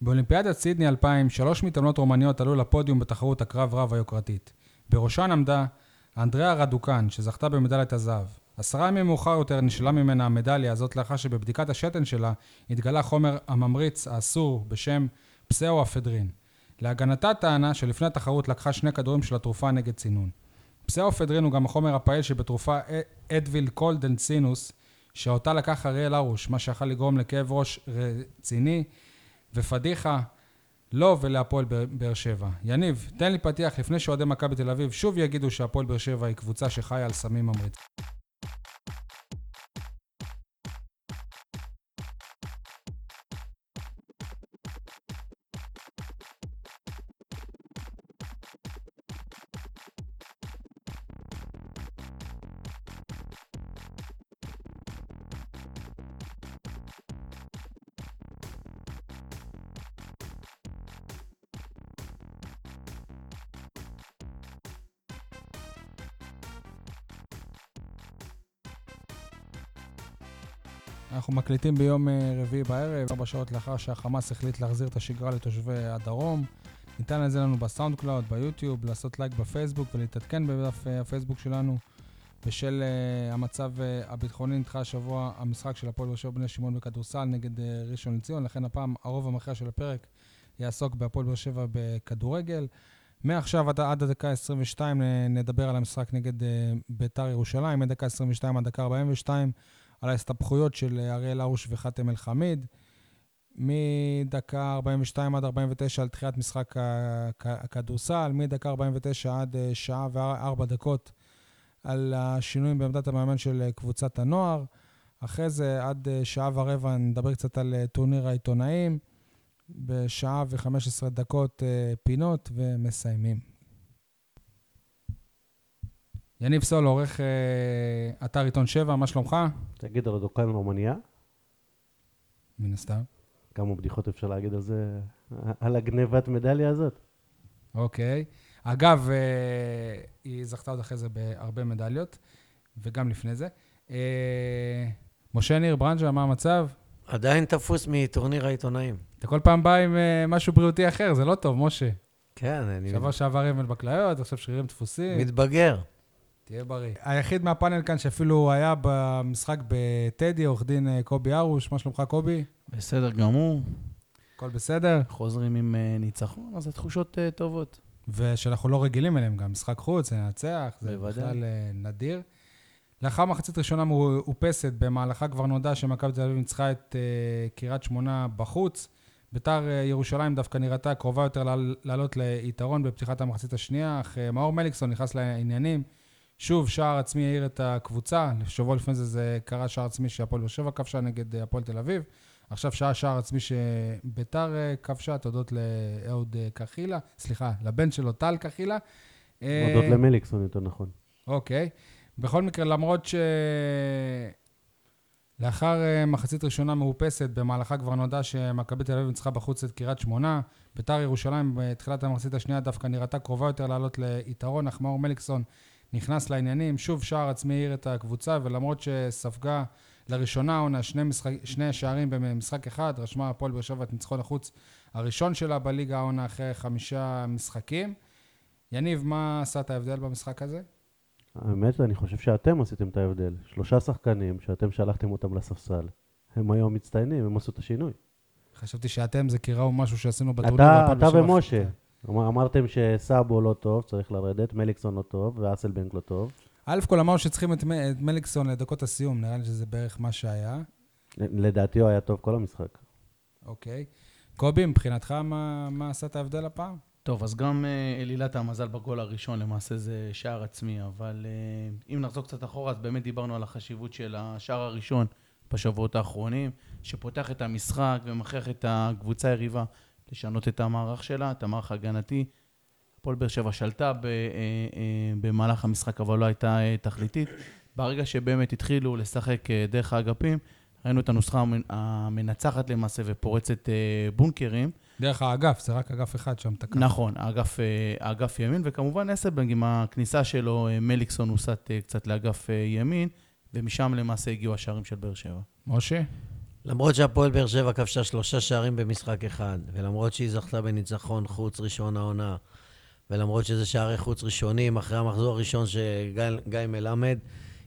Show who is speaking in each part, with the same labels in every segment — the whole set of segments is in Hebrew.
Speaker 1: באולימפיאדת סידני 2000, שלוש מתאמנות רומניות עלו לפודיום בתחרות הקרב רב היוקרתית. בראשן עמדה אנדריאה רדוקן, שזכתה במדליית הזהב. עשרה ימים מאוחר יותר נשללה ממנה המדליה הזאת לאחר שבבדיקת השתן שלה התגלה חומר הממריץ האסור בשם פסאו-אפדרין. להגנתה טענה שלפני התחרות לקחה שני כדורים של התרופה נגד צינון. פסאו-אפדרין הוא גם החומר הפעיל שבתרופה אדוויל קולדנסינוס, שאותה לקח אריאל הרוש, מה שיכל לגרום לכאב ראש רציני ופדיחה לו ולהפועל באר- באר שבע. יניב, תן לי פתיח לפני שאוהדי מכבי תל אביב שוב יגידו שהפועל באר שבע היא קבוצה שחיה על סמים ממריצים. אנחנו מקליטים ביום אה, רביעי בערב, ארבע שעות לאחר שהחמאס החליט להחזיר את השגרה לתושבי הדרום. ניתן לזה לנו בסאונד קלאוד, ביוטיוב, לעשות לייק בפייסבוק ולהתעדכן בדף אה, הפייסבוק שלנו. בשל uh, המצב uh, הביטחוני נדחה השבוע המשחק של הפועל באר שבע בני שמעון בכדורסל נגד uh, ראשון לציון, לכן הפעם הרוב המכריע של הפרק יעסוק בהפועל באר שבע בכדורגל. מעכשיו עד, עד הדקה 22 אה, נדבר על המשחק נגד uh, ביתר ירושלים, מדקה 22 עד דקה 42 על ההסתבכויות של אה, אריאל הרוש וחאתם אל-חמיד. מדקה 42 עד 49 על תחילת משחק הכ- הכדורסל, מדקה 49 עד אה, שעה וארבע דקות על השינויים בעמדת המאמן של אה, קבוצת הנוער. אחרי זה עד אה, שעה ורבע נדבר קצת על אה, טורניר העיתונאים. בשעה ו-15 דקות אה, פינות ומסיימים. יניב סול, עורך אה, אתר עיתון 7, מה שלומך?
Speaker 2: תגיד על הדוקן רומניה,
Speaker 1: מן הסתם.
Speaker 2: כמה בדיחות אפשר להגיד על זה, על הגנבת מדליה הזאת.
Speaker 1: אוקיי. אגב, אה, היא זכתה עוד אחרי זה בהרבה מדליות, וגם לפני זה. אה, משה ניר ברנז'ה, מה המצב?
Speaker 3: עדיין תפוס מטורניר העיתונאים.
Speaker 1: אתה כל פעם בא עם אה, משהו בריאותי אחר, זה לא טוב, משה.
Speaker 3: כן, אני
Speaker 1: שבוע שעבר אבל בכליות, עכשיו שרירים דפוסים.
Speaker 3: מתבגר.
Speaker 1: תהיה בריא. היחיד מהפאנל כאן שאפילו היה במשחק בטדי, עורך דין אה, קובי ארוש, מה שלומך קובי?
Speaker 4: בסדר גמור,
Speaker 1: הכל בסדר?
Speaker 4: חוזרים עם אה, ניצחון, אז התחושות אה, טובות.
Speaker 1: ושאנחנו לא רגילים אליהם גם, משחק חוץ, לנצח, זה
Speaker 4: בוודאי.
Speaker 1: בכלל אה, נדיר. לאחר מחצית ראשונה מאופסת, במהלכה כבר נודע שמכבי תל אביב ניצחה את אה, קריית שמונה בחוץ. ביתר אה, ירושלים דווקא נראתה קרובה יותר לעל- לעלות ליתרון בפתיחת המחצית השנייה, אך אה, מאור מליקסון נכנס לעניינים. שוב, שער עצמי העיר את הקבוצה. שבוע לפני זה זה קרה שער עצמי שהפועל באר שבע כבשה נגד אה, הפועל תל אביב. עכשיו שעה שער עצמי שביתר אה, כבשה, תודות לאהוד אה, קחילה, סליחה, לבן שלו טל קחילה. אה,
Speaker 2: הודות למליקסון, יותר נכון.
Speaker 1: אוקיי. בכל מקרה, למרות ש... לאחר אה, מחצית ראשונה מאופסת, במהלכה כבר נודע שמכבי תל אביב ניצחה בחוץ את קריית שמונה. ביתר ירושלים בתחילת המחצית השנייה דווקא נראתה קרובה יותר לעלות ליתרון, אך מאור מליקסון נכנס לעניינים. שוב שער עצמי העיר את הקבוצה, ולמרות שספגה לראשונה העונה שני, משחק, שני שערים במשחק אחד, רשמה הפועל באר שבע את ניצחון החוץ הראשון שלה בליגה העונה אחרי חמישה משחקים. יניב, מה עשה את ההבדל במשחק הזה?
Speaker 2: האמת, אני חושב שאתם עשיתם את ההבדל. שלושה שחקנים שאתם שלחתם אותם לספסל, הם היום מצטיינים, הם עשו את השינוי.
Speaker 1: חשבתי שאתם זה כי ראו משהו שעשינו בטורניר.
Speaker 2: אתה
Speaker 1: והפעם
Speaker 2: אתה
Speaker 1: בשבע.
Speaker 2: ומשה. אמר- אמרתם שסאבו לא טוב, צריך לרדת, מליקסון לא טוב, ואסלבנק לא טוב.
Speaker 1: א' כל אמרנו שצריכים את מ- את מליקסון לדקות הסיום, נראה לי שזה בערך מה שהיה.
Speaker 2: לדעתי הוא היה טוב כל המשחק.
Speaker 1: אוקיי. קובי, מבחינתך, מה מה עשה את ההבדל הפעם?
Speaker 4: טוב, אז גם אה, אלילת המזל בגול הראשון, למעשה זה שער עצמי, אבל אה, אם נחזור קצת אחורה, אז באמת דיברנו על החשיבות של השער הראשון בשבועות האחרונים, שפותח את המשחק ומכריח את הקבוצה היריבה לשנות את המערך שלה, את המערך ההגנתי. הפועל באר שבע שלטה ב, אה, אה, במהלך המשחק, אבל לא הייתה אה, תכליתית. ברגע שבאמת התחילו לשחק אה, דרך האגפים, ראינו את הנוסחה המנ- המנצחת למעשה ופורצת אה, בונקרים.
Speaker 1: דרך האגף, זה רק אגף אחד שם תקע.
Speaker 4: נכון, האגף, אה, האגף ימין, וכמובן אסלבנג עם הכניסה שלו, אה, מליקסון הוסט אה, קצת לאגף אה, ימין, ומשם למעשה הגיעו השערים של באר שבע.
Speaker 1: משה?
Speaker 3: למרות שהפועל באר שבע כבשה שלושה שערים במשחק אחד, ולמרות שהיא זכתה בניצחון חוץ ראשון העונה, ולמרות שזה שערי חוץ ראשונים, אחרי המחזור הראשון של גיא- גיא מלמד,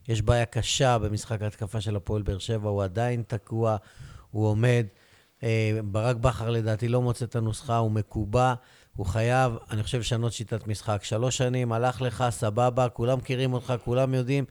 Speaker 3: יש בעיה קשה במשחק ההתקפה של הפועל באר שבע, הוא עדיין תקוע, הוא עומד. אה, ברק בכר לדעתי לא מוצא את הנוסחה, הוא מקובע, הוא חייב, אני חושב, לשנות שיטת משחק. שלוש שנים, הלך לך, סבבה, כולם מכירים אותך, כולם יודעים,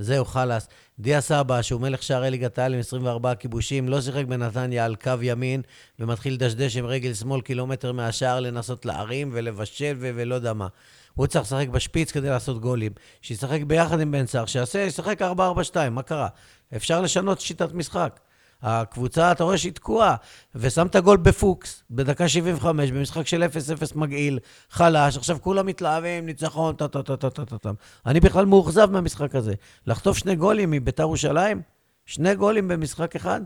Speaker 3: זהו, חלאס. דיה סבא, שהוא מלך שערי ליגת העל עם 24 כיבושים, לא שיחק בנתניה על קו ימין, ומתחיל לדשדש עם רגל שמאל קילומטר מהשער לנסות להרים ולבשל ו- ולא יודע מה. הוא צריך לשחק בשפיץ כדי לעשות גולים. שישחק ביחד עם בן סער, שיעשה, ישחק 4-4-2, מה קרה? אפשר לשנות שיטת משחק. הקבוצה, אתה רואה שהיא תקועה, ושמת גול בפוקס, בדקה 75, במשחק של 0-0 מגעיל, חלש, עכשיו כולם מתלהבים, ניצחון, טה-טה-טה-טה-טה-טה. אני בכלל מאוכזב מהמשחק הזה. לחטוף שני גולים מביתר ירושלים? שני גולים במשחק אחד?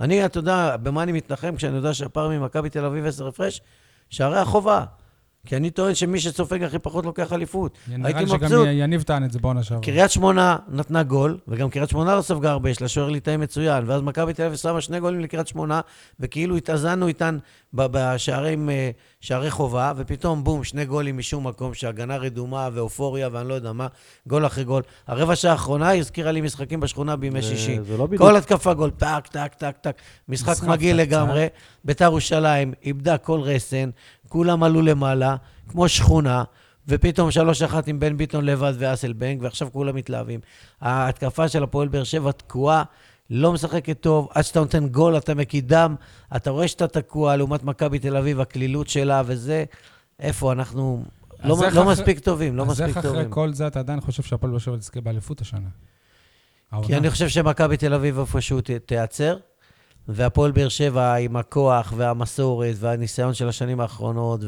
Speaker 3: אני, אתה יודע, במה אני מתנחם כשאני יודע שהפער ממכבי תל אביב 10 הפרש? שערי החובה. כי אני טוען שמי שסופג הכי פחות לוקח אליפות.
Speaker 1: נראה
Speaker 3: הייתי
Speaker 1: לי שגם
Speaker 3: מבסוט.
Speaker 1: יניב טען את זה בעונה שעברה.
Speaker 3: קריית שמונה נתנה גול, וגם קריית שמונה לא ספגה הרבה, יש לה שוער ליטאי מצוין, ואז מכבי תל אביב שמה שני גולים לקריית שמונה, וכאילו התאזנו איתן ב- בשערים, אה, שערי חובה, ופתאום בום, שני גולים משום מקום, שהגנה רדומה ואופוריה ואני לא יודע מה, גול אחרי גול. הרבע שעה האחרונה הזכירה לי משחקים בשכונה בימי
Speaker 2: זה-
Speaker 3: שישי.
Speaker 2: זה לא בדיוק.
Speaker 3: כל התקפה גול, טק, טק, טק, טק. משחק
Speaker 1: משחק
Speaker 3: מגעיל
Speaker 1: קצר.
Speaker 3: לגמרי. ביתר ירושלים איבדה כל רסן, כולם עלו למעלה, כמו שכונה, ופתאום 3-1 עם בן ביטון לבד ואסלבנק, ועכשיו כולם מתלהבים. ההתקפה של הפועל באר שבע תקועה, לא משחקת טוב, עד שאתה נותן גול אתה מקידם, אתה רואה שאתה תקוע לעומת מכבי תל אביב, הקלילות שלה וזה, איפה אנחנו...
Speaker 1: אז
Speaker 3: לא,
Speaker 1: איך
Speaker 3: לא
Speaker 1: אחרי-
Speaker 3: מספיק טובים, לא
Speaker 1: אז
Speaker 3: מספיק
Speaker 1: איך אחרי
Speaker 3: טובים.
Speaker 1: כל זה אתה עדיין חושב שהפועל באר שבע תזכה באליפות השנה?
Speaker 3: כי
Speaker 1: העונה.
Speaker 3: אני חושב שמכבי תל אביב איפשהו ת- תיעצר, והפועל באר שבע עם הכוח והמסורת והניסיון של השנים האחרונות,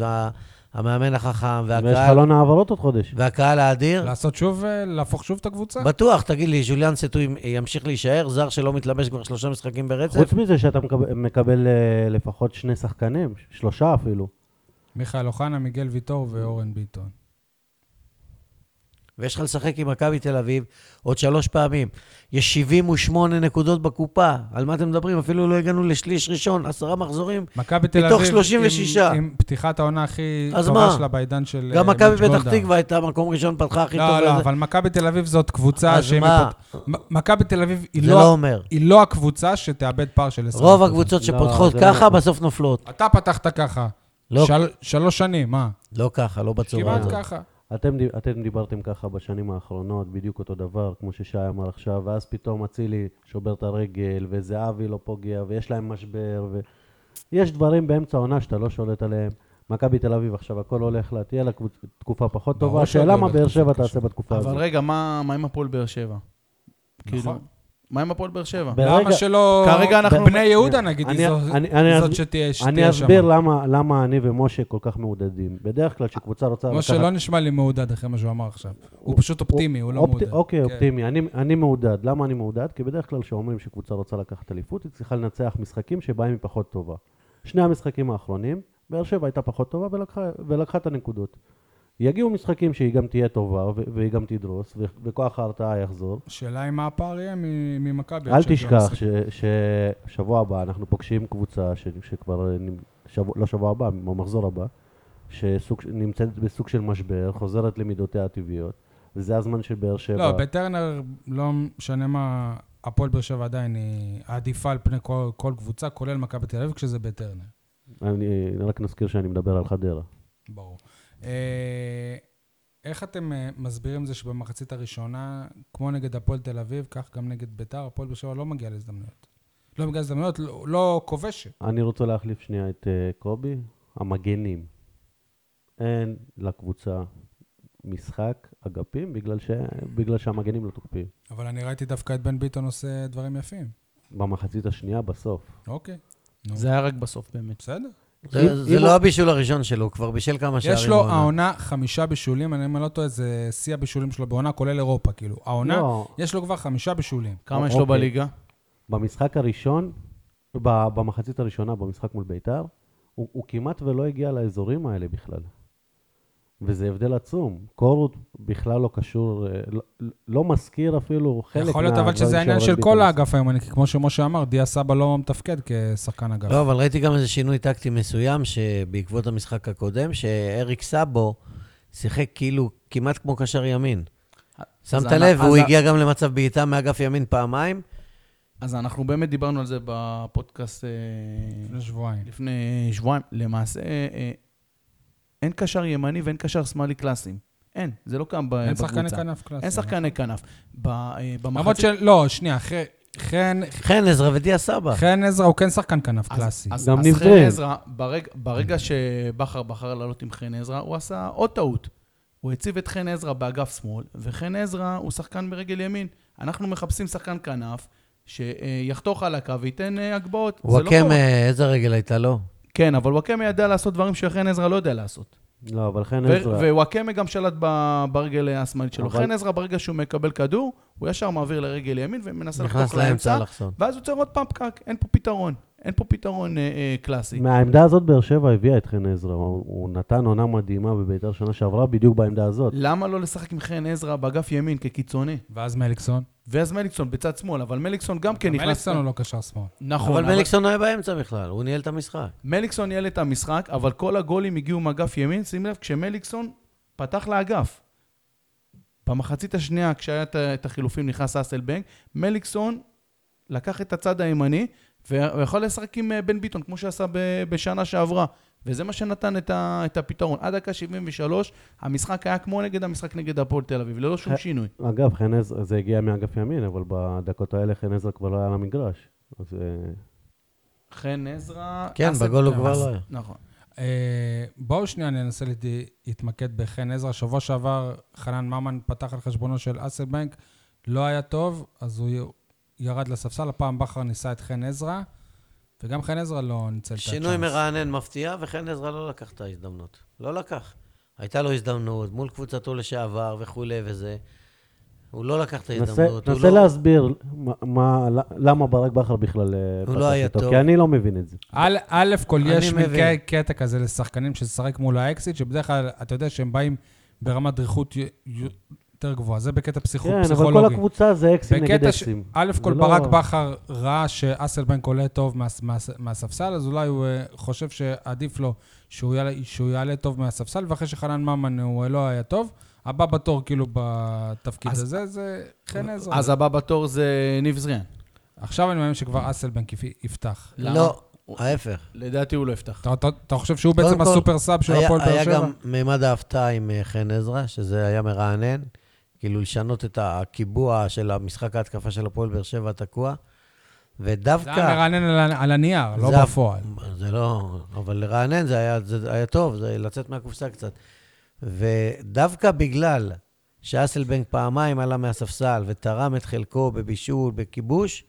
Speaker 3: והמאמן החכם
Speaker 2: ויש
Speaker 3: והקהל,
Speaker 2: חלון העברות עוד חודש.
Speaker 3: והקהל האדיר,
Speaker 1: לעשות שוב, אה, להפוך שוב את הקבוצה?
Speaker 3: בטוח, תגיד לי, ז'וליאן סטו ימשיך להישאר, זר שלא מתלבש כבר שלושה משחקים ברצף?
Speaker 2: חוץ מזה שאתה מקב- מקבל אה, לפחות שני שחקנים, ש- שלושה אפילו.
Speaker 1: מיכאל אוחנה, מיגל ויטור ואורן ביטון.
Speaker 3: ויש לך לשחק עם מכבי תל אביב עוד שלוש פעמים. יש 78 נקודות בקופה, על מה אתם מדברים? אפילו לא הגענו לשליש ראשון, עשרה מחזורים.
Speaker 1: מכבי תל אביב...
Speaker 3: מתוך
Speaker 1: עם-
Speaker 3: 36.
Speaker 1: עם פתיחת העונה הכי
Speaker 3: אז
Speaker 1: טובה
Speaker 3: מה?
Speaker 1: שלה בעידן של...
Speaker 3: גם
Speaker 1: אה,
Speaker 3: מכבי
Speaker 1: מיץ'
Speaker 3: פתח
Speaker 1: גולדהר.
Speaker 3: תקווה הייתה מקום ראשון, פתחה הכי טוב.
Speaker 1: לא, לא,
Speaker 3: וזה.
Speaker 1: אבל מכבי תל אביב זאת קבוצה
Speaker 3: אז
Speaker 1: שהיא...
Speaker 3: מה?
Speaker 1: מפות- מ- מכבי תל אביב היא
Speaker 3: זה
Speaker 1: לא-
Speaker 3: לא אומר.
Speaker 1: היא לא הקבוצה שתאבד פער של 20.
Speaker 3: רוב הקבוצות שפותחות
Speaker 2: זה לא
Speaker 3: ככה,
Speaker 2: נכון.
Speaker 3: בסוף נופלות.
Speaker 1: אתה פתחת ככה.
Speaker 3: לא.
Speaker 1: של- שלוש שנים, מה?
Speaker 3: לא ככה, לא בצורה
Speaker 1: כמעט
Speaker 3: הזאת.
Speaker 1: ככה.
Speaker 2: אתם, די- אתם דיברתם ככה בשנים האחרונות, בדיוק אותו דבר, כמו ששי אמר עכשיו, ואז פתאום אצילי שובר את הרגל, וזהבי לא פוגע, ויש להם משבר, ו... יש דברים באמצע העונה שאתה לא שולט עליהם. מכבי תל אביב עכשיו, הכל הולך לה, תהיה לה קבוצ- תקופה פחות
Speaker 1: ברור
Speaker 2: טובה,
Speaker 1: שעוד
Speaker 2: השאלה
Speaker 1: לא
Speaker 2: מה באר
Speaker 1: תקופה
Speaker 2: שבע
Speaker 1: קשה.
Speaker 2: תעשה בתקופה
Speaker 4: אבל
Speaker 2: הזאת.
Speaker 4: רגע, מה מה עם הפועל באר שבע? כאילו,
Speaker 1: נכון.
Speaker 4: מה עם הפועל באר שבע?
Speaker 2: ברגע-
Speaker 1: למה שלא...
Speaker 4: כרגע אנחנו-
Speaker 1: בני יהודה, נגיד,
Speaker 2: אני-
Speaker 1: היא זו-
Speaker 2: אני-
Speaker 1: היא
Speaker 2: אני
Speaker 1: זאת
Speaker 2: אסב-
Speaker 1: שתהיה שתהיה שם.
Speaker 2: אני אסביר למה, למה אני ומשה כל כך מעודדים. בדרך כלל כשקבוצה רוצה לקחת...
Speaker 1: משה לא נשמע לי מעודד אחרי מה שהוא אמר עכשיו. הוא פשוט אופטימי, הוא לא
Speaker 2: אופט-
Speaker 1: מעודד.
Speaker 2: אוקיי,
Speaker 1: כן.
Speaker 2: אופטימי. אני- אני מעודד. למה אני מעודד? כי בדרך כלל כשאומרים שקבוצה רוצה לקחת אליפות, היא צריכה לנצח משחקים שבהם היא פחות טובה. שני המשחקים האחרונים, באר שבע הייתה פחות טובה ולקחה- ולקחה את הנקודות. יגיעו משחקים שהיא גם תהיה טובה ו- והיא גם תדרוס, ו- וכוח ההרתעה יחזור.
Speaker 1: השאלה היא מה הפער יהיה מ- ממכבי.
Speaker 2: אל
Speaker 1: עכשיו, גם
Speaker 2: תשכח
Speaker 1: משחק.
Speaker 2: ש- ששבוע הבא אנחנו פוגשים קבוצה ש- שכבר, אה, נמ- שבוע- לא שבוע הבא, במחזור הבא, שנמצאת בסוג של משבר, חוזרת למידותיה הטבעיות, וזה הזמן של באר שבע.
Speaker 1: לא, בטרנר, לא משנה מה, הפועל באר שבע עדיין היא עדיפה על פני כל- כל קבוצה, כולל מכבי תל אביב, כשזה בטרנר.
Speaker 2: אני רק נזכיר שאני מדבר על חדרה.
Speaker 1: ברור. אה, איך אתם אה, מסבירים זה שבמחצית הראשונה, כמו נגד הפועל תל אביב, כך גם נגד ביתר, הפועל באר שבע לא מגיעה להזדמנויות. לא מגיעה להזדמנויות, לא- לא כובשת.
Speaker 2: אני רוצה להחליף שנייה את אה, קובי. המגנים. אין לקבוצה משחק אגפים בגלל, ש... בגלל שהמגנים לא תוקפים.
Speaker 1: אבל אני ראיתי דווקא את בן ביטון עושה דברים יפים.
Speaker 2: במחצית השנייה בסוף.
Speaker 1: אוקיי,
Speaker 4: זה היה רק בסוף באמת.
Speaker 1: בסדר.
Speaker 2: אם-
Speaker 3: זה- זה
Speaker 2: אם
Speaker 3: לא
Speaker 2: הוא-
Speaker 3: הבישול הראשון שלו, הוא כבר בישל כמה שערים.
Speaker 1: יש לו
Speaker 3: בעונה.
Speaker 1: העונה חמישה בישולים, אני- אם אני לא טועה, זה שיא הבישולים שלו בעונה, כולל אירופה, כאילו. העונה,
Speaker 2: לא,
Speaker 1: יש לו כבר חמישה בישולים.
Speaker 4: כמה יש לו
Speaker 2: אוקיי.
Speaker 4: בליגה?
Speaker 2: במשחק הראשון, ב- במחצית הראשונה, במשחק מול ביתר, הוא, הוא כמעט ולא הגיע לאזורים האלה בכלל. וזה הבדל עצום. קורות בכלל לא קשור, אה, לא, לא מזכיר אפילו חלק
Speaker 1: יכול להיות אבל שזה
Speaker 2: מהדברים
Speaker 1: העניין של
Speaker 2: שאורן
Speaker 1: כל
Speaker 2: ביטון עשה.
Speaker 1: האגף הימני, כי כמו שמשה אמר, דיה סבא לא מתפקד כשחקן אגף.
Speaker 3: לא, אבל ראיתי גם איזה שינוי טקטי מסוים שבעקבות המשחק הקודם, שאריק סאבו שיחק כאילו כמעט כמו קשר ימין.
Speaker 4: אז
Speaker 3: שמת
Speaker 4: אנ-
Speaker 3: לב,
Speaker 4: אז
Speaker 3: הוא
Speaker 4: ה-
Speaker 3: הגיע גם למצב בעיטה מאגף ימין פעמיים.
Speaker 4: אז אנחנו באמת דיברנו על זה בפודקאסט אה,
Speaker 1: לפני שבועיים.
Speaker 4: לפני שבועיים. למעשה, אה, אין קשר ימני ואין קשר שמאלי קלאסיים. אין, זה לא קם ב-
Speaker 1: אין
Speaker 4: בקבוצה.
Speaker 1: שחקני כנף קלאסי.
Speaker 4: אין שחקני כנף. ב- אה,
Speaker 1: למרות
Speaker 4: במחצית...
Speaker 1: של... לא, שנייה, חן- חן-
Speaker 3: חן עזרא ודיה סבא.
Speaker 1: חן עזרא הוא כן שחקן כנף
Speaker 4: אה. אז-
Speaker 1: קלאסי.
Speaker 4: אז-
Speaker 2: גם
Speaker 4: אז
Speaker 2: נבדל.
Speaker 4: חן עזרא, ברג- ברגע שבכר בחר לעלות עם חן עזרא, הוא עשה עוד טעות. הוא הציב את חן עזרא באגף שמאל, וחן עזרא הוא שחקן ברגל ימין. אנחנו מחפשים שחקן כנף שיחתוך על הקו וייתן אה, הגבהות. זה לא
Speaker 3: וואקמה,
Speaker 4: קורה.
Speaker 3: איזה רגל הייתה לו?
Speaker 4: כן, אבל וואקמה ידע לעשות דברים שחן עזרא לא יודע לעשות.
Speaker 2: לא, אבל חן
Speaker 4: ו-
Speaker 2: עזרא,
Speaker 4: ווואקמה גם שלט ב- ברגל השמאלית שלו.
Speaker 2: אבל-
Speaker 4: חן עזרא, ברגע שהוא מקבל כדור, הוא ישר מעביר לרגל ימין ומנסה
Speaker 3: נכנס
Speaker 4: לחתוך
Speaker 3: לאמצע
Speaker 4: לאמצע,
Speaker 3: אלכסון.
Speaker 4: ואז הוא צריך עוד פעם פקק, אין פה פתרון. אין פה פתרון אה, אה, קלאסי.
Speaker 2: מהעמדה הזאת באר שבע הביאה את חן עזרא, הוא, הוא נתן עונה מדהימה בביתר שנה שעברה בדיוק בעמדה הזאת.
Speaker 4: למה לא לשחק עם חן עזרא באגף ימין כקיצוני?
Speaker 1: ואז מליקסון.
Speaker 4: ואז מליקסון בצד שמאל, אבל מליקסון גם כן נכנס...
Speaker 1: מליקסון הוא לא קשר שמאל.
Speaker 4: נכון,
Speaker 3: אבל מליקסון לא היה באמצע בכלל, הוא ניהל את המשחק.
Speaker 4: מליקסון ניהל את המשחק, אבל כל הגולים הגיעו מאגף ימין. שים לב, כשמליקסון פתח לאגף. במחצית השנייה, כשהיה את- את החילופים, נכנס אסלבנק, מליקסון לקח את הצד הימני, והוא יכול לשחק עם אה, בן ביטון, כמו שעשה ב- בשנה שעברה. וזה מה שנתן את, ה, את הפתרון. עד דקה 73, המשחק היה כמו נגד המשחק נגד הפועל תל אביב, ללא שום
Speaker 2: ח-
Speaker 4: שינוי.
Speaker 2: אגב, חן עזרא, זה הגיע מאגף ימין, אבל בדקות האלה חן עזרא כבר לא היה על המגרש. אז אה,
Speaker 4: חן עזרא...
Speaker 3: כן,
Speaker 4: אסל-
Speaker 3: בגול הוא
Speaker 1: כן,
Speaker 3: כבר
Speaker 1: אז-
Speaker 3: לא היה.
Speaker 4: נכון.
Speaker 1: אה, בואו שנייה ננסה להת- להתמקד בחן עזרא. שבוע שעבר חנן ממן פתח על חשבונו של אסלבנק, לא היה טוב, אז הוא י- ירד לספסל. הפעם בכר ניסה את חן עזרא, וגם חן עזרא לא ניצל את הצ'אנס.
Speaker 3: שינוי מרענן מפתיע, וחן עזרא לא לקח את ההזדמנות. לא לקח. הייתה לו הזדמנות מול קבוצתו לשעבר וכולי וזה. הוא לא לקח את
Speaker 2: נסה
Speaker 3: ההזדמנות. הוא
Speaker 2: נסה
Speaker 3: לא-
Speaker 2: להסביר מה- מה- למה ברק בכר בכלל אה,
Speaker 3: הוא
Speaker 2: פתח
Speaker 3: לא היה
Speaker 2: איתו,
Speaker 3: טוב.
Speaker 2: כי אני לא מבין את זה.
Speaker 1: א', א', כל
Speaker 3: אני
Speaker 1: יש מין
Speaker 3: מבין.
Speaker 1: ק- קטע כזה לשחקנים ששחק מול האקסיט, שבדרך כלל, אתה יודע שהם באים ברמת דריכות י- י- יותר גבוהה. זה בקטע פסיכו-
Speaker 2: כן, אבל כל
Speaker 1: פסיכולוגי.
Speaker 2: הקבוצה זה אקסים נגד
Speaker 1: בקטע ש...
Speaker 2: אקסים.
Speaker 1: א',
Speaker 2: זה
Speaker 1: כל
Speaker 2: לא-
Speaker 1: ברק בכר ראה שאסלבנק עולה טוב מה... מה... מהספסל, אז אולי הוא אה, חושב שעדיף לו שהוא יעלה, שהוא יעלה טוב מהספסל, ואחרי שחנן ממן הוא לא היה טוב, הבא בתור כאילו בתפקיד
Speaker 4: אז-
Speaker 1: הזה, זה חן עזרא.
Speaker 4: אז הבא בתור זה ניב זריאן.
Speaker 1: עכשיו אני מאמין שכבר אסלבנק יפ- יפתח.
Speaker 4: למה?
Speaker 3: לא, ההפך.
Speaker 4: לדעתי הוא לא יפתח.
Speaker 1: אתה, אתה, אתה חושב שהוא
Speaker 3: קודם
Speaker 1: בעצם
Speaker 3: כל,
Speaker 1: הסופר סאב של
Speaker 3: היה-
Speaker 1: הפועל באר
Speaker 3: היה
Speaker 1: שבע?
Speaker 3: גם מימד ההפתעה עם אה, חן עזרא, שזה היה מרענן. כאילו לשנות את הקיבוע של המשחק ההתקפה של הפועל באר שבע התקוע.
Speaker 1: זה
Speaker 3: ודווקא...
Speaker 1: היה מרענן על, ה- על הנייר, לא
Speaker 3: זה-
Speaker 1: בפועל.
Speaker 3: זה לא... אבל לרענן זה היה, זה היה טוב, זה לצאת מהקופסה קצת. ודווקא בגלל שאסלבנק פעמיים עלה מהספסל ותרם את חלקו בבישול, בכיבוש,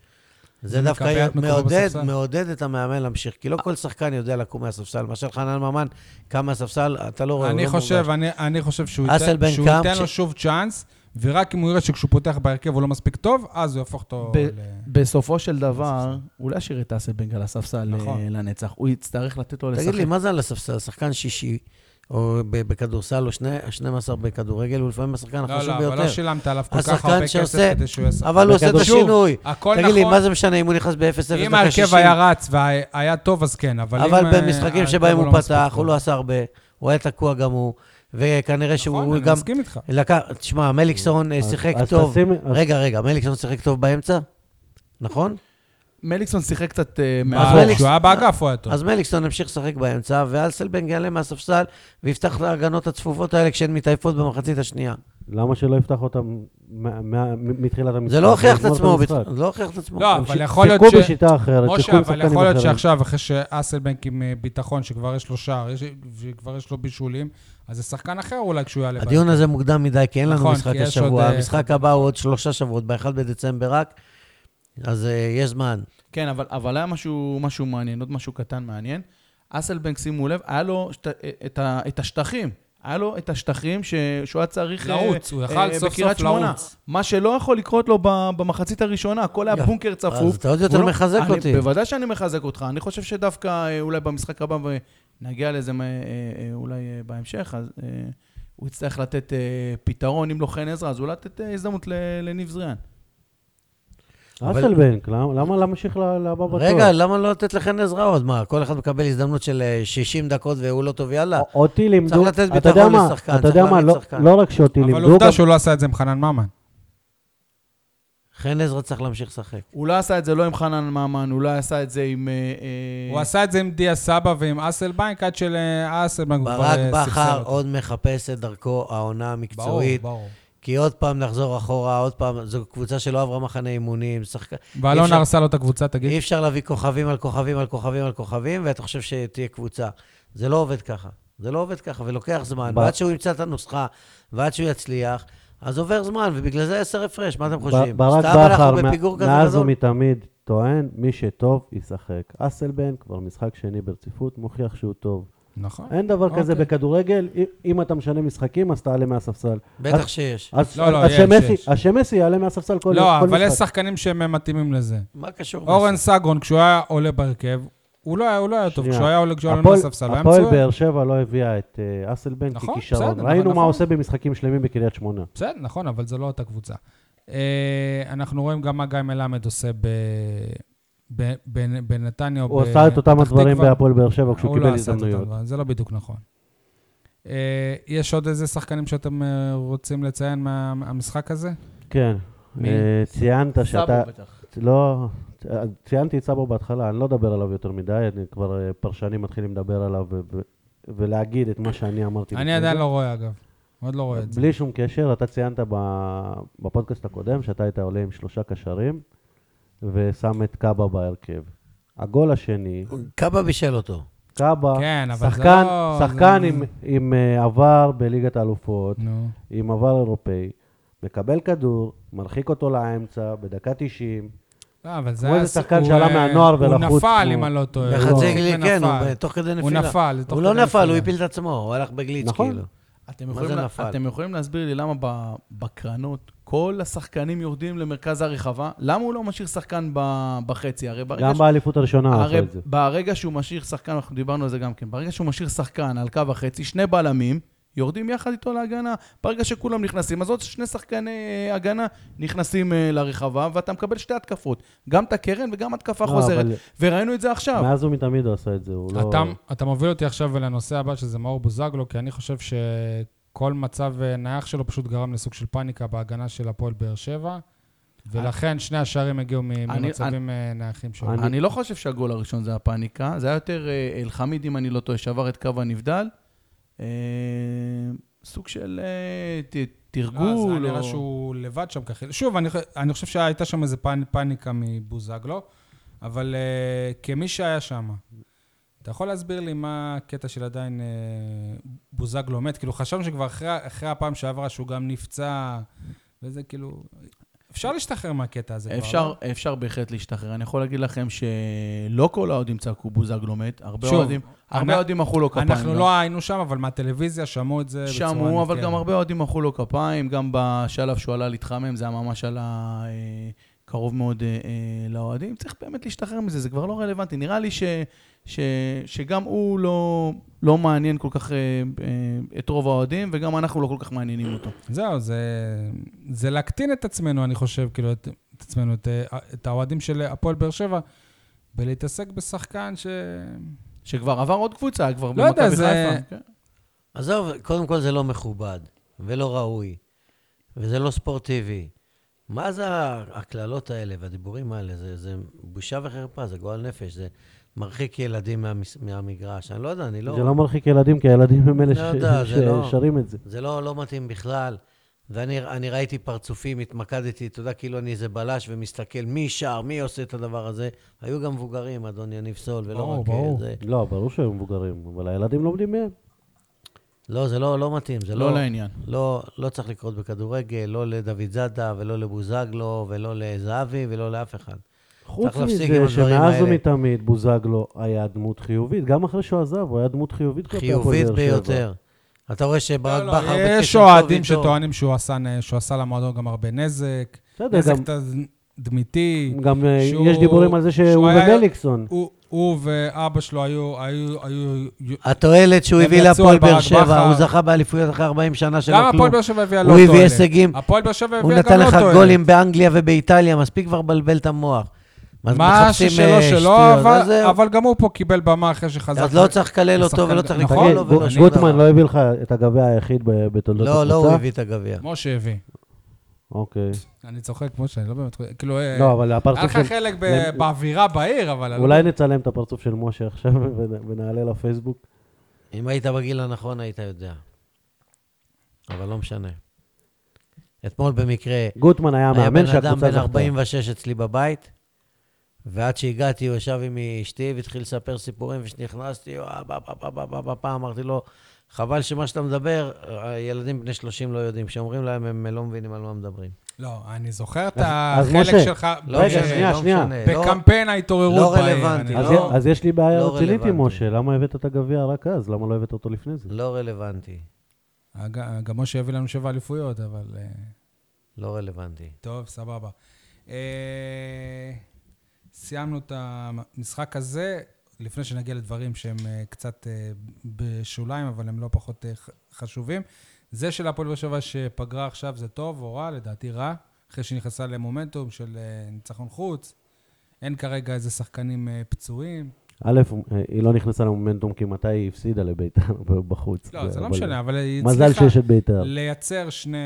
Speaker 3: זה
Speaker 1: הוא מקבע
Speaker 3: דווקא
Speaker 1: את מקומו
Speaker 3: מעודד,
Speaker 1: בספסל.
Speaker 3: מעודד את המאמן להמשיך, כי לא כל שחקן יודע לקום מהספסל. למשל חנן ממן, קם מהספסל, אתה לא רואה, הוא
Speaker 1: אני
Speaker 3: לא
Speaker 1: חושב,
Speaker 3: מורגש.
Speaker 1: אני, אני חושב שהוא ייתן,
Speaker 3: אסלבנק
Speaker 1: שהוא
Speaker 3: קם
Speaker 1: ייתן לו
Speaker 3: כש-
Speaker 1: שוב צ'אנס, ורק אם הוא יראה שכשהוא פותח בהרכב הוא לא מספיק טוב, אז הוא יהפוך אותו
Speaker 4: ב-
Speaker 1: ל...
Speaker 4: בסופו של דבר, הוא לא ישאיר את אסלבנג על הספסל
Speaker 1: נכון.
Speaker 4: אה, לנצח, הוא יצטרך לתת לו לשחק.
Speaker 3: תגיד לי, מה זה על הספסל? שחקן שישי, או ב- בכדורסל, או שני- 12 בכדורגל, הוא לפעמים השחקן
Speaker 1: לא,
Speaker 3: החשוב
Speaker 1: לא,
Speaker 3: ביותר.
Speaker 1: אבל לא שילמת עליו כל כך
Speaker 3: השחקן
Speaker 1: הרבה כסף
Speaker 3: שעושה-
Speaker 1: כדי שהוא יעשה...
Speaker 3: אבל הוא עושה את
Speaker 1: שוב,
Speaker 3: השינוי.
Speaker 1: הכל
Speaker 3: תגיד לי,
Speaker 1: נכון.
Speaker 3: מה זה משנה אם הוא נכנס ב-0-0
Speaker 1: אם
Speaker 3: דקה 60?
Speaker 1: ההרכב היה רץ והיה טוב, אז כן, אבל אם...
Speaker 3: אבל
Speaker 1: אה,
Speaker 3: במשחקים
Speaker 1: ההרכב
Speaker 3: שבהם הוא
Speaker 1: לא מספיק
Speaker 3: פתח, הוא
Speaker 1: טוב.
Speaker 3: לא עשה הרבה, הוא היה תקוע גם הוא, וכנראה
Speaker 1: נכון,
Speaker 3: שהוא
Speaker 1: אני
Speaker 3: גם...
Speaker 1: מסכים איתך.
Speaker 3: לקח- תשמע, מליקסון אה,
Speaker 2: אז-
Speaker 3: שיחק
Speaker 2: אז
Speaker 3: טוב.
Speaker 2: תשים- אז-
Speaker 3: רגע, רגע, מליקסון שיחק טוב באמצע? נכון?
Speaker 4: מליקסון שיחק קצת אה,
Speaker 1: אה,
Speaker 4: מאחור.
Speaker 3: מליקסון-
Speaker 1: כשהוא היה באגף הוא היה טוב.
Speaker 3: אז מליקסון ימשיך לשחק באמצע, ואלסלבנג יעלה מהספסל ויפתח את ההגנות הצפופות האלה כשהן מתעייפות במחצית השנייה.
Speaker 2: למה שלא יפתח אותם מה- מה- מתחילת המשחק?
Speaker 3: זה לא הוכיח את
Speaker 2: ולגמור
Speaker 3: עצמו,
Speaker 2: המשחק?
Speaker 3: בת- זה לא הוכיח את עצמו.
Speaker 1: לא,
Speaker 2: הם
Speaker 1: אבל
Speaker 2: ש-
Speaker 1: יכול להיות ש...
Speaker 2: שיחקו בשיטה אחרת,
Speaker 1: משה,
Speaker 2: שיחקו עם
Speaker 1: אבל
Speaker 2: שחקנים
Speaker 1: יכול להיות
Speaker 2: אחרים.
Speaker 1: שעכשיו, אחרי שאסלבנק עם אה, ביטחון, שכבר יש לו שער, יש- וכבר יש לו בישולים, אז זה שחקן אחר אולי כשהוא יעלה.
Speaker 3: הדיון הזה מוקדם מדי, כי אין לנו
Speaker 1: נכון,
Speaker 3: משחק
Speaker 1: כי יש עוד,
Speaker 3: השבוע.
Speaker 1: אה,
Speaker 3: המשחק הבא הוא עוד שלושה שבועות, ב-1 בדצמבר רק, אז אה, יש זמן.
Speaker 4: כן, אבל- אבל היה משהו משהו מעניין, עוד משהו קטן מעניין. אסלבנק, שימו לב, היה לו שת- אה, את ה- את השטחים. היה לו את השטחים ש- שהוא היה צריך... אה,
Speaker 1: לרוץ, הוא יכל
Speaker 4: אה,
Speaker 1: סוף סוף
Speaker 4: בקריית שמונה.
Speaker 1: לרוץ.
Speaker 4: מה שלא יכול לקרות לו ב- במחצית הראשונה, הכל היה
Speaker 3: יפה.
Speaker 4: בונקר צפוף.
Speaker 3: אז אתה עוד יותר
Speaker 4: הוא לא-
Speaker 3: מחזק
Speaker 4: אני-
Speaker 3: אותי.
Speaker 4: בוודאי שאני מחזק אותך. אני חושב שדווקא אה, אולי במשחק הבא, ונגיע לזה אה, אה, אה, אולי אה, בהמשך, אז אה, הוא יצטרך לתת אה, פתרון, אם לא חן עזרא, אז אולי לתת אה, הזדמנות ל- לניב זריאן.
Speaker 3: אבל-
Speaker 2: אסלבנק, למה למה להמשיך ל- לבא בתור?
Speaker 3: רגע, למה לא לתת לכן עזרה עוד? מה, כל אחד מקבל הזדמנות של אה, 60 דקות והוא לא טוב, יאללה.
Speaker 2: א- אותי לימדו,
Speaker 3: לתת
Speaker 2: אתה יודע
Speaker 3: ביטחון
Speaker 2: מה,
Speaker 3: לשחקן,
Speaker 2: אתה
Speaker 3: צריך
Speaker 2: יודע מה,
Speaker 3: להעמיד
Speaker 2: לא-
Speaker 3: שחקן.
Speaker 2: לא רק שאותי
Speaker 1: אבל
Speaker 2: לימדו, גם-
Speaker 1: עובדה שהוא לא עשה את זה עם חנן ממן.
Speaker 3: חן עזרא צריך להמשיך לשחק.
Speaker 4: הוא לא עשה את זה לא עם חנן ממן, הוא לא עשה את זה עם... אה, אה,
Speaker 1: הוא עשה את זה עם דיה סבא ועם אסלבנק, עד שלאסלבנק הוא כבר
Speaker 3: ברק
Speaker 1: אה, ספסל
Speaker 3: בכר
Speaker 1: אותו.
Speaker 3: עוד מחפש את דרכו העונה
Speaker 1: ברור,
Speaker 3: המקצועית.
Speaker 1: ברור.
Speaker 3: כי עוד פעם נחזור אחורה, עוד פעם, זו קבוצה שלא עברה מחנה אימונים, שחק...
Speaker 1: ואלון
Speaker 3: אפשר-
Speaker 1: הרסה לו את הקבוצה,
Speaker 2: אוקיי.
Speaker 1: תגיד.
Speaker 3: אי אפשר להביא כוכבים על כוכבים על כוכבים על כוכבים, ואתה חושב שתהיה קבוצה. זה לא עובד ככה. זה לא עובד ככה, ולוקח זמן.
Speaker 2: ב-
Speaker 3: ועד שהוא ימצא את הנוסחה, ועד שהוא יצליח, אז עובר זמן, ובגלל זה עשר הפרש, מה אתם חושבים?
Speaker 2: ב- ברק
Speaker 3: סתם
Speaker 2: בכר,
Speaker 3: אנחנו
Speaker 2: מא-
Speaker 3: בפיגור כזה
Speaker 2: מאז
Speaker 3: גדול?
Speaker 2: ומתמיד טוען, מי שטוב ישחק. אסלבן כבר משחק שני ברציפות, מוכיח שהוא טוב.
Speaker 1: נכון.
Speaker 2: אין דבר כזה
Speaker 1: אוקיי.
Speaker 2: בכדורגל, אם- אם אתה משנה משחקים, אז תעלה מהספסל.
Speaker 3: בטח
Speaker 2: אז-
Speaker 3: שיש.
Speaker 2: אז
Speaker 1: לא, לא,
Speaker 2: אז
Speaker 1: יש,
Speaker 2: שמסי-
Speaker 1: יש.
Speaker 2: אז שמסי יעלה מהספסל כל
Speaker 1: לא,
Speaker 2: כל
Speaker 1: אבל יש
Speaker 2: משחק.
Speaker 1: שחקנים שהם אה, מתאימים לזה.
Speaker 3: מה קשור?
Speaker 1: אורן
Speaker 3: בסוף?
Speaker 1: סגרון, כשהוא היה עולה בהרכב, הוא לא היה- הוא לא היה טוב.
Speaker 2: שנייה.
Speaker 1: כשהוא היה עולה, כשהוא היה עולה
Speaker 2: הפועל-
Speaker 1: מהספסל, הוא היה
Speaker 2: הפועל
Speaker 1: מצוין.
Speaker 2: באר שבע לא הביאה את אה, אסלבן
Speaker 1: נכון,
Speaker 2: ככישרון.
Speaker 1: בסדר,
Speaker 2: ראינו
Speaker 1: נכון,
Speaker 2: מה
Speaker 1: נכון.
Speaker 2: עושה במשחקים שלמים בקריית שמונה.
Speaker 1: בסדר, נכון, אבל זו לא אותה קבוצה. אה, אנחנו רואים גם מה גיא מלמד עושה ב- ב- ב- בנתניה או
Speaker 2: הוא עשה את אותם
Speaker 1: בפתח
Speaker 2: הדברים
Speaker 1: תקווה.
Speaker 2: בהפועל באר שבע כשהוא
Speaker 1: הוא לא
Speaker 2: קיבל
Speaker 1: עשה את אותם
Speaker 2: הזדמנויות.
Speaker 1: דברים, זה לא בדיוק נכון. אה, יש עוד איזה שחקנים שאתם אה, רוצים לציין מהמשחק הזה?
Speaker 2: כן.
Speaker 1: מי?
Speaker 2: אה, ציינת שאתה...
Speaker 4: סאבו בטח.
Speaker 2: לא, ציינתי את סבו בהתחלה, אני לא אדבר עליו יותר מדי, אני כבר אה, פרשנים מתחילים לדבר עליו ו- ו- ולהגיד את מה שאני אמרתי. לפני
Speaker 1: אני עדיין
Speaker 2: זה.
Speaker 1: לא רואה, אגב. עוד לא רואה את זה.
Speaker 2: בלי שום קשר, אתה ציינת ב- בפודקאסט הקודם שאתה היית עולה עם שלושה קשרים ושם את קאבה בהרכב. הגול השני,
Speaker 3: קאבה בישל אותו.
Speaker 2: קאבה,
Speaker 1: כן, אבל זה
Speaker 2: שחקן,
Speaker 1: לא-
Speaker 2: שחקן
Speaker 1: זה-
Speaker 2: עם, עם אה, עבר בליגת האלופות,
Speaker 1: נו.
Speaker 2: עם עבר אירופאי, מקבל כדור, מרחיק אותו לאמצע בדקה 90,
Speaker 1: לא, אבל זה
Speaker 2: כמו
Speaker 1: היה...
Speaker 2: איזה
Speaker 1: ס-
Speaker 2: שחקן
Speaker 1: הוא,
Speaker 2: שעלה
Speaker 1: אה,
Speaker 2: מהנוער
Speaker 1: הוא
Speaker 2: ולחוץ,
Speaker 1: נפל,
Speaker 2: הוא-
Speaker 1: אם אני לא טועה. הוא
Speaker 3: בחצי
Speaker 1: החזיק
Speaker 3: גלי, כן,
Speaker 1: ונפל.
Speaker 3: הוא תוך כדי נפילה.
Speaker 1: הוא נפל, זה תוך
Speaker 3: הוא לא
Speaker 1: כדי
Speaker 3: נפל, הוא
Speaker 1: נפילה.
Speaker 3: הפיל את עצמו, הוא הלך בגליץ',
Speaker 2: נכון.
Speaker 3: כאילו.
Speaker 4: אתם
Speaker 3: מה
Speaker 4: יכולים,
Speaker 3: זה
Speaker 4: לה-
Speaker 3: נפל?
Speaker 4: אתם יכולים להסביר לי למה ב- בקרנות כל השחקנים יורדים למרכז הרחבה? למה הוא לא משאיר שחקן ב- בחצי? הרי ברגע
Speaker 2: גם באליפות הראשונה הוא
Speaker 4: הרי
Speaker 2: עשה את אה, זה.
Speaker 4: ברגע שהוא משאיר שחקן, אנחנו דיברנו על זה גם כן, ברגע שהוא משאיר שחקן על קו החצי, שני בלמים יורדים יחד איתו להגנה. ברגע שכולם נכנסים, אז עוד שני שחקני אה, הגנה נכנסים אה, לרחבה, ואתה מקבל שתי התקפות, גם את הקרן וגם התקפה
Speaker 2: לא,
Speaker 4: חוזרת.
Speaker 2: אבל-
Speaker 4: וראינו את זה עכשיו.
Speaker 2: מאז ומתמיד הוא עשה את זה, הוא לא...
Speaker 1: אתה, אתה מוביל אותי עכשיו לנושא הבא, שזה מאור בוזגלו, כי אני חושב שכל מצב אה, נייח שלו פשוט גרם לסוג של פאניקה בהגנה של הפועל באר שבע, ולכן שני השערים הגיעו מ-
Speaker 4: אני-
Speaker 1: ממצבים אה, נייחים שלו.
Speaker 2: אני-
Speaker 4: אני לא חושב שהגול הראשון זה הפאניקה, זה היה יותר אה, אלחמיד, אם אני לא טועה, שעבר את קו הנבדל. אה, סוג של אה, ת-
Speaker 1: אה, זה היה
Speaker 4: תרגול.
Speaker 1: נראה
Speaker 4: או-
Speaker 1: שהוא לבד שם ככה. שוב, אני, חו- אני חושב שהייתה שם איזה פאנ, פאניקה מבוזגלו, אבל uh, כמי שהיה שם, אתה יכול להסביר לי מה הקטע של עדיין uh, בוזגלו מת? כאילו, חשבנו שכבר אחרי, אחרי הפעם שעברה שהוא גם נפצע, וזה כאילו... אפשר להשתחרר מהקטע הזה כבר. לא?
Speaker 4: אפשר, אפשר בהחלט להשתחרר. אני יכול להגיד לכם שלא כל האוהדים צעקו בוזגלו מת, הרבה
Speaker 1: שוב,
Speaker 4: אוהדים, הרבה
Speaker 1: אנ-
Speaker 4: אוהדים מחאו לו
Speaker 1: לא?
Speaker 4: כפיים.
Speaker 1: אנחנו
Speaker 4: גם.
Speaker 1: לא היינו שם, אבל מהטלוויזיה שמעו את זה בצורה ניכרת.
Speaker 4: שמעו, אבל גם הרבה אוהדים מחאו לו כפיים, גם בשלב שהוא עלה להתחמם, זה היה ממש על ה... אה, קרוב מאוד אה, אה, לאוהדים. צריך באמת להשתחרר מזה, זה כבר לא רלוונטי. נראה לי ש, ש, שגם הוא לא, לא מעניין כל כך אה, אה, את רוב האוהדים, וגם אנחנו לא כל כך מעניינים אותו.
Speaker 1: זהו, זה, זה להקטין את עצמנו, אני חושב, כאילו, את, את עצמנו, את, אה, את האוהדים של הפועל באר שבע, ולהתעסק בשחקן ש...
Speaker 4: שכבר עבר עוד קבוצה, כבר
Speaker 1: לא יודע,
Speaker 4: במכבי
Speaker 1: זה-
Speaker 4: חיפה. כן.
Speaker 3: עזוב, קודם כל זה לא מכובד, ולא ראוי, וזה לא ספורטיבי. מה זה הקללות האלה והדיבורים האלה? זה, זה בושה וחרפה, זה גועל נפש, זה מרחיק ילדים מהמס, מהמגרש. אני לא יודע, אני לא...
Speaker 2: זה לא מרחיק ילדים, כי הילדים הם אלה
Speaker 3: לא יודע,
Speaker 2: ש-
Speaker 3: זה לא-
Speaker 2: ששרים את זה.
Speaker 3: זה לא, לא מתאים בכלל. ואני אני ראיתי פרצופים, התמקדתי, אתה יודע, כאילו אני איזה בלש ומסתכל מי שר, מי עושה את הדבר הזה. היו גם מבוגרים, אדון יניב סול, ולא
Speaker 1: ברור,
Speaker 3: רק... אה,
Speaker 1: ברור.
Speaker 3: זה,
Speaker 2: לא, ברור שהם מבוגרים, אבל הילדים לומדים מהם.
Speaker 3: לא, זה לא, לא מתאים, זה לא...
Speaker 4: לא לעניין.
Speaker 3: לא, לא צריך לקרות בכדורגל, לא לדוד זאדה ולא לבוזגלו ולא לזהבי ולא לאף אחד.
Speaker 2: חוץ
Speaker 3: צריך להפסיק עם
Speaker 2: מזה,
Speaker 3: הדברים
Speaker 2: שמאז
Speaker 3: האלה.
Speaker 2: ומתמיד בוזגלו היה דמות חיובית. גם אחרי שהוא עזב, הוא היה דמות חיובית כלפי הפועל
Speaker 3: חיובית
Speaker 2: באר שבע.
Speaker 3: ביותר. אתה רואה שברק
Speaker 1: לא, לא,
Speaker 3: בכר
Speaker 1: יש
Speaker 3: בקשר טוב
Speaker 1: אוהדים
Speaker 3: איתו.
Speaker 1: שטוענים שהוא עשה, נ- שהוא עשה למועדון גם הרבה נזק,
Speaker 3: לא
Speaker 2: בסדר,
Speaker 1: נזק
Speaker 2: גם-
Speaker 1: תדמיתי.
Speaker 2: גם אה,
Speaker 1: שהוא-
Speaker 2: יש דיבורים על זה
Speaker 1: שהוא
Speaker 2: שהוא
Speaker 1: היה-
Speaker 2: ומליקסון.
Speaker 1: הוא, הוא ואבא שלו היו... היו, היו, היו
Speaker 3: התועלת שהוא
Speaker 1: הם
Speaker 3: הביא
Speaker 1: יצאו
Speaker 3: להפועל
Speaker 1: על ברק
Speaker 3: באר שבע,
Speaker 1: בכר.
Speaker 3: הוא זכה באליפויות אחרי 40 שנה שלא
Speaker 1: גם
Speaker 3: כלום.
Speaker 1: הפועל באר שבע הביאה לא
Speaker 3: הוא
Speaker 1: תועלת.
Speaker 3: הביא הישגים.
Speaker 1: הפועל באר שבע
Speaker 3: הוא
Speaker 1: הביאה
Speaker 3: נתן
Speaker 1: גם לא
Speaker 3: לך
Speaker 1: תועלת.
Speaker 3: גולים באנגליה ובאיטליה, מספיק כבר לבלבל את המוח. אז
Speaker 1: מה
Speaker 3: מחפשים,
Speaker 1: ששלו
Speaker 3: אה,
Speaker 1: שלו,
Speaker 3: שטויות,
Speaker 1: אבל-
Speaker 3: אז זהו.
Speaker 1: אבל גם הוא פה קיבל במה אחרי שחזר.
Speaker 3: אז לא צריך לקלל אותו
Speaker 1: השחקן-
Speaker 3: ולא צריך
Speaker 1: נכון,
Speaker 3: לקרוא
Speaker 2: תגיד,
Speaker 3: לו
Speaker 1: אבל
Speaker 3: ולא
Speaker 2: גו-
Speaker 1: אני-
Speaker 3: שום דבר.
Speaker 2: גוטמן לא הביא לך את הגביע היחיד ב- בתולדות הקבוצה?
Speaker 3: לא, לא הוא הביא את הגביע.
Speaker 1: משה הביא.
Speaker 2: אוקיי.
Speaker 1: אני צוחק, משה, אני לא באמת... חושב- כאילו, אה,
Speaker 2: לא, אבל
Speaker 1: היה
Speaker 2: הפרצוף
Speaker 1: לך
Speaker 2: של...
Speaker 1: חלק ב-
Speaker 2: למ-
Speaker 1: באווירה בעיר, אבל... אני לא-
Speaker 2: אולי נצלם את הפרצוף של משה עכשיו ונ- ונעלה לפייסבוק.
Speaker 3: אם היית בגיל הנכון, היית יודע. אבל לא משנה. אתמול במקרה,
Speaker 2: גוטמן היה
Speaker 3: היה
Speaker 2: המאמן
Speaker 3: בן אדם
Speaker 2: שהקבוצה
Speaker 3: בן
Speaker 2: זכתה.
Speaker 3: 46 אצלי בבית, ועד שהגעתי, הוא ישב עם אשתי והתחיל לספר סיפורים, וכשנכנסתי, וואה, בא, בא, בא, בא, בא, בא, בא, אמרתי לו, חבל שמה שאתה מדבר, ילדים בני 30 לא יודעים. כשאומרים להם, הם לא מבינים על מה מדברים.
Speaker 1: לא, אני זוכר את
Speaker 2: אז- אז
Speaker 1: החלק
Speaker 2: משה,
Speaker 1: שלך...
Speaker 3: לא
Speaker 1: ב-
Speaker 2: רגע,
Speaker 3: משנה,
Speaker 2: שנייה,
Speaker 3: לא
Speaker 2: שנייה.
Speaker 3: משנה, לא-
Speaker 1: בקמפיין ההתעוררות
Speaker 3: לא
Speaker 1: בעיר.
Speaker 3: רלוונטי,
Speaker 1: אני-
Speaker 2: אז
Speaker 3: לא-
Speaker 2: י- אז יש לי בעיה
Speaker 3: לא
Speaker 2: רצינית עם
Speaker 3: רלוונטי.
Speaker 2: משה, למה הבאת את הגביע רק אז? למה לא הבאת אותו לפני זה?
Speaker 3: לא רלוונטי.
Speaker 1: אג- גם משה הביא לנו שבע אליפויות, אבל... אה,
Speaker 3: לא רלוונטי.
Speaker 1: טוב, סבבה. אה, סיימנו את המשחק הזה, לפני שנגיע לדברים שהם אה, קצת אה, בשוליים, אבל הם לא פחות אה, ח- חשובים. זה של הפועל באר שבע שפגרה עכשיו זה טוב או רע? לדעתי רע. אחרי שנכנסה למומנטום של אה, ניצחון חוץ. אין כרגע איזה שחקנים אה, פצועים.
Speaker 2: א', היא לא נכנסה למומנטום כי מתי היא הפסידה לביתר בחוץ.
Speaker 1: לא, זה לא
Speaker 2: אבל-
Speaker 1: משנה, אבל היא
Speaker 2: מזל
Speaker 1: הצליחה
Speaker 2: שיש את ביתר.
Speaker 1: לייצר שני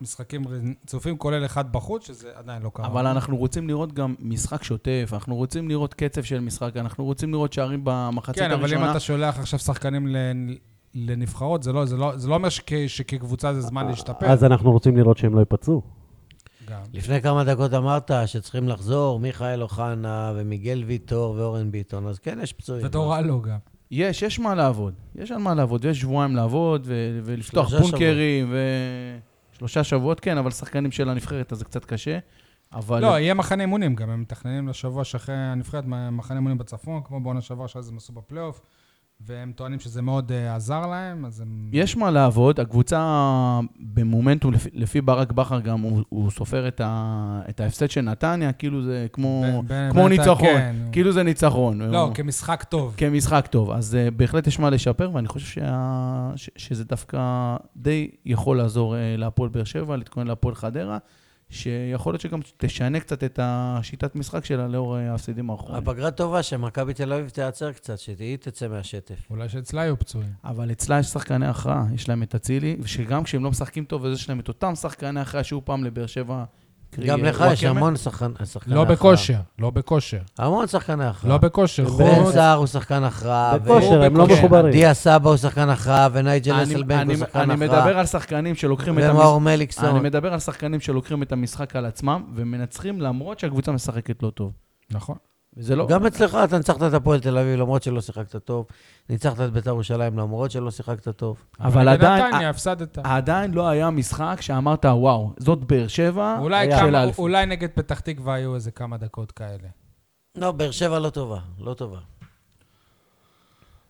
Speaker 1: משחקים רצופים, כולל אחד בחוץ, שזה עדיין לא קרה.
Speaker 4: אבל אנחנו רוצים לראות גם משחק שוטף, אנחנו רוצים לראות קצב של משחק, אנחנו רוצים לראות שערים במחצית
Speaker 1: כן, אבל אם
Speaker 4: הראשונה.
Speaker 1: אתה שולח עכשיו שחקנים ל- לנבחרות, זה לא, זה לא, זה לא אומר שכ- שכקבוצה זה זמן להשתפר.
Speaker 2: אז אנחנו רוצים לראות שהם לא ייפצעו.
Speaker 1: גם.
Speaker 4: לא,
Speaker 3: לפני כמה דקות אמרת שצריכים לחזור מיכאל אוחנה ומיגל ויטור ואורן ביטון, אז כן, יש
Speaker 4: לא.
Speaker 3: פצועים.
Speaker 1: ודור אלו לא גם.
Speaker 4: יש, יש מה לעבוד. יש על מה לעבוד, ויש שבועיים לעבוד, ו- ולפתוח
Speaker 3: שלושה
Speaker 4: בונקרים, ו... שלושה שבועות, כן, אבל שחקנים של הנבחרת, אז זה קצת קשה. אבל...
Speaker 1: לא, יהיה מחנה אימונים גם, הם מתכננים לשבוע שאחרי הנבחרת מחנה אימונים בצפון, כמו בעונה שעברה שאז הם עשו בפלייאוף, והם טוענים שזה מאוד אה, עזר להם, אז הם...
Speaker 4: יש מה לעבוד, הקבוצה במומנטום, לפי, לפי ברק בכר גם, הוא, הוא סופר את, ה, את ההפסד של נתניה, כאילו זה כמו,
Speaker 1: ב- ב-
Speaker 4: כמו
Speaker 1: ב-
Speaker 4: ניצחון,
Speaker 1: כן.
Speaker 4: כאילו כן. זה ניצחון.
Speaker 1: לא,
Speaker 4: הוא-
Speaker 1: כמשחק טוב.
Speaker 4: כמשחק טוב. אז uh, בהחלט יש מה לשפר, ואני חושב שה... ש... שזה דווקא די יכול לעזור uh, להפועל באר שבע, להתכונן להפועל חדרה, שיכול להיות שגם תשנה קצת את השיטת משחק שלה לאור אה, ההפסדים האחרונים.
Speaker 3: הפגרה טובה שמכבי תל אביב תיעצר קצת, שהיא תצא מהשטף.
Speaker 1: אולי שאצלה יהיו פצועים.
Speaker 4: אבל אצלה יש שחקני הכרעה, יש להם את אצילי, שגם כשהם לא משחקים טוב, אז יש להם את אותם שחקני הכרעה שהיו פעם לבאר שבע. קרי,
Speaker 3: גם
Speaker 4: אה,
Speaker 3: לך יש
Speaker 4: וואקמה.
Speaker 3: המון שחקן- שחקני
Speaker 1: לא
Speaker 3: הכרעה.
Speaker 1: בכושר, לא בכושר.
Speaker 3: המון שחקני הכרעה.
Speaker 4: אה.
Speaker 1: לא בכושר.
Speaker 3: בן
Speaker 1: חוץ,
Speaker 3: סער הוא שחקן הכרעה. ו-
Speaker 2: בכושר, הם לא
Speaker 1: בכושר.
Speaker 2: מחוברים.
Speaker 3: דיה סבא הוא שחקן הכרעה, ונייג'ל
Speaker 4: אני-
Speaker 3: אסלבנק הוא
Speaker 4: אני-
Speaker 3: שחקן
Speaker 4: אני מדבר
Speaker 3: הכרעה.
Speaker 4: על שחקנים שלוקחים את המש-
Speaker 3: ומאור
Speaker 4: אני
Speaker 3: מליקסון.
Speaker 4: מדבר על שחקנים שלוקחים את המשחק על עצמם ומנצחים למרות שהקבוצה משחקת לא טוב.
Speaker 1: נכון.
Speaker 4: וזה לא...
Speaker 3: גם אצלך אתה ניצחת את הפועל תל אביב למרות שלא שיחקת טוב. ניצחת את בית"ר ירושלים למרות שלא שיחקת טוב.
Speaker 4: אבל עדיין,
Speaker 1: בנתניה הפסדת.
Speaker 4: עדיין לא היה משחק שאמרת, וואו, זאת באר שבע
Speaker 1: אולי
Speaker 4: של
Speaker 1: כמה-
Speaker 4: האליפות."
Speaker 1: אולי נגד פתח תקווה היו איזה כמה דקות כאלה.
Speaker 3: לא, באר שבע לא טובה, לא טובה.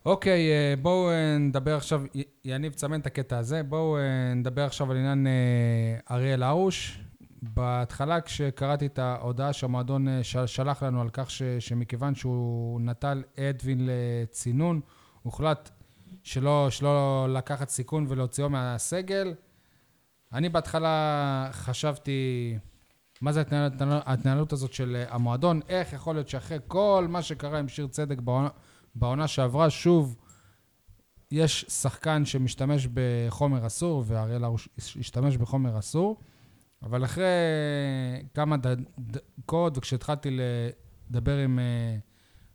Speaker 1: אוקיי, אה, בואו אה, נדבר עכשיו, י- יניב, צמן את הקטע הזה. בואו אה, נדבר עכשיו על עניין אה, אריאל הרוש. בהתחלה, כשקראתי את ההודעה שהמועדון אה, של- שלח לנו על כך ש- שמכיוון שהוא נטל אדווין לצינון, הוחלט שלא, שלא לקחת סיכון ולהוציאו מהסגל. אני בהתחלה חשבתי, מה זה ההתנהלות, ההתנהלות הזאת של אה, המועדון? איך יכול להיות שאחרי כל מה שקרה עם שיר צדק בעונה, בעונה שעברה, שוב, יש שחקן שמשתמש בחומר אסור, ואריאל הרוש השתמש בחומר אסור, אבל אחרי אה, כמה ד- דקות, וכשהתחלתי לדבר עם אה,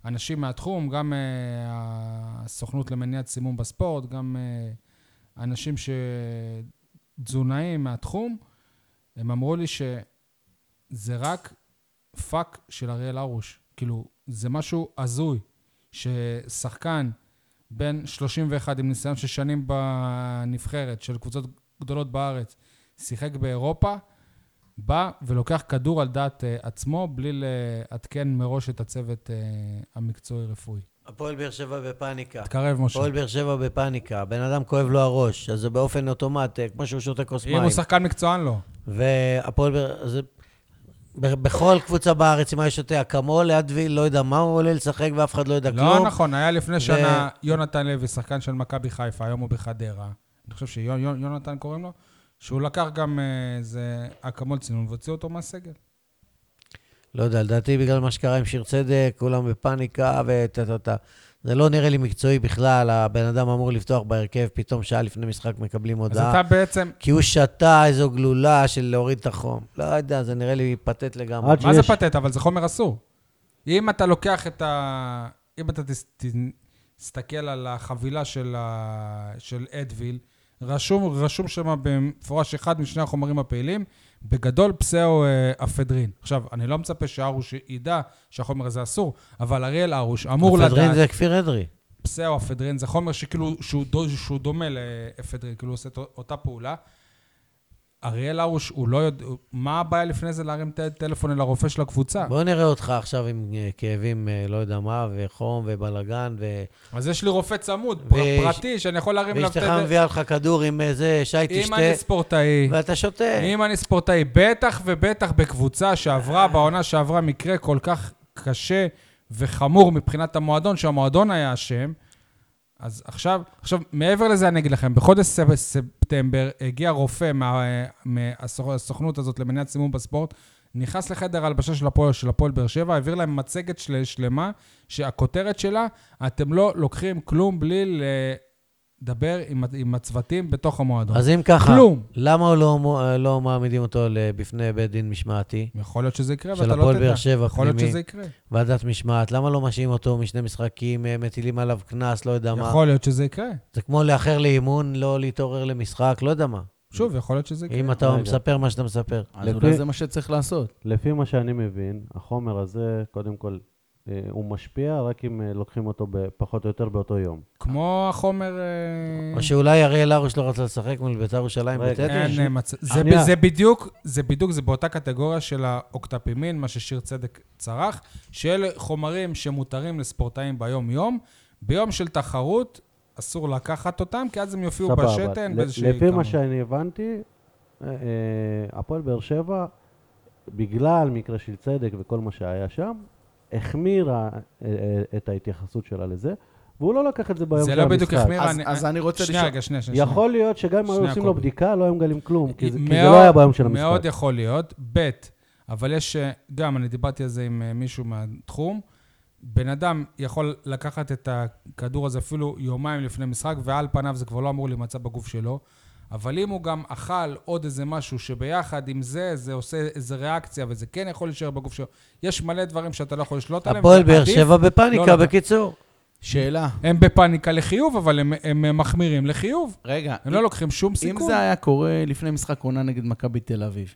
Speaker 1: אנשים מהתחום, גם אה, הסוכנות למניעת סימום בספורט, גם אה, אנשים שתזונאים מהתחום, הם אמרו לי שזה רק פאק של אריאל הרוש. כאילו, זה משהו הזוי, ששחקן בן 31 עם ניסיון של שנים בנבחרת של קבוצות גדולות בארץ, שיחק באירופה, בא ולוקח כדור על דעת אה, עצמו בלי לעדכן מראש את הצוות אה, המקצועי-רפואי.
Speaker 3: הפועל באר שבע בפאניקה.
Speaker 1: תקרב, משה.
Speaker 3: הפועל באר שבע בפאניקה. הבן אדם כואב לו הראש, אז זה באופן אוטומט, אה, כמו שהוא שותה כוס
Speaker 1: אם הוא
Speaker 3: מים.
Speaker 1: שחקן מקצוען, לא.
Speaker 3: והפועל באר... זה... ב- בכל קבוצה בארץ, אם היה שותה אקמול, אדוויל, לא יודע מה הוא עולה לשחק ואף אחד לא יודע כלום.
Speaker 1: לא נכון, היה לפני שנה יונתן לוי, שחקן של מכבי חיפה, היום הוא בחדרה. אני חושב שיונתן קוראים לו, שהוא לקח גם אה, איזה אקמול צינון והוציא אותו מהסגל.
Speaker 3: לא יודע, לדעתי בגלל מה שקרה עם שיר צדק, כולם בפאניקה וטה טה טה. זה לא נראה לי מקצועי בכלל, הבן אדם אמור לפתוח בהרכב, פתאום שעה לפני משחק מקבלים
Speaker 1: אז
Speaker 3: הודעה.
Speaker 1: אתה בעצם...
Speaker 3: כי הוא שתה איזו גלולה של להוריד את החום. לא יודע, זה נראה לי פתט לגמרי.
Speaker 2: עד
Speaker 1: מה זה
Speaker 2: שיש-
Speaker 1: פתט? אבל זה חומר אסור. אם אתה לוקח את ה... אם אתה תס- ת- תסתכל על החבילה של, ה... של אדוויל, רשום, רשום שם במפורש אחד משני החומרים הפעילים, בגדול פסאו-אפדרין. עכשיו, אני לא מצפה שארוש ידע שהחומר הזה אסור, אבל אריאל ארוש אמור לדעת...
Speaker 3: הפדרין זה כפיר אדרי.
Speaker 1: פסאו-אפדרין, זה חומר שכאילו, שהוא, דו, שהוא דומה לאפדרין, כאילו הוא עושה את אותה פעולה. אריאל הרוש, הוא לא יודע, מה הבעיה לפני זה להרים ט- טלפון אל הרופא של הקבוצה?
Speaker 3: בוא נראה אותך עכשיו עם אה, כאבים, אה, לא יודע מה, וחום ובלאגן, ו...
Speaker 1: אז יש לי רופא צמוד,
Speaker 3: ו-
Speaker 1: פר- פרטי, שאני יכול להרים
Speaker 3: ואשתך
Speaker 1: טלפון.
Speaker 3: מביאה לך כדור עם אה, זה, שי
Speaker 1: אם אני
Speaker 3: תשתה,
Speaker 1: ספורטאי,
Speaker 3: ואתה שותה.
Speaker 1: אם אני ספורטאי, בטח ובטח בקבוצה
Speaker 3: אה.
Speaker 1: שעברה, בעונה שעברה, מקרה כל כך קשה וחמור מבחינת המועדון, שהמועדון היה אשם. אז עכשיו, עכשיו, מעבר לזה אני אגיד לכם, בחודש ספ- ספטמבר הגיע רופא מה- מהסוכנות הזאת למניעת סימום בספורט, נכנס לחדר ההלבשה של הפועל, של הפועל באר שבע, העביר להם מצגת של, שלמה, שהכותרת שלה, אתם לא לוקחים כלום בלי לדבר עם, עם הצוותים בתוך המועדון.
Speaker 3: אז אם ככה,
Speaker 1: כלום.
Speaker 3: למה הוא לא, מו- אה, לא מעמידים אותו ל- בפני בית דין משמעתי,
Speaker 1: יכול להיות שזה יקרה,
Speaker 3: של
Speaker 1: ואתה לא תדע.
Speaker 3: הפועל באר שבע,
Speaker 1: יכול להיות
Speaker 3: פנימי.
Speaker 1: שזה יקרה.
Speaker 3: ועדת משמעת? למה לא משעים אותו משני משחקים, אה, מטילים עליו קנס, לא יודע מה?
Speaker 1: יכול להיות שזה יקרה.
Speaker 3: זה כמו לאחר לאימון, לא להתעורר למשחק, לא יודע מה.
Speaker 1: שוב, יכול להיות שזה יקרה.
Speaker 3: אם אתה
Speaker 2: רגע.
Speaker 3: מספר מה שאתה מספר.
Speaker 4: אז
Speaker 2: לפי-
Speaker 4: אולי זה מה שצריך לעשות.
Speaker 2: לפי מה שאני מבין, החומר הזה, קודם כל, אה, הוא משפיע רק אם אה, לוקחים אותו ב- פחות או יותר באותו יום.
Speaker 1: כמו החומר... אה,
Speaker 3: או שאולי אריאל הרוש לא רצה לשחק מול בית"ר ירושלים
Speaker 2: רגע.
Speaker 3: בטדי?
Speaker 1: אין אה, מצ... זה, ב...
Speaker 2: שנייה.
Speaker 1: זה בדיוק, זה בדיוק, זה באותה קטגוריה של האוקטפימין, מה ששיר צדק צרח, שאלה חומרים שמותרים לספורטאים ביום-יום. ביום של תחרות אסור לקחת אותם, כי אז הם יופיעו
Speaker 2: סבבה.
Speaker 1: בשתן
Speaker 2: ל-
Speaker 1: באיזושהי
Speaker 2: לפי מה שאני הבנתי, אה, אה, הפועל באר שבע, בגלל מקרה של צדק וכל מה שהיה שם, החמירה אה, אה, את ההתייחסות שלה לזה, והוא לא לקח את זה ביום של
Speaker 1: זה
Speaker 2: המשחק.
Speaker 1: לא בדיוק החמיר.
Speaker 4: אז- אז אני רוצה
Speaker 1: שנייה,
Speaker 4: לשאול-
Speaker 1: רגע, שנייה, שנייה. שנייה.
Speaker 2: יכול להיות שגם אם היו
Speaker 1: שנייה,
Speaker 2: עושים לו
Speaker 1: קובי.
Speaker 2: בדיקה, לא היו מגלים כלום, כי זה כי זה
Speaker 1: מאוד-
Speaker 2: לא היה ביום של המשחק.
Speaker 1: מאוד יכול להיות. ב', אבל יש, אה, גם, אני דיברתי על זה עם אה, מישהו מהתחום, בן אדם יכול לקחת את הכדור הזה אפילו יומיים לפני משחק, ועל פניו זה כבר לא אמור להימצא בגוף שלו. אבל אם הוא גם אכל עוד איזה משהו שביחד עם זה, זה עושה איזה ריאקציה, וזה כן יכול להישאר בגוף שלו. יש מלא דברים שאתה לא יכול לשלוט עליהם.
Speaker 3: הפועל באר
Speaker 1: ועדיף- לא
Speaker 3: שבע בפאניקה,
Speaker 1: לקחת.
Speaker 3: בקיצור.
Speaker 4: שאלה,
Speaker 1: הם בפאניקה לחיוב, אבל הם, הם אה, מחמירים לחיוב.
Speaker 4: רגע,
Speaker 1: הם לא לוקחים שום
Speaker 4: אם
Speaker 1: סיכון.
Speaker 4: זה היה קורה לפני משחק עונה נגד מכבי תל אביב,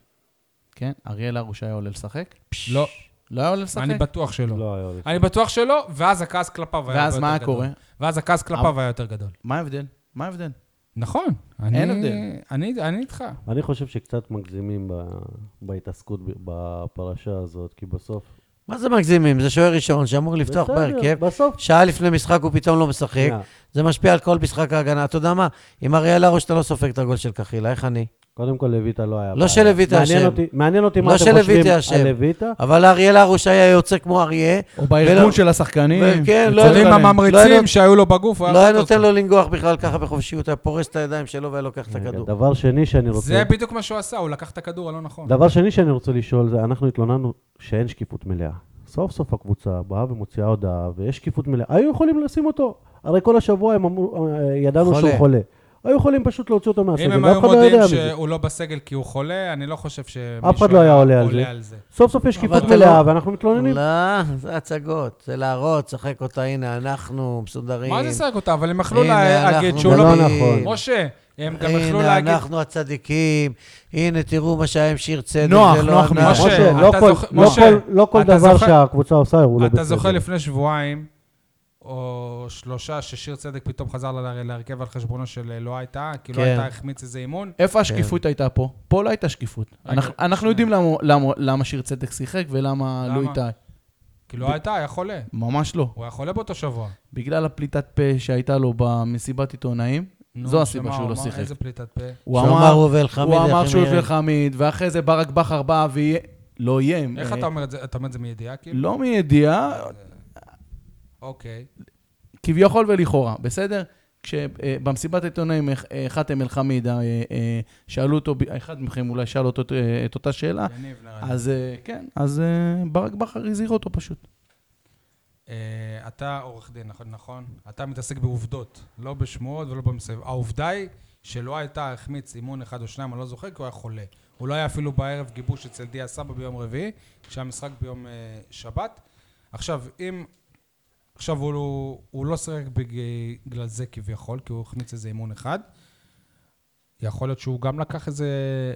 Speaker 4: כן? אריאל הרוש היה עולה לשחק?
Speaker 1: לא,
Speaker 4: לא היה עולה לשחק?
Speaker 1: אני בטוח שלא.
Speaker 2: לא היה לו.
Speaker 1: אני בטוח שלא, ואז הכעס כלפיו היה הרבה
Speaker 4: ואז
Speaker 1: יותר
Speaker 4: מה
Speaker 1: גדול.
Speaker 4: קורה?
Speaker 1: ואז הכעס כלפיו
Speaker 4: אבל-
Speaker 1: היה יותר גדול.
Speaker 4: מה ההבדל? מה ההבדל?
Speaker 1: נכון. אני-
Speaker 4: אין הבדל.
Speaker 1: אני אני איתך.
Speaker 2: אני חושב שקצת מגזימים ב- בהתעסקות ב- בפרשה הזאת, כי בסוף...
Speaker 3: מה זה מגזימים? זה שוער ראשון שאמור לפתוח כן.
Speaker 2: בסדר,
Speaker 3: בהרכב.
Speaker 2: בסוף...
Speaker 3: שעה לפני משחק הוא פתאום לא משחק.
Speaker 2: שנייה.
Speaker 3: זה משפיע על כל משחק ההגנה. אתה יודע מה? עם אריאל הרוש אתה לא סופג את הגול של קחילה, איך אני?
Speaker 2: קודם כל לויטה לא היה...
Speaker 3: לא
Speaker 2: בעיה.
Speaker 3: שלויטה
Speaker 2: מעניין
Speaker 3: אשם.
Speaker 2: אותי- מעניין אותי
Speaker 3: לא
Speaker 2: מה אתם
Speaker 3: שלויטה
Speaker 2: חושבים
Speaker 3: אשם. אה,
Speaker 2: על לויטה.
Speaker 3: אבל אריאל הרוש היה יוצא כמו אריה.
Speaker 4: או
Speaker 3: ולא-
Speaker 4: בארגון של השחקנים?
Speaker 3: וכן, לא
Speaker 1: אתה יודע,
Speaker 3: יודע,
Speaker 1: עם
Speaker 3: לא היה
Speaker 1: הממריצים
Speaker 3: נות-
Speaker 1: שהיו לו בגוף, הוא
Speaker 3: לא היה
Speaker 1: רץ
Speaker 3: נותן
Speaker 1: אותו.
Speaker 3: לו לנגוח בכלל ככה בחופשיות, היה פורס את הידיים שלו והיה לוקח את
Speaker 2: רגע,
Speaker 3: הכדור.
Speaker 2: דבר שני שאני רוצה...
Speaker 1: זה בדיוק מה שהוא עשה, הוא לקח את הכדור הלא נכון.
Speaker 2: דבר שני שאני רוצה לשאול, זה אנחנו התלוננו שאין שקיפות מלאה. סוף סוף הקבוצה באה ומוציאה הודעה, ויש שקיפות מלאה. היו יכולים לשים אותו. הרי כל השבוע הם אמרו, אה, ידענו
Speaker 3: חולה.
Speaker 2: שהוא חולה. היו יכולים פשוט להוציא אותו
Speaker 1: אם
Speaker 2: מהסגל,
Speaker 1: הם
Speaker 2: ואף
Speaker 1: היו
Speaker 2: אחד לא
Speaker 1: מודיעים
Speaker 2: יודע מזה.
Speaker 1: שהוא לא בסגל כי הוא חולה, אני לא חושב שמישהו
Speaker 2: אף אחד לא היה עולה על זה.
Speaker 1: על זה.
Speaker 2: סוף סוף יש שקיפות
Speaker 3: אתה לא-
Speaker 2: מלאה, ואנחנו מתלוננים.
Speaker 3: לא, זה הצגות, זה להראות, שחק אותה, הנה, אנחנו מסודרים.
Speaker 1: מה זה סרק אותה? אבל הם יכלו
Speaker 3: הנה,
Speaker 1: לה-
Speaker 3: אנחנו
Speaker 1: להגיד שהוא
Speaker 2: זה
Speaker 1: לא...
Speaker 2: לא
Speaker 1: ב-
Speaker 2: נכון.
Speaker 1: משה, הם גם יכלו
Speaker 3: הנה,
Speaker 1: להגיד...
Speaker 3: אנחנו הצדיקים, הנה, תראו מה שהיה עם שיר צדק,
Speaker 4: נוח,
Speaker 3: זה לא
Speaker 4: נוח
Speaker 3: אנחנו.
Speaker 1: משה,
Speaker 2: משה,
Speaker 1: אתה
Speaker 2: לא כל-
Speaker 1: זוכר-
Speaker 2: לא
Speaker 1: משה,
Speaker 2: כל- לא כל
Speaker 1: אתה
Speaker 2: דבר
Speaker 1: זוכר-
Speaker 2: שהקבוצה עושה הוא לא בסדר.
Speaker 1: אתה זוכר לפני שבועיים, או שלושה, ששיר צדק פתאום חזר לה- להרכב על חשבונו של אה, לא הייתה, כי לא
Speaker 3: כן.
Speaker 1: הייתה החמיץ איזה אימון.
Speaker 4: איפה השקיפות הייתה פה? פה לא הייתה שקיפות.
Speaker 1: רגע,
Speaker 4: אנחנו- אנחנו
Speaker 1: שנייה.
Speaker 4: יודעים למה- למה- למה שיר צדק שיחק ולמה
Speaker 1: למה?
Speaker 4: לא איתי.
Speaker 1: כי לא הייתה, היה חולה.
Speaker 4: ממש לא.
Speaker 1: הוא היה חולה באותו שבוע.
Speaker 4: בגלל הפליטת פה שהייתה לו במסיבת עיתונאים,
Speaker 1: נו,
Speaker 4: זו
Speaker 1: שמה,
Speaker 4: הסיבה שהוא
Speaker 1: הוא
Speaker 4: לא
Speaker 1: אמר,
Speaker 4: שיחק.
Speaker 1: איזה פליטת פה.
Speaker 4: הוא
Speaker 3: שהוא אמר,
Speaker 4: אמר
Speaker 3: הוא ואלחמיד,
Speaker 4: הוא אמר
Speaker 3: איך
Speaker 4: שהוא
Speaker 3: הם יראו?"
Speaker 4: וחמיד, ואחרי זה ברק בכר בא לא יהיה.
Speaker 1: איך
Speaker 4: אה,
Speaker 1: אתה אומר את זה? אתה אומר את זה מידיעה כאילו?
Speaker 4: לא מידיעה,
Speaker 1: אוקיי.
Speaker 4: כביכול ולכאורה, בסדר? כשבמסיבת עיתונאים אה, חאתם אל-חמיד, אה, אה, שאלו אותו, ב- אחד מכם אולי שאל אותו אה, את אותה שאלה,
Speaker 1: יניב נראה לי.
Speaker 4: אז אה, כן, אז אה, ברק בכר הזהיר אותו פשוט.
Speaker 1: אה, אתה עורך דין, נכון- נכון? אתה מתעסק בעובדות, לא בשמועות ולא במסביב. העובדה היא שלא הייתה החמיץ אימון אחד או שניים, אני לא זוכר, כי הוא היה חולה. הוא לא היה אפילו בערב גיבוש אצל דיה סבא ביום רביעי, כשהמשחק ביום אה, שבת. עכשיו, אם... עכשיו, הוא, הוא לא שיחק בגלל זה כביכול, כי הוא החמיץ איזה אימון אחד. יכול להיות שהוא גם לקח איזה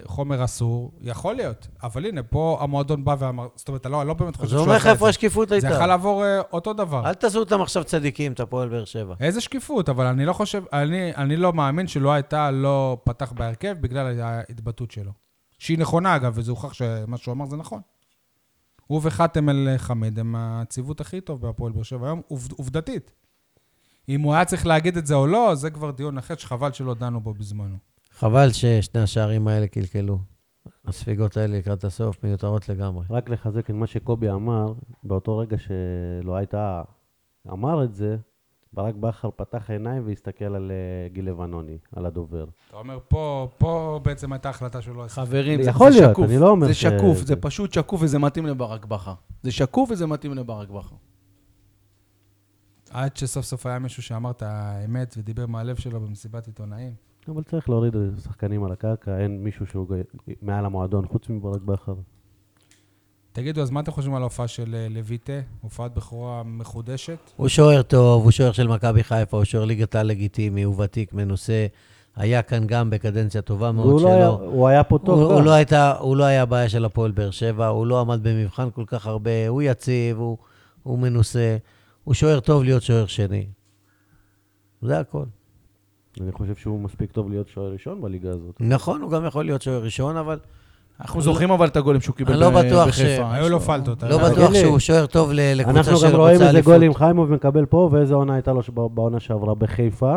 Speaker 1: חומר אסור, יכול להיות. אבל הנה, פה המועדון בא ואמר, זאת אומרת, אני לא, אני לא באמת חושב
Speaker 3: אז
Speaker 1: שהוא
Speaker 3: הוא אומר לך
Speaker 1: עשה את
Speaker 3: איפה
Speaker 1: זה.
Speaker 3: השקיפות הייתה.
Speaker 1: זה יכול לעבור אה, אותו דבר.
Speaker 3: אל תעשו אותם עכשיו צדיקים, את הפועל באר שבע.
Speaker 1: איזה שקיפות, אבל אני לא חושב, אני, אני לא מאמין שלא הייתה, לא פתח בהרכב בגלל ההתבטאות שלו. שהיא נכונה, אגב, וזה הוכח שמה שהוא אמר זה נכון. הוא וחאתם אל חמד הם הציוות הכי טוב בהפועל באר שבע היום, עובד, עובדתית. אם הוא היה צריך להגיד את זה או לא, זה כבר דיון אחר שחבל שלא דנו בו בזמנו.
Speaker 3: חבל ששני השערים האלה קלקלו. הספיגות האלה לקראת הסוף מיותרות לגמרי.
Speaker 2: רק לחזק את מה שקובי אמר, באותו רגע שלא הייתה, אמר את זה, ברק בכר פתח עיניים והסתכל על אה, גיל לבנוני, על הדובר.
Speaker 1: אתה אומר, פה, פה בעצם הייתה החלטה שהוא לא עשה.
Speaker 4: חברים, זה,
Speaker 2: יכול
Speaker 4: זה
Speaker 2: להיות,
Speaker 4: שקוף.
Speaker 2: אני לא אומר
Speaker 4: זה
Speaker 2: ש-
Speaker 4: שקוף, זה
Speaker 2: זה-
Speaker 4: פשוט שקוף וזה מתאים לברק בכר. זה שקוף וזה מתאים לברק בכר.
Speaker 1: עד שסוף סוף היה מישהו שאמר את האמת ודיבר מהלב שלו במסיבת עיתונאים.
Speaker 2: אבל צריך להוריד שחקנים על הקרקע, אין מישהו שהוא ג- מעל המועדון, חוץ מברק בכר.
Speaker 1: תגידו, אז מה אתם חושבים על ההופעה של אה, לויטה? הופעת בכורה מחודשת?
Speaker 3: הוא שוער טוב, הוא שוער של מכבי חיפה, הוא שוער ליגת העל לגיטימי, הוא ותיק, מנוסה. היה כאן גם בקדנציה טובה מאוד
Speaker 2: הוא
Speaker 3: שלו.
Speaker 2: לא היה- הוא היה פה
Speaker 3: הוא,
Speaker 2: טוב
Speaker 3: הוא,
Speaker 2: גם.
Speaker 3: לא הייתה, הוא לא היה הבעיה של הפועל באר שבע, הוא לא עמד במבחן כל כך הרבה, הוא יציב, הוא, הוא מנוסה, הוא שוער טוב להיות שוער שני. זה הכל.
Speaker 2: אני חושב שהוא מספיק טוב להיות שוער ראשון בליגה הזאת.
Speaker 3: נכון, הוא גם יכול להיות שוער ראשון, אבל
Speaker 4: אנחנו זוכרים אבל את הגולים שהוא קיבל
Speaker 3: לא
Speaker 4: ב-
Speaker 3: בטוח ש-
Speaker 4: בחיפה.
Speaker 1: היו לו פלטות. אה,
Speaker 3: לא
Speaker 1: היה-
Speaker 3: בטוח
Speaker 2: לי.
Speaker 3: שהוא שוער טוב ל- לקבוצה
Speaker 2: אנחנו גם
Speaker 3: שרוצה
Speaker 2: רואים
Speaker 3: אליפות.
Speaker 2: איזה גולים חיימוב מקבל פה, ואיזה עונה הייתה לו ש- בעונה שעברה בחיפה.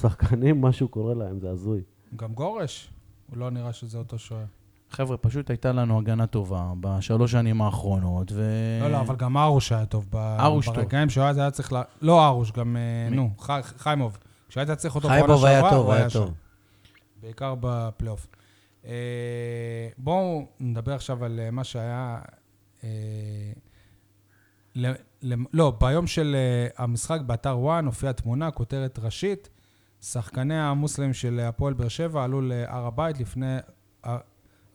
Speaker 2: שחקנים, משהו קורה להם, זה הזוי.
Speaker 1: גם גורש, הוא לא נראה שזה אותו שוער.
Speaker 4: חבר'ה, פשוט הייתה לנו הגנה טובה בשלוש שנים האחרונות, ו...
Speaker 1: לא, לא, אבל גם ארוש היה טוב. ב-
Speaker 4: אה, ארוש טוב.
Speaker 1: ברגעים שהוא היה זה היה צריך ל... לא ארוש, גם, אה, נו, חי- חיימוב. כשהיית צריך אותו
Speaker 3: חייבוב היה טוב,
Speaker 1: הוא
Speaker 3: היה
Speaker 1: שם.
Speaker 3: טוב.
Speaker 1: בעיקר בפלייאוף. אה, בואו נדבר עכשיו על אה, מה שהיה... אה, ל- ל- לא, ביום של אה, המשחק באתר וואן הופיעה תמונה, כותרת ראשית, שחקני המוסלמים של אה, הפועל באר שבע עלו להר הבית לפני ה-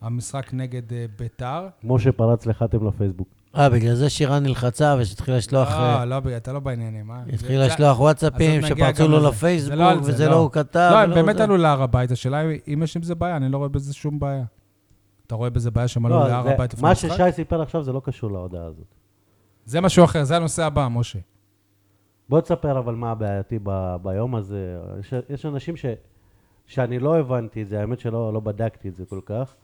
Speaker 1: המשחק נגד אה, ביתר.
Speaker 2: כמו שפרץ לחתם לפייסבוק.
Speaker 3: אה, בגלל זה שירן נלחצה ושהתחילה לשלוח... אה,
Speaker 1: אה, לא, בגלל- אתה לא בעניינים, אה?
Speaker 3: התחילה
Speaker 1: זה-
Speaker 3: לשלוח וואטסאפים,
Speaker 1: אז עוד נגיע
Speaker 3: שפרצו
Speaker 1: גם
Speaker 3: לו
Speaker 1: לזה. זה לא על
Speaker 3: לפייסבוק,
Speaker 1: זה,
Speaker 3: וזה
Speaker 1: לא.
Speaker 3: לא הוא כתב.
Speaker 1: לא, הם
Speaker 3: ולא
Speaker 1: באמת
Speaker 3: זה.
Speaker 1: עלו להר הבית, השאלה היא אם יש עם זה בעיה, אני לא רואה בזה שום בעיה. אתה רואה בזה בעיה שהם עלו
Speaker 2: לא,
Speaker 1: להר
Speaker 2: זה-
Speaker 1: הבית לפני
Speaker 2: מה
Speaker 1: המשחק?
Speaker 2: ששי סיפר עכשיו זה לא קשור להודעה הזאת.
Speaker 1: זה משהו אחר, זה הנושא הבא, משה.
Speaker 2: בוא תספר אבל מה הבעייתי ב- ביום הזה. יש, יש אנשים ש, שאני לא הבנתי את זה, האמת שלא לא בדקתי את זה כל כך,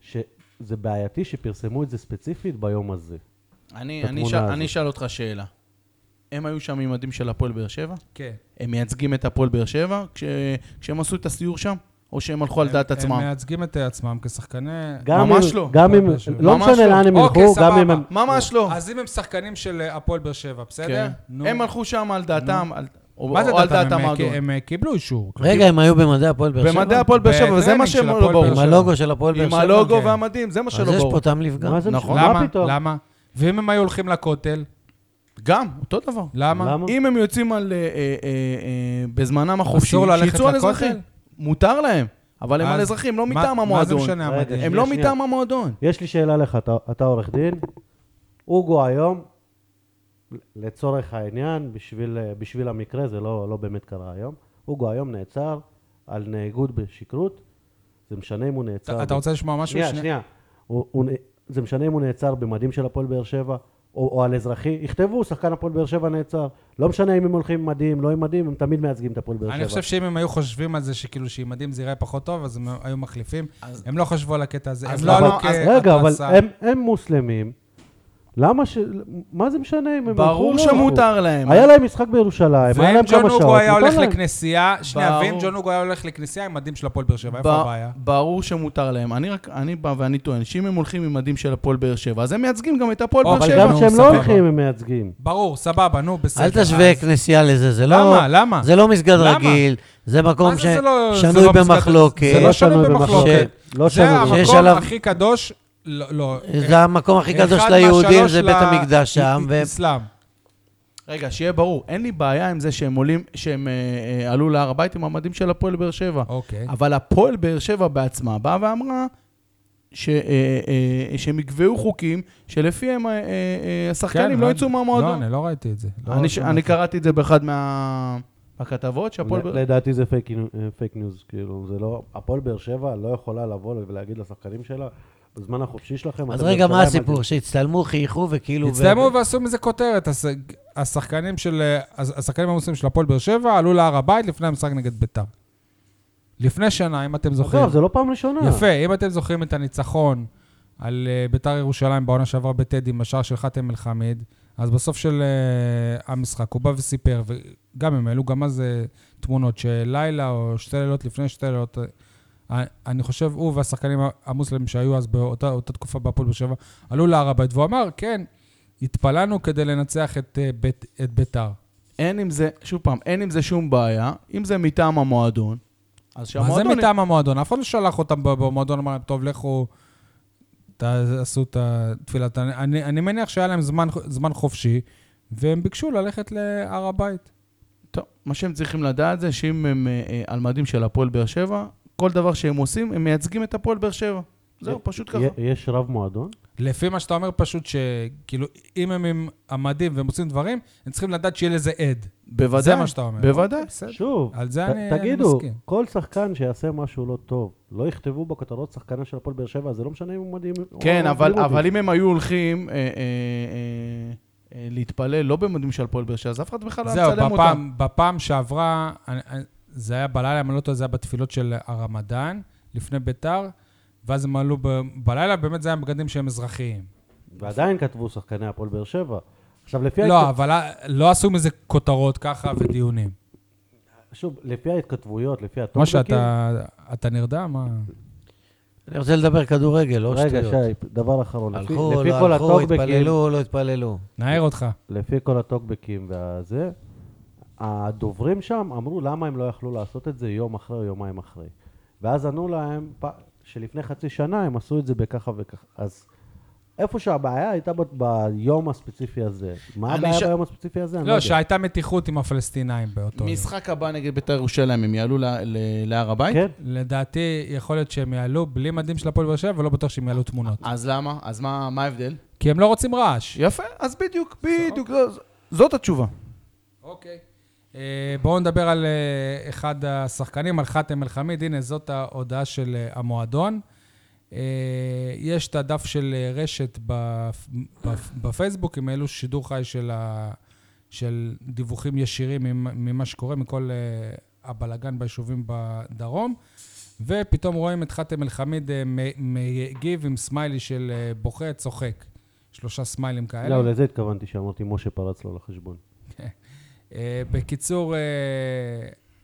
Speaker 2: שזה בעייתי שפרסמו את זה ספציפית ביום הזה.
Speaker 4: אני,
Speaker 2: בתמונה
Speaker 4: אני, ש...
Speaker 2: הזאת.
Speaker 4: אני אשאל אותך שאלה. הם היו שם עם מדים של הפועל באר שבע?
Speaker 1: כן.
Speaker 4: הם מייצגים את הפועל באר שבע כש... כשהם עשו את הסיור שם? או שהם הלכו על דעת
Speaker 1: הם
Speaker 4: עצמם?
Speaker 1: מייצגים את אה, עצמם כשחקני...
Speaker 2: גם
Speaker 4: ממש
Speaker 2: אם,
Speaker 4: לא.
Speaker 2: גם אם,
Speaker 1: ממש לא.
Speaker 2: לא
Speaker 4: ממש
Speaker 2: משנה
Speaker 4: לא.
Speaker 2: לאן הם
Speaker 1: אוקיי,
Speaker 2: ילכו, גם אם
Speaker 1: סבבה.
Speaker 2: הם...
Speaker 4: ממש לא.
Speaker 1: אז אם הם שחקנים של אה, הפועל באר שבע, בסדר?
Speaker 4: כן. הם הלכו שם על דעתם, על... או,
Speaker 1: מה זה
Speaker 4: או על דעת
Speaker 1: דעתם? הם, אה,
Speaker 4: המועדון.
Speaker 1: הם אה, קיבלו אישור.
Speaker 3: רגע, הם היו במדעי הפועל באר שבע?
Speaker 4: במדעי הפועל באר שבע, וזה מה
Speaker 1: בטרנינג
Speaker 4: שהם
Speaker 1: של
Speaker 4: לא
Speaker 1: הפועל באר
Speaker 4: ברור.
Speaker 3: עם
Speaker 1: שבע.
Speaker 3: הלוגו של הפועל באר
Speaker 4: עם
Speaker 3: שבע?
Speaker 4: הלוגו
Speaker 1: כן.
Speaker 4: והמדים, זה מה
Speaker 3: אז
Speaker 4: שלא
Speaker 3: יש פה
Speaker 4: ברור.
Speaker 3: טעם לפגם.
Speaker 2: מה זה
Speaker 4: נכון.
Speaker 2: משנה?
Speaker 1: למה?
Speaker 2: מה פתאום?
Speaker 1: למה? ואם הם היו הולכים לכותל,
Speaker 4: גם, אותו דבר.
Speaker 1: למה?
Speaker 2: למה?
Speaker 4: אם הם יוצאים על... אה, אה, אה, אה, בזמנם החופשי,
Speaker 1: ללכת
Speaker 4: שיצאו על
Speaker 1: לכותל?
Speaker 4: אזרחים. מותר להם, אבל הם
Speaker 1: אז
Speaker 4: על אזרחים, לא
Speaker 1: מה-
Speaker 4: מטעם
Speaker 1: מה זה
Speaker 4: המועדון.
Speaker 1: משנה
Speaker 2: רגע,
Speaker 1: המדהים?
Speaker 4: הם
Speaker 2: שנייה,
Speaker 4: לא
Speaker 2: שנייה.
Speaker 4: מטעם המועדון.
Speaker 2: יש לי שאלה לך, אתה, אתה עורך דין, אוגו היום, לצורך העניין, בשביל, בשביל המקרה, זה לא, לא באמת קרה היום, אוגו היום נעצר על נהיגות בשכרות, זה משנה אם הוא נעצר...
Speaker 1: אתה- אתה רוצה לשמוע משהו?
Speaker 2: שנייה,
Speaker 1: שני-
Speaker 2: שנייה. הוא, הוא, נ- זה משנה אם הוא נעצר במדים של הפועל באר שבע, או, או על אזרחי, יכתבו, שחקן הפועל באר שבע נעצר. לא משנה אם הם הולכים עם מדים, לא עם מדים, הם תמיד מייצגים את הפועל באר שבע.
Speaker 1: אני חושב שאם הם היו חושבים על זה שכאילו שעם מדים זה ייראה פחות טוב, אז הם היו מחליפים.
Speaker 4: אז-
Speaker 1: הם לא חשבו על הקטע הזה. הם
Speaker 4: אז
Speaker 1: לא
Speaker 4: למה-
Speaker 1: עלו
Speaker 4: אז
Speaker 1: כהתרסה.
Speaker 2: רגע, אבל הם, הם מוסלמים, למה ש... מה זה משנה אם הם הלכו או
Speaker 4: ברור
Speaker 2: לא הלכו?
Speaker 4: שמותר להם.
Speaker 2: היה להם משחק בירושלים, לא היה
Speaker 1: ואם
Speaker 2: להם כמה שעות.
Speaker 1: ג'ונוגו היה
Speaker 2: מותר
Speaker 1: הולך
Speaker 2: להם.
Speaker 1: לכנסייה, שנייה, ואם
Speaker 4: ברור.
Speaker 1: ג'ונוגו היה הולך לכנסייה עם מדים של הפועל באר שבע, איפה
Speaker 4: ב-
Speaker 1: הבעיה?
Speaker 4: ברור שמותר להם. אני רק, אני בא ואני טוען שאם הם הולכים עם מדים של הפועל באר שבע, אז הם מייצגים גם את הפועל
Speaker 1: או,
Speaker 4: באר
Speaker 2: אבל
Speaker 4: שבע.
Speaker 2: גם
Speaker 1: נו,
Speaker 2: כשהם
Speaker 1: סבבה.
Speaker 2: לא הולכים הם מייצגים.
Speaker 1: ברור, סבבה, נו, בסדר.
Speaker 3: אל תשווה
Speaker 1: אז-
Speaker 3: כנסייה לזה, זה לא...
Speaker 1: למה? למה?
Speaker 3: זה לא מסגד
Speaker 1: למה?
Speaker 3: רגיל, זה
Speaker 1: מה
Speaker 3: מקום
Speaker 1: זה, זה לא- זה
Speaker 3: ששנוי
Speaker 1: לא מסגד-
Speaker 3: במחלוקת.
Speaker 1: זה לא שנוי במחלוקת.
Speaker 2: לא
Speaker 1: זה
Speaker 2: שנוי.
Speaker 3: שיש
Speaker 1: המקום
Speaker 3: עליו-
Speaker 1: הכי קדוש, לא, לא.
Speaker 3: זה המקום הכי קדוש
Speaker 1: אחד
Speaker 3: ליהודים,
Speaker 1: מהשלוש
Speaker 3: זה
Speaker 1: ל-
Speaker 3: בית המקדש שם,
Speaker 1: אי-
Speaker 3: ו-
Speaker 1: אסלאם.
Speaker 4: רגע, שיהיה ברור, אין לי בעיה עם זה שהם עולים, שהם אה, אה, עלו להר הבית עם המדים של הפועל באר שבע.
Speaker 1: אוקיי.
Speaker 4: אבל הפועל באר שבע בעצמה באה ואמרה ש, אה, אה, שהם יקבעו חוקים שלפיהם אה, אה, אה, השחקנים
Speaker 1: כן,
Speaker 4: לא יצאו
Speaker 1: לא,
Speaker 4: מהמועדון.
Speaker 1: אני לא ראיתי את זה. לא
Speaker 4: אני, ש-
Speaker 1: שמעתי.
Speaker 4: אני קראתי את זה באחד מה... הכתבות שהפועל... באר-
Speaker 2: לדעתי זה פייק ניו- אה, פייק ניוז, כאילו, זה לא... הפועל באר שבע לא יכולה לבוא ולהגיד לשחקנים שלה, בזמן החופשי שלכם...
Speaker 3: אז
Speaker 2: אתם
Speaker 3: רגע, מה
Speaker 2: בירושלים,
Speaker 3: הסיפור? שהצטלמו, חייכו
Speaker 4: כאילו
Speaker 3: וכאילו... ו-
Speaker 1: הצטלמו ועשו מזה כותרת. הש- השחקנים של... אה, הש- השחקנים המוסלמים של הפועל באר שבע עלו להר הבית לפני המשחק נגד ביתר. לפני שנה, אם אתם
Speaker 2: אל ת-
Speaker 1: זוכרים.
Speaker 2: עזוב, זה לא פעם ראשונה.
Speaker 1: יפה, אם אתם זוכרים את הניצחון על אה, ביתר ירושלים בעונה שעברה בטדי עם השער של חאתם אל-חמיד, אז בסוף של אה, המשחק הוא בא וסיפר, וגם הם העלו גם אז אה, תמונות שלילה או שתי לילות לפני שתי לילות, אה, אני חושב הוא והשחקנים המוסלמים שהיו אז באותה אותה תקופה בהפועל באר שבע, עלו להר הבית, והוא אמר, כן, התפללנו כדי לנצח את, אה, בית, את ביתר.
Speaker 4: אין עם זה, שוב פעם, אין עם זה שום בעיה, אם זה מטעם המועדון, אז
Speaker 1: מה זה
Speaker 4: שהמועדון...
Speaker 1: מטעם המועדון? אף אחד לא שלח אותם ב- במועדון, אמר להם, טוב, לכו, תעשו את התפילת... אני, אני מניח שהיה להם זמן, זמן חופשי, והם ביקשו ללכת להר הבית.
Speaker 4: טוב, מה שהם צריכים לדעת זה שאם הם אה, אה, על מדים של הפועל באר שבע, כל דבר שהם עושים, הם מייצגים את הפועל באר שבע. זהו, פשוט ככה.
Speaker 2: י- יש רב מועדון?
Speaker 1: לפי מה שאתה אומר, פשוט שכאילו, אם הם עם המדים והם עושים דברים, הם צריכים לדעת שיהיה לזה עד.
Speaker 4: בוודאי.
Speaker 1: זה מה שאתה אומר. אוקיי,
Speaker 4: בוודאי.
Speaker 1: בסדר.
Speaker 2: שוב,
Speaker 1: על זה
Speaker 2: ת-
Speaker 1: אני, אני
Speaker 2: תגידו,
Speaker 1: מסכים.
Speaker 2: כל שחקן שיעשה משהו לא טוב, לא יכתבו בכותרות שחקנה של הפועל באר שבע, זה לא משנה אם הוא מדהים. או
Speaker 4: כן,
Speaker 2: לא
Speaker 4: אבל,
Speaker 2: מדהים אותי.
Speaker 4: אבל אם הם היו הולכים אה, אה, אה, אה, להתפלל לא במדים של הפועל באר שבע, אז אף אחד בכלל לא
Speaker 1: זהו,
Speaker 4: מצלם אותם.
Speaker 1: בפעם, בפעם שעברה, אני- אני- זה היה בלילה, אם אני לא טועה, זה היה בתפילות של הרמדאן, לפני ביתר, ואז הם עלו ב- בלילה, באמת זה היה בגדים שהם אזרחיים.
Speaker 2: ועדיין כתבו שחקני הפועל באר שבע. עכשיו,
Speaker 4: כן,
Speaker 2: לפי...
Speaker 1: לא,
Speaker 2: ההתכת-
Speaker 1: אבל אה, לא עשו מזה כותרות ככה ודיונים.
Speaker 2: שוב, לפי ההתכתבויות, לפי
Speaker 4: לא
Speaker 1: מה
Speaker 2: הטוקבקים...
Speaker 1: שאתה אתה נרדם, מה?
Speaker 3: אני רוצה לדבר כדורגל, לא
Speaker 2: רגע,
Speaker 3: שטויות.
Speaker 2: שי, דבר אחרון. לפי-
Speaker 3: הלכו,
Speaker 2: לפי
Speaker 3: לא
Speaker 2: כל
Speaker 3: הלכו,
Speaker 2: הטוקבקים-
Speaker 3: התפללו, לא התפללו.
Speaker 1: נער אותך.
Speaker 2: לפי כל הטוקבקים והזה, הדוברים שם אמרו למה הם לא יכלו לעשות את זה יום אחרי או יומיים אחרי. ואז ענו להם פ- שלפני חצי שנה הם עשו את זה בככה וככה. אז איפה שהבעיה הייתה ב- ביום הספציפי הזה. מה
Speaker 4: אני
Speaker 2: הבעיה
Speaker 4: ש-
Speaker 2: ביום הספציפי הזה? אני
Speaker 1: לא,
Speaker 2: יודע.
Speaker 1: שהייתה מתיחות עם הפלסטינאים באותו יום.
Speaker 4: משחק הבא נגד בית"ר ירושלים, הם יעלו ל- ל- להר הבית?
Speaker 2: כן,
Speaker 1: לדעתי, יכול להיות שהם יעלו בלי מדים של הפועל באר שבע, ולא בטוח שהם יעלו תמונות.
Speaker 4: אז למה? אז מה מה ההבדל?
Speaker 1: כי הם לא רוצים רעש.
Speaker 4: יפה, אז בדיוק, בדיוק, זו- זאת התשובה.
Speaker 1: אוקיי. אה, בואו נדבר על אה, אחד השחקנים, על חאתם אל-חמיד. הנה, זאת ההודעה של אה, המועדון. אה, יש את הדף של אה, רשת בפ- בפ- בפייסבוק, הם העלו שידור חי של, ה... של דיווחים ישירים ממ- ממה שקורה, מכל אה, הבלגן ביישובים בדרום. ופתאום רואים את חאתם אל-חמיד אה, מ- מגיב עם סמיילי של אה, בוכה, צוחק. שלושה סמיילים כאלה.
Speaker 2: לא, לזה התכוונתי שאמרתי משה פרץ לו לחשבון.
Speaker 1: אה, בקיצור, אה,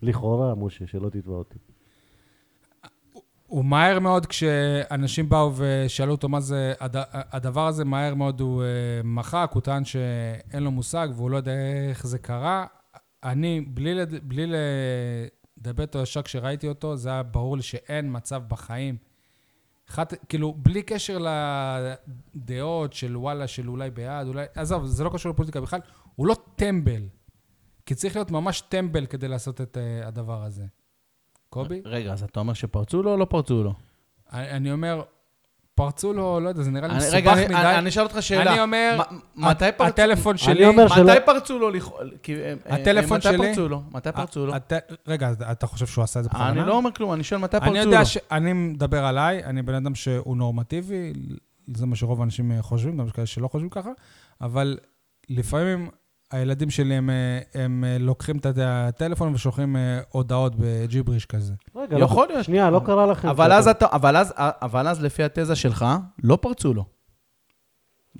Speaker 2: לכאורה, משה, שלא תתבע אותי.
Speaker 1: הוא מהר מאוד, כשאנשים באו ושאלו אותו מה זה הד... הדבר הזה, מהר מאוד הוא אה, מחק, הוא טען שאין לו מושג והוא לא יודע איך זה קרה. אני, בלי, לד... בלי לדבר איתו ישר כשראיתי אותו, זה היה ברור לי שאין מצב בחיים. חת... כאילו, בלי קשר לדעות של וואלה, של אולי בעד, אולי... עזוב, זה לא קשור לפוליטיקה בכלל, הוא לא טמבל. כי צריך להיות ממש טמבל כדי לעשות את אה, הדבר הזה. קובי?
Speaker 4: רגע, אז אתה אומר שפרצו לו או לא פרצו לו?
Speaker 1: אני, אני אומר, פרצו לו, לא יודע, זה נראה לי
Speaker 4: אני-
Speaker 1: מסובך
Speaker 4: רגע, אני-
Speaker 1: מדי.
Speaker 4: אני אני אשאל אותך שאלה.
Speaker 1: אני אומר,
Speaker 4: מ- מתי
Speaker 1: הט-
Speaker 4: פרצו
Speaker 1: הטלפון שלי...
Speaker 2: אני אומר שלא...
Speaker 4: מתי פרצו לו לכאול? כי, אה, אה,
Speaker 1: אה, הטלפון שלי-
Speaker 4: מתי פרצו לו? מתי פרצו לו?
Speaker 1: הט- רגע, אז אתה חושב שהוא עשה את זה בכוונה?
Speaker 4: אני לא אומר כלום, אני שואל מתי
Speaker 1: אני
Speaker 4: פרצו לו.
Speaker 1: יודע ש... אני מדבר עליי, אני בן אדם שהוא נורמטיבי, זה מה שרוב האנשים אה, חושבים, גם יש כאלה שלא חושבים ככה, אבל לפעמים הילדים שלי, הם, אה, הם אה, לוקחים את הטלפון ושולחים אה, הודעות בג'יבריש כזה.
Speaker 2: רגע, לא-
Speaker 4: יכול להיות.
Speaker 2: שנייה, לא קרה לכם.
Speaker 4: אבל
Speaker 2: שאתם-
Speaker 4: אז אתה- אבל אז- אבל אז לפי התזה שלך, לא פרצו לו.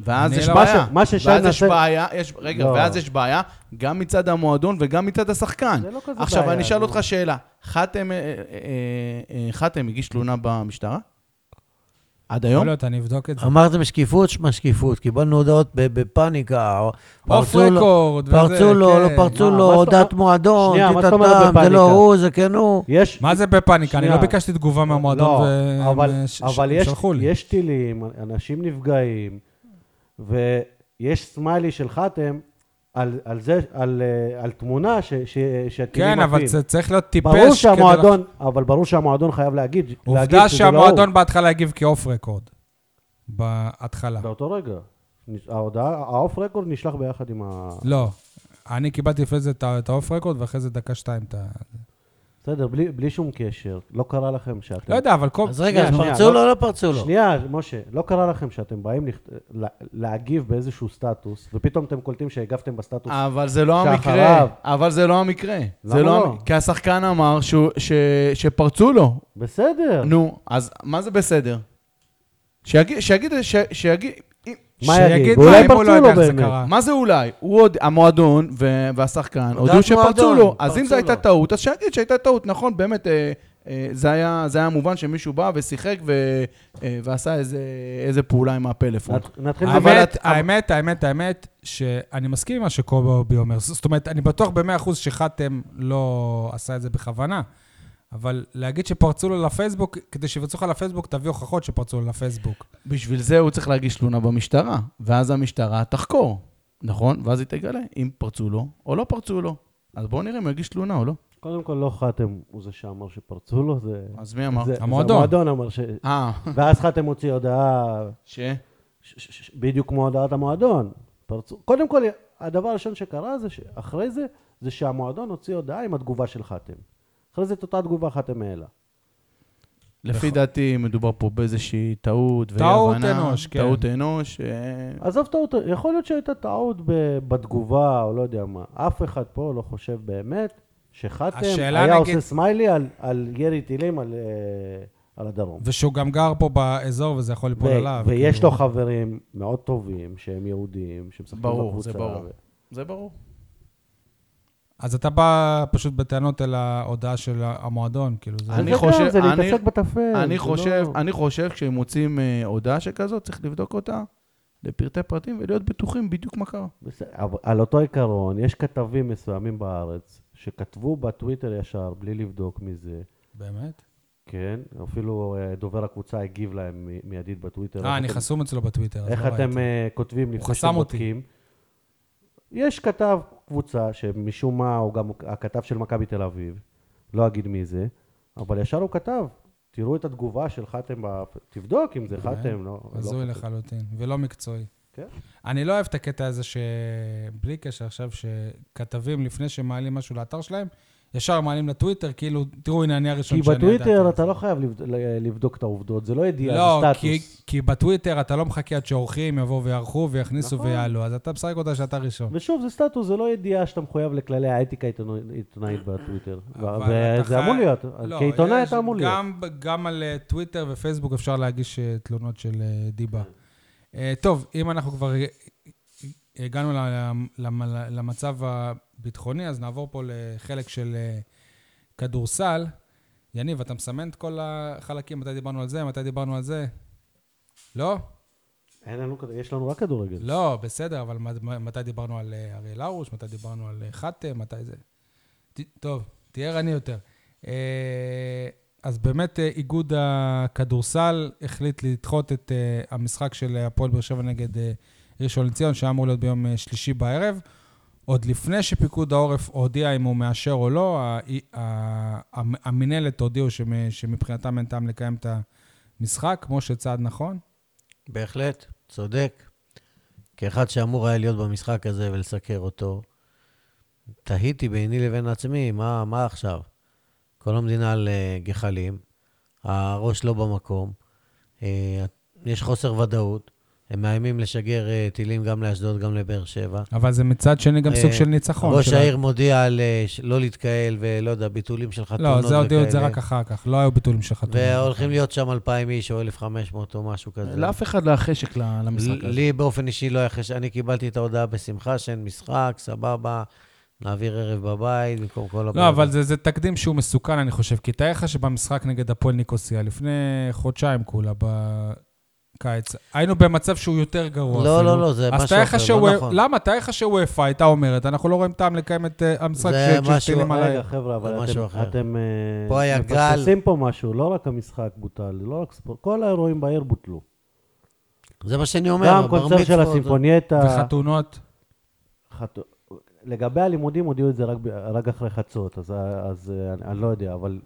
Speaker 4: ואז
Speaker 1: אני
Speaker 4: יש
Speaker 1: לא-
Speaker 4: בעיה.
Speaker 2: מה ש- מה ששי
Speaker 4: ואז יש
Speaker 2: מנסה-
Speaker 4: בעיה, יש- רגע,
Speaker 2: לא.
Speaker 4: ואז יש בעיה גם מצד המועדון וגם מצד השחקן.
Speaker 2: זה לא כזה
Speaker 4: עכשיו,
Speaker 2: בעיה,
Speaker 4: אני אשאל
Speaker 2: נו.
Speaker 4: אותך שאלה. חתם, אה, אה, אה, אה, חתם הגיש תלונה במשטרה? עד היום?
Speaker 1: יכול להיות, לא, אני אבדוק את זה.
Speaker 3: אמרתם שקיפות, שמע שקיפות. קיבלנו הודעות ב- בפאניקה. או-
Speaker 1: אוף
Speaker 3: פרצו לו-
Speaker 1: רקורד וזה,
Speaker 3: פרצו לו, לא
Speaker 1: כן.
Speaker 3: פרצו
Speaker 2: מה-
Speaker 3: לו,
Speaker 2: מה זאת
Speaker 3: הודעת
Speaker 2: אומרת-
Speaker 3: מועדון,
Speaker 2: שנייה, מה זאת אומרת
Speaker 3: טיטטם, זה
Speaker 2: בפאניקה?
Speaker 3: לא הוא, זה כן הוא.
Speaker 2: יש...
Speaker 1: מה זה בפאניקה? אני לא
Speaker 2: שנייה.
Speaker 1: ביקשתי תגובה מהמועדון,
Speaker 2: לא, אבל,
Speaker 1: והם אה, ש-
Speaker 2: אבל יש,
Speaker 1: שלחו לי.
Speaker 2: יש טילים, אנשים נפגעים, ויש סמיילי של חתם על, על זה, על, אה, על תמונה ש, ש, שהטילים
Speaker 1: כן, אבל זה צריך להיות טיפש.
Speaker 2: כאילו ברור
Speaker 1: כדי
Speaker 2: שהמועדון, אבל ברור שהמועדון חייב להגיד,
Speaker 1: לח- עובדה
Speaker 2: להגיד שזה לא
Speaker 1: שהמועדון
Speaker 2: הוא.
Speaker 1: בהתחלה הגיב כאוף רקורד. בהתחלה.
Speaker 2: באותו רגע. נש- ההודעה, האוף רקורד נשלח ביחד עם ה...
Speaker 1: לא. אני קיבלתי לפני זה את ה- את האוף רקורד, ואחרי זה דקה-שתיים את ה...
Speaker 2: כן. בסדר, בלי, בלי שום קשר. לא קרה לכם שאתם...
Speaker 1: לא יודע, אבל כל...
Speaker 3: אז רגע,
Speaker 2: שנייה,
Speaker 3: אז
Speaker 2: שנייה,
Speaker 3: פרצו
Speaker 2: לא-
Speaker 3: לו, לא פרצו לו.
Speaker 2: שנייה, משה, לא קרה לכם שאתם באים לכת... לה- להגיב באיזשהו סטטוס, ופתאום אתם קולטים שהגבתם בסטטוס
Speaker 4: אבל זה לא המקרה.
Speaker 2: שאחריו.
Speaker 4: אבל זה לא המקרה. זה
Speaker 2: למה
Speaker 4: לא?
Speaker 2: לא?
Speaker 4: המ- כי השחקן אמר שהוא- ש- שפרצו לו.
Speaker 2: בסדר.
Speaker 4: נו, אז מה זה בסדר? שיגיד, שיגיד, ש- שיגיד... אם-
Speaker 2: מה
Speaker 1: שיגיד
Speaker 2: יגיד?
Speaker 1: מה
Speaker 2: ואולי
Speaker 1: אם הוא לא
Speaker 2: פרצו
Speaker 1: יודע
Speaker 2: לו
Speaker 1: איך זה
Speaker 2: באמת.
Speaker 1: קרה.
Speaker 4: מה זה אולי? הוא עוד, המועדון ו- והשחקן הודו
Speaker 3: הודעת
Speaker 4: שפרצו
Speaker 3: מועדון,
Speaker 4: לו. אז
Speaker 3: פרצו
Speaker 4: אם זו הייתה
Speaker 3: לו.
Speaker 4: טעות, אז שיגיד שהייתה טעות. נכון, באמת, אה, אה, זה היה זה היה מובן שמישהו בא ושיחק ו- אה, ועשה איזה- איזה פעולה עם הפלאפון.
Speaker 2: נת- נתחיל לדבר. אמ,
Speaker 4: אבל
Speaker 1: האמת,
Speaker 4: את-
Speaker 1: האמת, האמת, האמת, שאני מסכים עם מה שקובי אומר. ז- זאת אומרת, אני בטוח ב-100% שחתם לא עשה את זה בכוונה, אבל להגיד שפרצו לו לפייסבוק, כדי שיפרצו לך לפייסבוק, תביא הוכחות שפרצו לו לפייסבוק.
Speaker 4: בשביל זה הוא צריך להגיש תלונה במשטרה, ואז המשטרה תחקור, נכון? ואז היא תגלה אם פרצו לו או לא פרצו לו. אז בואו נראה אם הוא יגיש תלונה או לא.
Speaker 2: קודם כל, לא חתם הוא זה שאמר שפרצו לו, זה...
Speaker 4: אז מי אמר?
Speaker 2: זה- זה
Speaker 1: המועדון.
Speaker 2: המועדון אמר ש...
Speaker 4: אה,
Speaker 2: ואז חתם הוציא הודעה,
Speaker 4: ש...
Speaker 2: ש- ש- ש- בדיוק כמו הודעת המועדון. פרצו... קודם כל, הדבר הראשון שקרה זה שאחרי זה, זה שהמועדון הוציא הודעה עם התגובה של חתם. אחרי זה את אותה תגובה חתם העלה.
Speaker 4: לפי דעתי מדובר פה באיזושהי טעות ואי
Speaker 1: טעות
Speaker 4: הבנה.
Speaker 1: אנוש, כן.
Speaker 4: טעות אנוש. אה,
Speaker 2: עזוב טעות, יכול להיות שהייתה טעות ב- בתגובה, או לא יודע מה. אף אחד פה לא חושב באמת שחתם
Speaker 1: השאלה,
Speaker 2: היה
Speaker 1: נגיד-
Speaker 2: עושה סמיילי על, על ירי טילים על, אה, על הדרום.
Speaker 1: ושהוא גם גר פה באזור וזה יכול ליפול
Speaker 2: ו-
Speaker 1: עליו.
Speaker 2: ויש
Speaker 1: כאילו.
Speaker 2: לו חברים מאוד טובים, שהם יהודים, שמשחקים
Speaker 4: ברור,
Speaker 2: בקבוצה.
Speaker 4: זה ברור.
Speaker 2: ו-
Speaker 4: זה ברור.
Speaker 1: אז אתה בא פשוט בטענות אל ההודעה של המועדון, כאילו זה...
Speaker 4: אני
Speaker 2: זה גם,
Speaker 4: חושב-
Speaker 2: זה
Speaker 4: אני-
Speaker 2: להתעסק בטפל. זה
Speaker 4: אני חושב,
Speaker 2: לא-
Speaker 4: אני חושב כשהם מוצאים אה, הודעה שכזאת, צריך לבדוק אותה לפרטי פרטים ולהיות בטוחים בדיוק מה קרה.
Speaker 2: בסדר, אבל על אותו עיקרון, יש כתבים מסוימים בארץ שכתבו בטוויטר ישר, בלי לבדוק מזה,
Speaker 1: באמת?
Speaker 2: כן? אפילו אה, דובר הקבוצה הגיב להם מ- מיידית בטוויטר.
Speaker 1: אה,
Speaker 2: איך
Speaker 1: אני
Speaker 2: אתם-
Speaker 1: חסום אצלו בטוויטר, אז
Speaker 2: לא איך
Speaker 1: לא
Speaker 2: אתם
Speaker 1: ראיתי.
Speaker 2: אה, כותבים לפני
Speaker 1: חסם אותי.
Speaker 2: שבודקים? יש כתב קבוצה שמשום מה הוא גם הכתב של מכבי תל אביב, לא אגיד מי זה, אבל ישר הוא כתב, תראו את התגובה של חתם, בפ- תבדוק
Speaker 1: כן,
Speaker 2: אם זה חתם, לא... לא
Speaker 1: הזוי
Speaker 2: חתם."
Speaker 1: לחלוטין, ולא מקצועי.
Speaker 2: כן.
Speaker 1: אני לא אוהב את הקטע הזה שבלי קשר עכשיו, שכתבים לפני שמעלים משהו לאתר שלהם, ישר מעלים לטוויטר, כאילו, תראו, הנה אני הראשון
Speaker 2: כי
Speaker 1: שאני ידעתי.
Speaker 2: בטוויטר אתה לא חייב לבד- ל- לבדוק את העובדות, זה לא ידיעה,
Speaker 1: לא,
Speaker 2: זה
Speaker 1: כי,
Speaker 2: סטטוס.
Speaker 1: כי בטוויטר אתה לא מחכה עד שעורכים יבואו ויערכו ויכניסו נכון. ויעלו, אז אתה משחק אותה שאתה ראשון.
Speaker 2: ושוב, זה סטטוס, זה לא ידיעה שאתה מחויב לכללי האתיקה העיתונא- העיתונאית בטוויטר.
Speaker 1: אבל
Speaker 2: ו-
Speaker 1: אתה
Speaker 2: וזה
Speaker 1: חי-
Speaker 2: אמור להיות,
Speaker 1: לא,
Speaker 2: כעיתונאי
Speaker 1: יש
Speaker 2: אתה אמור להיות.
Speaker 1: גם, גם על אה, טוויטר ופייסבוק אפשר להגיש אה, תלונות של אה, דיבה.
Speaker 2: כן.
Speaker 1: אה, טוב, אם אנחנו כבר אה, הגענו ל- למ- למ- למצב הביטחוני, אז נעבור פה לחלק של אה, כדורסל. יניב, אתה מסמן את כל החלקים? מתי דיברנו על זה? מתי דיברנו על זה? לא?
Speaker 2: אין לנו כזה- יש לנו רק כדורגל.
Speaker 1: לא, בסדר, אבל מ- מ- מתי דיברנו על אה, אריאל הרוש? מתי דיברנו על אה, חתם? מתי זה? ת- טוב, תהיה ערני יותר. אה, אז באמת אה, איגוד הכדורסל החליט לדחות את אה, המשחק של הפועל באר שבע נגד אה, ראשון לציון, שהיה אמור להיות ביום אה, שלישי בערב. עוד לפני שפיקוד העורף הודיע אם הוא מאשר או לא, ה- ה- המ- המינהלת הודיעו שמ- שמבחינתם אין טעם לקיים את המשחק, כמו שצעד נכון.
Speaker 3: בהחלט, צודק. כאחד שאמור היה להיות במשחק הזה ולסקר אותו, תהיתי ביני לבין עצמי, מה, מה עכשיו? כל המדינה על אה, גחלים, הראש לא במקום, אה, יש חוסר ודאות, אה, הם מאיימים לשגר אה, טילים גם לאשדוד, גם לבאר שבע.
Speaker 1: אבל זה מצד שני גם סוג
Speaker 3: אה,
Speaker 1: של ניצחון.
Speaker 3: ראש
Speaker 1: של ה-
Speaker 3: העיר מודיע על אה, ש- לא להתקהל ולא יודע, ביטולים של חתונות
Speaker 1: לא,
Speaker 3: וכאלה.
Speaker 1: זה הודיעו את זה רק כן. אחר כך, לא היו ביטולים של חתונות.
Speaker 3: והולכים להיות שם 2,000 איש או 1,500 או משהו כזה.
Speaker 4: לאף אחד לא היה חשק ל- למשחק
Speaker 3: ל-
Speaker 4: הזה.
Speaker 3: לי באופן אישי לא היה חשק, אני קיבלתי את ההודעה בשמחה שאין משחק, סבבה, נעביר ערב בבית במקום כל הבעיה.
Speaker 1: לא, אבל זה, זה תקדים שהוא מסוכן, אני חושב. כי תאר לך שבמשחק נגד הפועל ניקוסיה, לפני חודשיים כולה, בקיץ, היינו במצב שהוא יותר גרוע
Speaker 3: לא,
Speaker 1: אפילו.
Speaker 3: לא, לא, זה
Speaker 1: אז
Speaker 3: משהו
Speaker 1: תאר לך
Speaker 3: אחר,
Speaker 1: שהוא...
Speaker 3: לא נכון.
Speaker 1: למה? תאר לך שוופא הייתה אומרת, אנחנו לא רואים טעם לקיים את אה, המשחק
Speaker 3: זה
Speaker 1: כשיש
Speaker 3: משהו-
Speaker 1: טילים על העיר.
Speaker 2: רגע, חבר'ה,
Speaker 3: זה
Speaker 2: אבל
Speaker 3: משהו
Speaker 2: אתם-
Speaker 3: אחר.
Speaker 2: אתם אה,
Speaker 3: פה היה גל.
Speaker 2: מפספסים פה משהו, לא רק המשחק בוטל, לא רק ספורט, כל האירועים בעיר בוטלו.
Speaker 3: זה מה שאני לא אומר,
Speaker 2: גם
Speaker 3: הבר
Speaker 2: קונצרט של
Speaker 3: מצוות,
Speaker 2: הסימפונייטה,
Speaker 1: וחתונות.
Speaker 2: חתו- לגבי הלימודים הודיעו את זה רק ב- רק אחרי חצות, אז- אז אה, אני- אני לא יודע, אבל...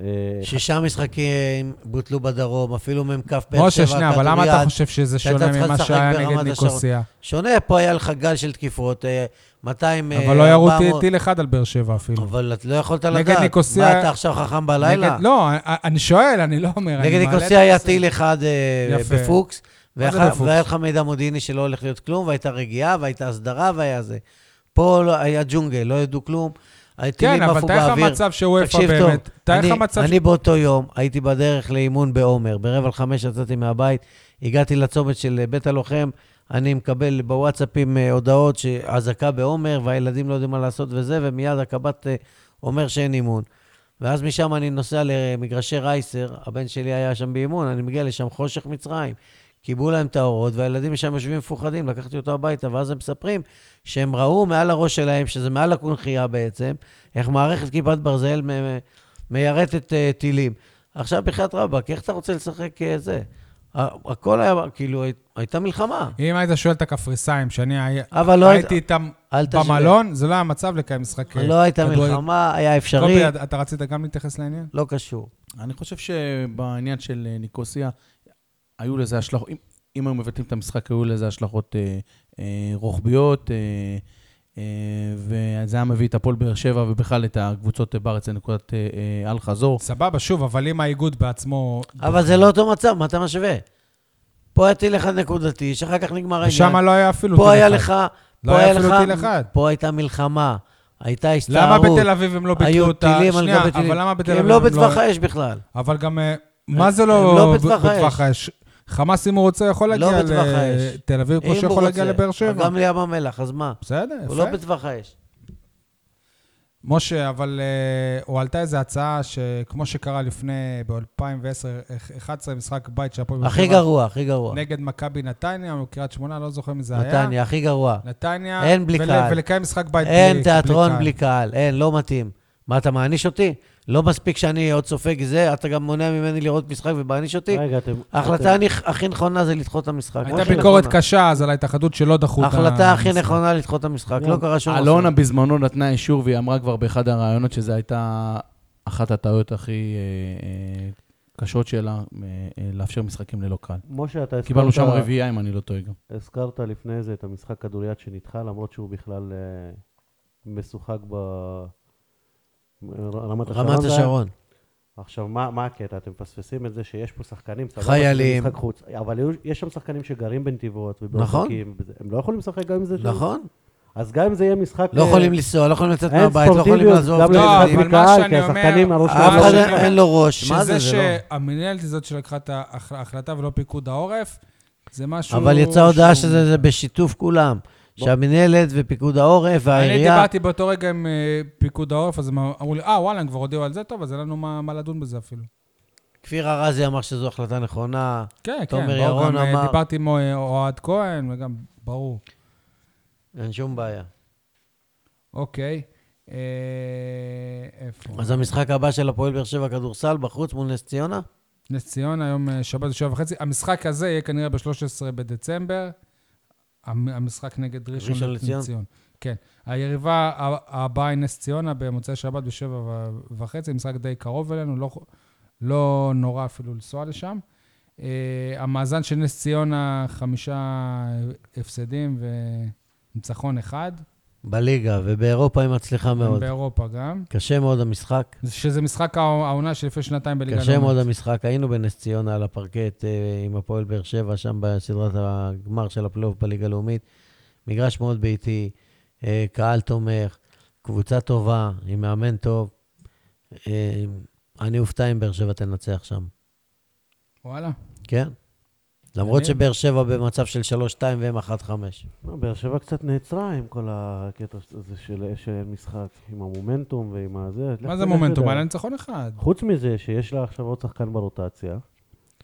Speaker 2: אה,
Speaker 3: שישה משחקים בוטלו בדרום, אפילו מ"כ באר שבע,
Speaker 1: משה, שנייה, אבל למה אתה
Speaker 3: כדוריד.
Speaker 1: חושב שזה
Speaker 3: שהייתה
Speaker 1: שונה
Speaker 3: צריכה
Speaker 1: ממה
Speaker 3: לשחק
Speaker 1: שהיה
Speaker 3: ברמת
Speaker 1: נגד
Speaker 3: השרון?
Speaker 1: ניקוסיה?
Speaker 3: שונה, פה היה לך גל של תקיפות, אה, 200... אה,
Speaker 1: אבל לא ירו
Speaker 3: 400.
Speaker 1: טיל אחד על באר שבע אפילו.
Speaker 3: אבל את לא יכולת
Speaker 1: נגד
Speaker 3: לדעת.
Speaker 1: ניקוסיה-
Speaker 3: מה, אתה עכשיו חכם בלילה?
Speaker 1: נגד- לא, אני- אני שואל, אני לא אומר. אני
Speaker 3: נגד
Speaker 1: מעלה את
Speaker 3: ניקוסיה היה
Speaker 1: הנושא.
Speaker 3: טיל אחד אה,
Speaker 1: יפה.
Speaker 3: בפוקס,
Speaker 1: מה זה
Speaker 3: ואח-
Speaker 1: בפוקס?
Speaker 3: והיה לך מידע מודיעיני שלא הולך להיות כלום, והייתה רגיעה, והייתה הסדרה, והיה זה. פה לא- היה ג'ונגל, לא ידעו כלום. הטילים
Speaker 1: כן, אבל
Speaker 3: עפו
Speaker 1: תאר לך
Speaker 3: באוויר.
Speaker 1: מצב שוופא
Speaker 3: תקשיב טוב,
Speaker 1: באמת. תאר לך
Speaker 3: אני-
Speaker 1: מצב
Speaker 3: אני באותו יום הייתי בדרך לאימון בעומר, ברבע לחמש יצאתי מהבית, הגעתי לצומת של אה, בית הלוחם, אני מקבל בוואטסאפים אה, הודעות שאזעקה בעומר, והילדים לא יודעים מה לעשות וזה, ומיד הקב"ט אה, אומר שאין אימון. ואז משם אני נוסע למגרשי רייסר, הבן שלי היה שם באימון, אני מגיע לשם חושך מצרים. כיבו להם את האורות, והילדים שם יושבים מפוחדים, לקחתי אותו הביתה, ואז הם מספרים שהם ראו מעל הראש שלהם, שזה מעל הקונכייה בעצם, איך מערכת כיפת ברזל מ- מ- מיירטת אה, טילים. עכשיו בחייאת רבאק, איך אתה רוצה לשחק אה, זה? ה- הכל היה, כאילו, הי- הייתה מלחמה.
Speaker 1: אם היית שואל את הקפריסאים, שאני הי-
Speaker 3: אבל לא
Speaker 1: הייתי
Speaker 3: היית-
Speaker 1: איתם
Speaker 3: אל תשווה.
Speaker 1: במלון, זה לא היה מצב לקיים משחק אה,
Speaker 3: לא הייתה
Speaker 1: כדורגל.
Speaker 3: מלחמה, היה אפשרי,
Speaker 1: טובי, אתה- אתה רצית גם להתייחס לעניין?
Speaker 3: לא קשור.
Speaker 4: אני חושב שבעניין של אה, ניקוסיה, היו לזה השלכות, אם, אם היו מבטלים את המשחק, היו לזה השלכות אה, אה, רוחביות, אה, אה, וזה היה מביא את הפועל באר שבע ובכלל את הקבוצות אה, בארץ לנקודת אה, אה, אל-חזור.
Speaker 1: סבבה, שוב, אבל אם האיגוד בעצמו...
Speaker 3: אבל זה לא אותו מצב, מה אתה משווה? פה היה טיל אחד נקודתי, שאחר כך נגמר העניין.
Speaker 1: ושם לא היה אפילו...
Speaker 3: פה
Speaker 1: טיל
Speaker 3: היה
Speaker 1: אחד.
Speaker 3: לך,
Speaker 1: לא
Speaker 3: פה
Speaker 1: היה
Speaker 3: היה
Speaker 1: אפילו
Speaker 3: לך,
Speaker 1: טיל אחד.
Speaker 3: פה הייתה מלחמה, הייתה
Speaker 1: למה
Speaker 3: הסתערות.
Speaker 1: בתל אביב הם לא ביטלו
Speaker 3: היו
Speaker 1: אותה?
Speaker 3: טילים על
Speaker 1: שנייה,
Speaker 3: גבי טילים.
Speaker 1: אבל למה בתל
Speaker 3: כי
Speaker 1: אביב
Speaker 3: הם לא בטווח האש בכלל.
Speaker 1: אבל גם... אה, מה זה
Speaker 3: הם
Speaker 1: לא
Speaker 3: לא
Speaker 1: ב-
Speaker 3: בטווח
Speaker 1: בטווח האש? חמאס, אם הוא רוצה, יכול
Speaker 3: לא
Speaker 1: להגיע
Speaker 3: בטווח האש.
Speaker 1: לתל אביב,
Speaker 3: אם
Speaker 1: כמו
Speaker 3: הוא
Speaker 1: שיכול להגיע
Speaker 3: רוצה.
Speaker 1: לבאר שבע.
Speaker 3: גם לים המלח, אז מה?
Speaker 1: בסדר,
Speaker 3: הוא
Speaker 1: יפה.
Speaker 3: לא בטווח האש.
Speaker 1: משה, אבל אה, הועלתה איזו הצעה שכמו שקרה לפני, ב-2010-2011, משחק בית של הפועל באר
Speaker 3: הכי
Speaker 1: שבע
Speaker 3: גרוע, הכי גרוע.
Speaker 1: נגד מכבי נתניה או קריית שמונה, לא זוכר מי זה היה. לא
Speaker 3: נתניה, הכי גרוע.
Speaker 1: נתניה.
Speaker 3: אין בלי
Speaker 1: ול-
Speaker 3: קהל.
Speaker 1: ולקיים משחק בית
Speaker 3: אין תיאטרון בלי קהל, אין, לא מתאים. מה, אתה מעניש אותי? לא מספיק שאני עוד סופג זה, אתה גם מונע ממני לראות משחק ומעניש אותי?
Speaker 2: רגע, אתם...
Speaker 3: ההחלטה
Speaker 2: אתם-
Speaker 3: אני- הכי נכונה זה לדחות את המשחק. הכי
Speaker 1: אוקיי. הייתה ביקורת
Speaker 3: נכונה.
Speaker 1: קשה אז על ההתאחדות שלא דחו את
Speaker 3: ההחלטה הכי
Speaker 1: המשחק.
Speaker 3: נכונה לדחות את המשחק, לא קרה שום
Speaker 4: אלונה בזמנו נתנה אישור, והיא אמרה כבר באחד הראיונות שזו הייתה אחת הטעויות הכי אה, אה, קשות שלה, אה, אה, לאפשר משחקים ללא קהל.
Speaker 2: משה, אתה הזכרת...
Speaker 4: קיבלנו שם רביעייה, אם אני לא טועה גם.
Speaker 2: הזכרת לפני זה את המשחק כדוריד שנדחה, למרות שהוא בכלל אה, משוחק ב... רמת השרון.
Speaker 3: רמת
Speaker 2: נכון, זה היה?
Speaker 3: השרון.
Speaker 2: עכשיו, מה, מה הקטע? אתם מפספסים את זה שיש פה שחקנים, סבבה,
Speaker 3: חיילים.
Speaker 2: זה משחק חוץ. אבל היו- יש שם שחקנים שגרים בנתיבות
Speaker 3: נכון.
Speaker 2: ובאופקים. וזה- הם לא יכולים לשחק גם אם זה... שם.
Speaker 3: נכון?
Speaker 2: אז גם אם זה יהיה משחק...
Speaker 3: לא
Speaker 2: אה,
Speaker 3: יכולים לנסוע, לא יכולים לצאת
Speaker 2: אין
Speaker 3: מהבית, לא יכולים
Speaker 2: ספורטיביות,
Speaker 3: לעזוב. אה,
Speaker 2: גם
Speaker 3: לא,
Speaker 1: לא,
Speaker 2: למשחק
Speaker 3: אבל
Speaker 1: אבל מה
Speaker 2: בקהל,
Speaker 1: שאני
Speaker 2: כי
Speaker 1: אומר...
Speaker 2: השחקנים, הראש
Speaker 1: מה
Speaker 2: שלהם
Speaker 3: אף
Speaker 2: לא
Speaker 3: אחד
Speaker 1: שאני
Speaker 2: עובד.
Speaker 3: אין- אין לו ראש, מה
Speaker 1: שזה
Speaker 3: זה, לא- זה
Speaker 1: שהמנהלת היא זאת שלקחה את ההח- ההחלטה ולא פיקוד העורף, זה משהו...
Speaker 3: לא. אבל יצאה הודעה
Speaker 1: שהוא-
Speaker 3: שזה זה בשיתוף כולם.
Speaker 2: בוא.
Speaker 3: שהמינהלת ופיקוד העורף
Speaker 1: אני
Speaker 3: והעירייה...
Speaker 1: דיברתי באותו רגע עם אה, פיקוד העורף, אז הם אמרו לי, אה, וואלה, הם כבר הודיעו על זה, טוב, אז אין לנו מה מה לדון בזה אפילו.
Speaker 3: כפיר ארזי אמר שזו החלטה נכונה.
Speaker 1: כן, כן,
Speaker 3: תומר
Speaker 1: ברור,
Speaker 3: ירון
Speaker 1: גם אה,
Speaker 3: אמר-
Speaker 1: דיברתי עם אה, אוהד כהן, וגם, ברור.
Speaker 3: אין שום בעיה.
Speaker 1: אוקיי, אה, איפה?
Speaker 3: אז המשחק הבא של הפועל באר שבע כדורסל בחוץ מול נס ציונה?
Speaker 1: נס ציונה, היום אה, שבת בשבע וחצי. המשחק הזה יהיה כנראה ב-13 בדצמבר. המ- המשחק נגד ראשון,
Speaker 3: ראשון לציון.
Speaker 1: כן. היריבה ה- הבאה היא נס ציונה במוצאי שבת בשבע ו- וחצי, משחק די קרוב אלינו, לא, לא נורא אפילו לנסוע לשם. Uh, המאזן של נס ציונה, חמישה הפסדים אה, וניצחון אחד.
Speaker 3: בליגה, ובאירופה היא מצליחה נכון מאוד.
Speaker 1: באירופה גם.
Speaker 3: קשה מאוד המשחק.
Speaker 1: שזה משחק העונה שלפני שנתיים בליגה
Speaker 3: קשה מאוד
Speaker 1: הלאומית.
Speaker 3: המשחק. היינו בנס ציונה על הפרקט אה, עם הפועל באר שבע, שם בסדרת הגמר של הפלייאוף בליגה הלאומית. מגרש מאוד ביתי, אה, קהל תומך, קבוצה טובה, עם מאמן טוב. אה, אני אופתע אם באר שבע תנצח שם.
Speaker 1: וואלה.
Speaker 3: כן. למרות
Speaker 1: מעניין.
Speaker 3: שבאר שבע במצב של 3-2 והם 1-5.
Speaker 2: לא, באר שבע קצת נעצרה עם כל הקטע הזה של של משחק, עם המומנטום ועם הזה.
Speaker 1: מה
Speaker 2: לך
Speaker 1: זה
Speaker 2: תדע.
Speaker 1: מומנטום? היה לה ניצחון אחד.
Speaker 2: חוץ מזה שיש לה עכשיו עוד שחקן ברוטציה,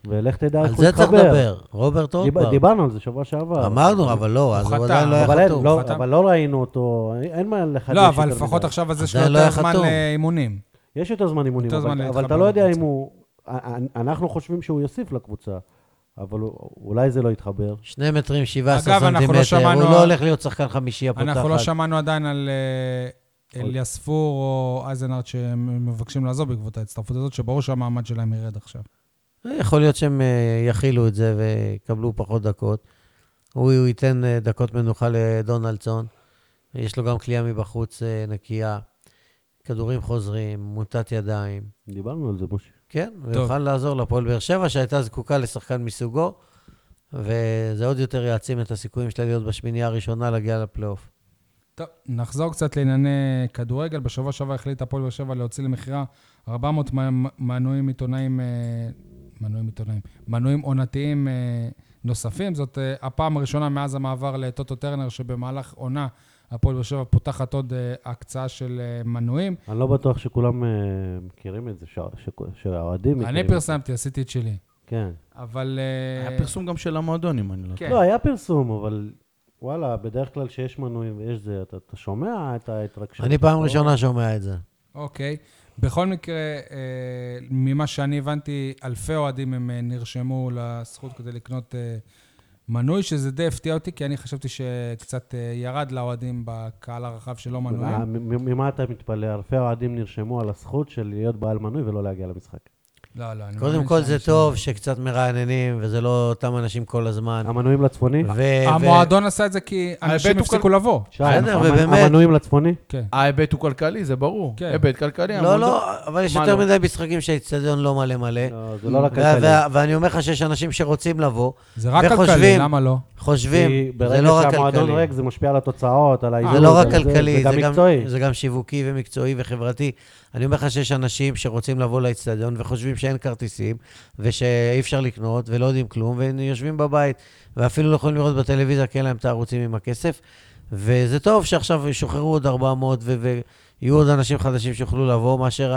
Speaker 2: ולך תדע
Speaker 3: על
Speaker 2: איך הוא
Speaker 3: זה
Speaker 2: יתחבר.
Speaker 3: צריך לדבר. רוברט
Speaker 2: דיב-
Speaker 3: אורבר.
Speaker 2: דיברנו על זה שבוע שעבר.
Speaker 3: אמרנו, אבל לא, אז
Speaker 1: הוא חתם,
Speaker 3: הוא עדיין לא היה
Speaker 2: אבל אין-
Speaker 3: חתום.
Speaker 2: לא,
Speaker 1: חתם.
Speaker 2: אבל לא ראינו אותו, אין- אין מה לחדש.
Speaker 1: לא, אבל
Speaker 2: יותר
Speaker 1: לפחות
Speaker 2: מדי.
Speaker 1: עכשיו הזה
Speaker 3: עדיין
Speaker 1: שלו
Speaker 3: לא היה
Speaker 1: יותר זמן אה,
Speaker 3: חתום.
Speaker 1: לאימונים.
Speaker 2: יש יותר זמן אימונים,
Speaker 1: יותר זמן
Speaker 2: אבל, אבל
Speaker 1: להתחבר
Speaker 2: אתה לא יודע אם
Speaker 1: לקבוצה.
Speaker 2: הוא... א- א- אנחנו חושבים שהוא יוסיף לקבוצה, אבל הוא- אולי זה לא יתחבר.
Speaker 3: שני מטרים, 17
Speaker 1: אגב, אנחנו לא
Speaker 3: סנטימטר,
Speaker 1: שמענו-
Speaker 3: הוא לא הולך להיות שחקן חמישייה פותחת.
Speaker 1: אנחנו לא שמענו עדיין על אה,
Speaker 2: עוד.
Speaker 1: אליספור או אייזנארט שהם מבקשים לעזוב בעקבות ההצטרפות הזאת, שברור שהמעמד שלהם ירד עכשיו.
Speaker 3: יכול להיות שהם אה, יכילו את זה ויקבלו פחות דקות. הוא הוא ייתן אה, דקות מנוחה לדונלדסון. יש לו גם כליאה מבחוץ אה, נקייה. כדורים חוזרים, מוטת ידיים.
Speaker 2: דיברנו על זה, משה.
Speaker 3: כן, ויוכל לעזור לפועל באר שבע, שהייתה זקוקה לשחקן מסוגו, וזה עוד יותר יעצים את הסיכויים שלה להיות בשמינייה הראשונה להגיע לפלייאוף.
Speaker 1: טוב, נחזור קצת לענייני כדורגל. בשבוע שעבר החליט הפועל באר שבע להוציא למכירה 400 מ- מנויים עיתונאים, אה, מנויים עיתונאים, מנויים עונתיים אה, נוספים. זאת אה, הפעם הראשונה מאז המעבר לטוטו טרנר, שבמהלך עונה הפועל באר שבע פותחת עוד אה, הקצאה של אה, מנויים.
Speaker 2: אני לא בטוח שכולם אה, מכירים את זה, שה- שכו- שהאוהדים מכירים.
Speaker 1: אני
Speaker 2: את זה.
Speaker 1: פרסמתי, עשיתי את שלי.
Speaker 2: כן.
Speaker 1: אבל... אה,
Speaker 4: היה פרסום גם של המועדון, אם אני לא
Speaker 1: כן.
Speaker 2: לא, היה פרסום, אבל וואלה, בדרך כלל כשיש מנויים ויש זה, אתה, אתה שומע את ההתרגשות.
Speaker 3: אני פעם ראשונה שומע את זה.
Speaker 1: אוקיי. בכל מקרה, אה, ממה שאני הבנתי, אלפי אוהדים הם אה, נרשמו לזכות כדי לקנות אה, מנוי, שזה די הפתיע אותי, כי אני חשבתי שקצת אה, ירד לאוהדים בקהל הרחב שלא
Speaker 2: אה,
Speaker 3: לא,
Speaker 1: מנויים.
Speaker 2: מ- מ- ממה אתה מתפלא? אלפי אוהדים נרשמו על הזכות של להיות בעל מנוי ולא להגיע למשחק.
Speaker 1: לא, לא, אני
Speaker 3: קודם
Speaker 1: מאמין
Speaker 3: כל
Speaker 1: שאני
Speaker 3: זה
Speaker 1: שם.
Speaker 3: טוב שקצת מרעננים, וזה לא אותם אנשים כל הזמן.
Speaker 2: המנויים לצפוני?
Speaker 3: אה, ו-
Speaker 1: המועדון עשה את זה כי אנשים
Speaker 4: ההיבט הוא
Speaker 1: הפסיקו לבוא.
Speaker 2: שי,
Speaker 3: בסדר,
Speaker 2: המ-
Speaker 3: ובאמת.
Speaker 2: המנויים לצפוני?
Speaker 1: כן.
Speaker 4: ההיבט הוא כלכלי, זה ברור.
Speaker 1: כן.
Speaker 4: היבט כלכלי.
Speaker 3: ו- לא,
Speaker 4: המועדון-
Speaker 3: לא, אבל יש
Speaker 4: מה
Speaker 3: יותר
Speaker 4: לא?
Speaker 3: מדי משחקים שהאיצטדיון לא מלא מלא.
Speaker 2: לא, זה לא רק
Speaker 3: ו-
Speaker 2: כלכלי.
Speaker 3: ו- ואני אומר לך שיש אנשים שרוצים לבוא,
Speaker 1: זה רק כלכלי,
Speaker 3: וחושבים-
Speaker 1: למה לא?
Speaker 2: כי
Speaker 3: חושבים, זה
Speaker 2: ברגע
Speaker 3: לא רק
Speaker 2: שהמועדון
Speaker 3: כלכלי.
Speaker 2: ריק זה משפיע על התוצאות, על
Speaker 3: זה
Speaker 2: האיזון.
Speaker 3: לא רק
Speaker 2: על
Speaker 3: כלכלי,
Speaker 2: אה, זה גם מקצועי.
Speaker 3: זה גם שיווקי ומקצועי וחברתי. אני אומר לך שיש אנשים שרוצים לבוא לאצטדיון וחושבים שאין כרטיסים ושאי אפשר לקנות ולא יודעים כלום, והם יושבים בבית ואפילו לא יכולים לראות בטלוויזיה כי אין להם את הערוצים עם הכסף. וזה טוב שעכשיו ישוחררו עוד 400 ו- ויהיו עוד אנשים חדשים שיוכלו לבוא, מאשר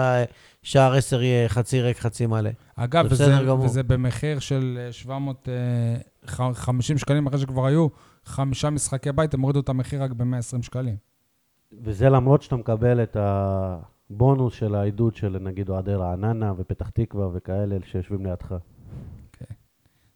Speaker 3: השער 10 יהיה חצי ריק, חצי מלא.
Speaker 1: אגב,
Speaker 3: זה
Speaker 1: וזה,
Speaker 3: בסדר גמור.
Speaker 1: וזה במחיר של אה, 750 שקלים, אחרי שכבר היו חמישה משחקי בית, הם הורידו את המחיר רק ב-120 שקלים.
Speaker 2: וזה למרות שאתה מקבל את הבונוס של העידוד של נגיד אוהדי רעננה ופתח תקווה וכאלה שיושבים לידך.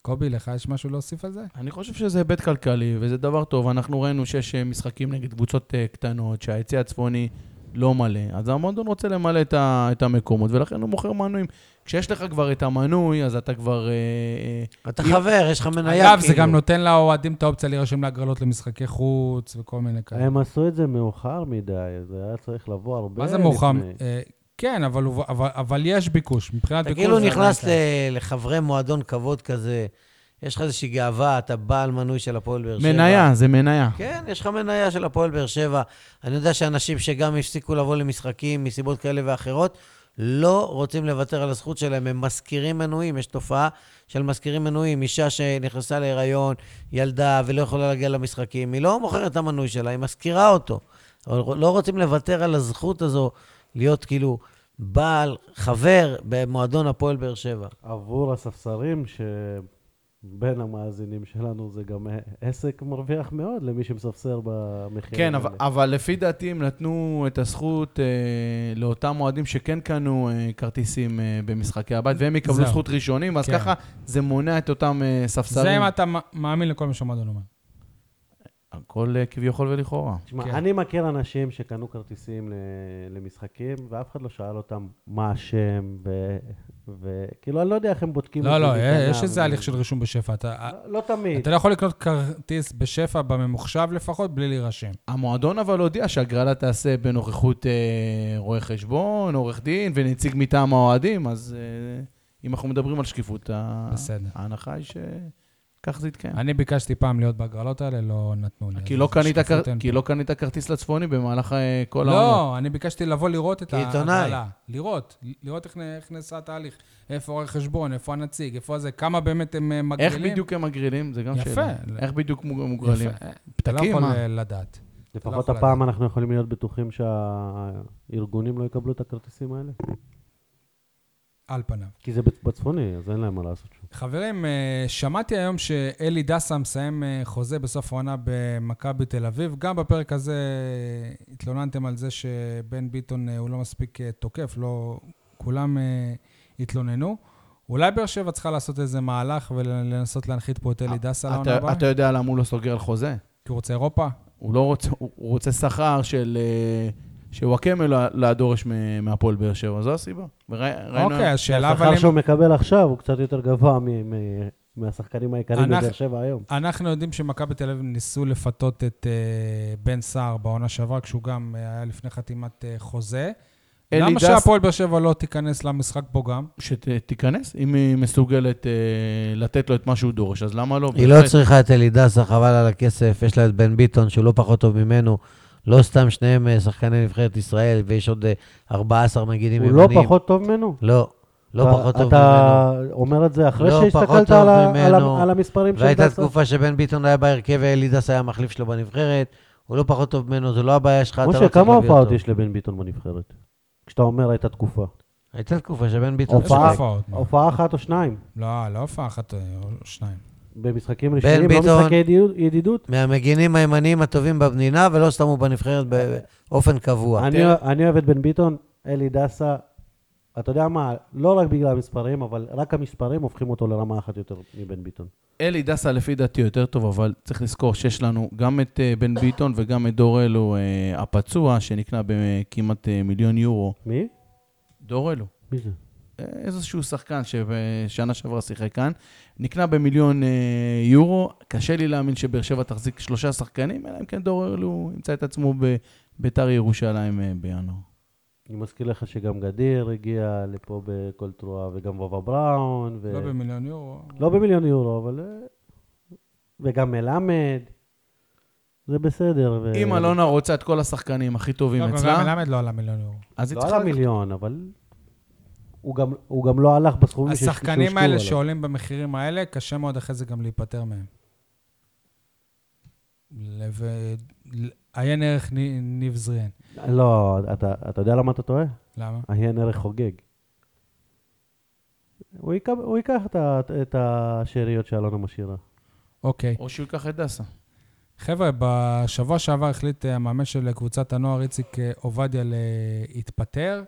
Speaker 1: קובי, לך יש משהו להוסיף על זה?
Speaker 4: אני חושב שזה היבט כלכלי, וזה דבר טוב. אנחנו ראינו שיש אה, משחקים נגד קבוצות אה, קטנות, שהיציא הצפוני לא מלא, אז המועדון רוצה למלא את, ה, את המקומות, ולכן הוא מוכר מנויים. כשיש לך כבר את המנוי, אז אתה כבר... אה, אה,
Speaker 3: אתה
Speaker 4: אם-
Speaker 3: חבר, יש לך מניה.
Speaker 1: אגב, זה
Speaker 3: כאילו.
Speaker 1: גם נותן לאוהדים את האופציה להירשם להגרלות למשחקי חוץ וכל מיני
Speaker 3: כן.
Speaker 1: כאלה.
Speaker 3: אה,
Speaker 2: הם עשו את זה מאוחר מדי, זה היה צריך לבוא הרבה
Speaker 1: מה זה מאוחר?
Speaker 2: לפני.
Speaker 1: אה, כן, אבל הוא- אבל- אבל יש ביקוש. מבחינת
Speaker 3: אתה
Speaker 1: ביקוש...
Speaker 3: כאילו
Speaker 1: זה
Speaker 3: נכנס
Speaker 1: עדיין
Speaker 3: ל- לחברי מועדון כבוד כזה, יש לך איזושהי גאווה, אתה בעל מנוי של הפועל באר שבע.
Speaker 4: מניה, זה מניה.
Speaker 3: כן, יש לך מניה של הפועל באר שבע. אני יודע שאנשים שגם הפסיקו לבוא למשחקים מסיבות כאלה ואחרות, לא רוצים לוותר על הזכות שלהם, הם משכירים מנויים, יש תופעה של משכירים מנויים. אישה שנכנסה להיריון, ילדה ולא יכולה להגיע למשחקים, היא לא מוכרת את המנוי שלה, היא משכירה אותו. אבל לא רוצים לוותר על הזכות הזו להיות כאילו בעל, חבר במועדון הפועל באר שבע.
Speaker 2: עבור הספסרים שבין המאזינים שלנו זה גם עסק מרוויח מאוד למי שמספסר במחיר.
Speaker 4: כן, אבל, אבל לפי דעתי הם נתנו את הזכות אה, לאותם אוהדים שכן קנו אה, כרטיסים אה, במשחקי הבית, והם יקבלו
Speaker 1: זהו.
Speaker 4: זכות ראשונים, אז
Speaker 1: כן.
Speaker 4: ככה זה מונע את אותם אה, ספסרים.
Speaker 1: זה אם אתה מ- מאמין לכל מה שהמועדון אומר.
Speaker 4: הכל אה, כביכול ולכאורה.
Speaker 2: תשמע,
Speaker 1: כן.
Speaker 2: אני מכיר אנשים שקנו כרטיסים ל- למשחקים, ואף אחד לא שאל אותם מה השם ו- וכאילו, אני לא יודע איך הם בודקים
Speaker 1: לא,
Speaker 2: את
Speaker 3: כאילו
Speaker 1: לא,
Speaker 2: מכאן
Speaker 1: יש איזה
Speaker 2: ל-
Speaker 1: הליך של רישום בשפע. אתה
Speaker 2: לא- לא
Speaker 3: אה.
Speaker 2: תמיד.
Speaker 1: אתה לא יכול לקנות כרטיס בשפע בממוחשב לפחות בלי להירשם.
Speaker 4: המועדון אבל הודיע שהגרלה תעשה בנוכחות אה, רואה חשבון, עורך דין ונציג מטעם האוהדים, אז אה, אם אנחנו מדברים על שקיפות, ה-
Speaker 1: בסדר.
Speaker 4: ההנחה היא שכך זה
Speaker 3: כן.
Speaker 4: יתקיים.
Speaker 1: אני ביקשתי פעם להיות בהגרלות האלה, לא נתנו לי.
Speaker 4: כי
Speaker 1: אז
Speaker 4: לא קנית
Speaker 1: שקיפות
Speaker 4: כר-
Speaker 1: אין
Speaker 4: כי
Speaker 1: פה.
Speaker 4: לא קנית כרטיס לצפוני במהלך אה, כל העונה.
Speaker 1: לא, אני ביקשתי לבוא לראות את
Speaker 3: כעיתונאי.
Speaker 1: ההגרלה. לראות, לראות איך נ- איך נעשה התהליך. איפה רואה חשבון, איפה הנציג, איפה זה, כמה באמת הם אה, מגרילים.
Speaker 4: איך בדיוק הם מגרילים? זה גם
Speaker 1: יפה.
Speaker 4: שאלה.
Speaker 1: לא-
Speaker 4: איך בדיוק מוג-
Speaker 1: יפה.
Speaker 4: מוגרלים?
Speaker 1: אתה לא
Speaker 4: פתקים,
Speaker 1: יכול
Speaker 4: מה?
Speaker 1: אה, לדעת. לא
Speaker 2: לפחות
Speaker 1: יכול
Speaker 2: הפעם אנחנו יכולים להיות בטוחים שהארגונים לא יקבלו את הכרטיסים האלה.
Speaker 1: על פניו.
Speaker 2: כי זה בצ- בצפוני, אז אין להם מה לעשות שם.
Speaker 1: חברים, אה, שמעתי היום שאלי דסה מסיים אה, חוזה בסוף העונה במכבי תל אביב. גם בפרק הזה אה, התלוננתם על זה שבן ביטון אה, הוא לא מספיק אה, תוקף, לא... כולם אה, התלוננו. אולי באר שבע צריכה לעשות איזה מהלך ולנסות להנחית פה את אלי דסה לעונה
Speaker 4: אה, אתה-
Speaker 1: הבאה?
Speaker 4: אתה יודע למה הוא לא סוגר על חוזה?
Speaker 1: כי הוא רוצה אירופה?
Speaker 4: הוא לא רוצה, הוא הוא רוצה שכר של... אה, שוואקמה לא- לא דורש מ- מהפועל באר שבע, זו הסיבה. וראי- ראינו-
Speaker 1: אוקיי, השאלה אבל
Speaker 2: השכר
Speaker 1: אם...
Speaker 2: שהוא מקבל עכשיו הוא קצת יותר גבוה מ- מ- מהשחקנים היקרים
Speaker 1: אנחנו-
Speaker 2: בבאר שבע היום.
Speaker 1: אנחנו יודעים שמכבי תל אביב ניסו לפתות את אה, בן סער בעונה שעברה, כשהוא גם אה, היה לפני חתימת אה, חוזה.
Speaker 4: אלי
Speaker 1: למה
Speaker 4: דסה-
Speaker 1: שהפועל באר שבע לא תיכנס למשחק פה גם?
Speaker 4: שתיכנס, אם היא מסוגלת אה, לתת לו את מה שהוא דורש, אז למה לא?
Speaker 3: היא
Speaker 4: בהחלט.
Speaker 3: לא צריכה את אלידסה, חבל על הכסף, יש לה את בן ביטון, שהוא לא פחות טוב ממנו. לא סתם שניהם אה, שחקני נבחרת ישראל, ויש עוד אה, 14 מגינים
Speaker 2: הוא
Speaker 3: ימניים.
Speaker 2: לא פחות טוב ממנו?
Speaker 3: לא, לא
Speaker 2: אתה-
Speaker 3: פחות טוב ממנו.
Speaker 2: אתה אומר את זה אחרי
Speaker 3: לא פחות
Speaker 2: שהסתכלת
Speaker 3: טוב
Speaker 2: על ה- על
Speaker 3: ממנו.
Speaker 2: ה- על המספרים של
Speaker 3: והייתה
Speaker 2: דסה?
Speaker 3: תקופה שבן ביטון היה בהרכב ואלידס היה המחליף שלו בנבחרת. הוא לא פחות טוב ממנו, זו לא הבעיה שלך, אתה לא צריך
Speaker 2: משה,
Speaker 3: להביא
Speaker 2: כמה
Speaker 3: אותו.
Speaker 2: הופעות יש לבן ביטון בנבחרת? כשאתה אומר הייתה תקופה.
Speaker 3: הייתה תקופה שבן ביטון...
Speaker 1: יש לו
Speaker 2: הופעה?
Speaker 1: הופעות.
Speaker 2: הופעה אחת או שניים.
Speaker 1: לא, לא הופעה אחת אה, או שניים.
Speaker 2: במשחקים ראשונים, לא
Speaker 3: ביטון-
Speaker 2: משחקי ידידות- ידידות.
Speaker 3: מהמגינים הימניים הטובים במדינה, ולא סתם הוא בנבחרת באופן קבוע.
Speaker 2: אני- אני אוהב את בן ביטון, אלי דסה. אתה יודע מה, לא רק בגלל המספרים, אבל רק המספרים הופכים אותו לרמה אחת יותר מבן ביטון.
Speaker 4: אלי דסה לפי דעתי יותר טוב, אבל צריך לזכור שיש לנו גם את אה, בן ביטון וגם את דור אלו אה, הפצוע, שנקנה בכמעט אה, מיליון יורו.
Speaker 2: מי?
Speaker 4: דור אלו.
Speaker 2: מי זה?
Speaker 4: אה, איזשהו שחקן שבשנה שעברה שיחק כאן, נקנה במיליון אה, יורו, קשה לי להאמין שבאר שבע תחזיק שלושה שחקנים, אלא אם כן דור אלו ימצא את עצמו בביתר ירושלים אה, בינואר.
Speaker 2: אני מזכיר לך שגם גדיר הגיע לפה בכל תרועה, וגם וובה בראון. ו-
Speaker 1: לא במיליון יורו.
Speaker 2: לא במיליון יורו, אבל... אה, וגם מלמד. זה בסדר. ו-
Speaker 4: אם אלונה רוצה את כל השחקנים הכי טובים
Speaker 1: לא, גם
Speaker 4: אצלה,
Speaker 1: מלמד לא עלה מיליון יורו.
Speaker 4: אז היא
Speaker 2: לא
Speaker 4: צריכה...
Speaker 2: עלה מיליון, אבל... הוא גם, הוא גם לא הלך בסכומים שהש-
Speaker 1: השחקנים
Speaker 2: שהושקעו
Speaker 1: האלה
Speaker 2: עליו.
Speaker 1: שעולים במחירים האלה, קשה מאוד אחרי זה גם להיפטר מהם. לב- ל- עיין ערך ני- ניב זריאן.
Speaker 2: לא, אתה, אתה יודע למה אתה טועה?
Speaker 1: למה?
Speaker 2: עיין ערך חוגג. הוא ייקח, הוא ייקח את, ה- את השאריות שאלונה משאירה.
Speaker 1: אוקיי.
Speaker 4: או שהוא ייקח את דסה.
Speaker 1: חבר'ה, בשבוע שעבר החליט אה, המאמן של קבוצת הנוער איציק אה, עובדיה להתפטר,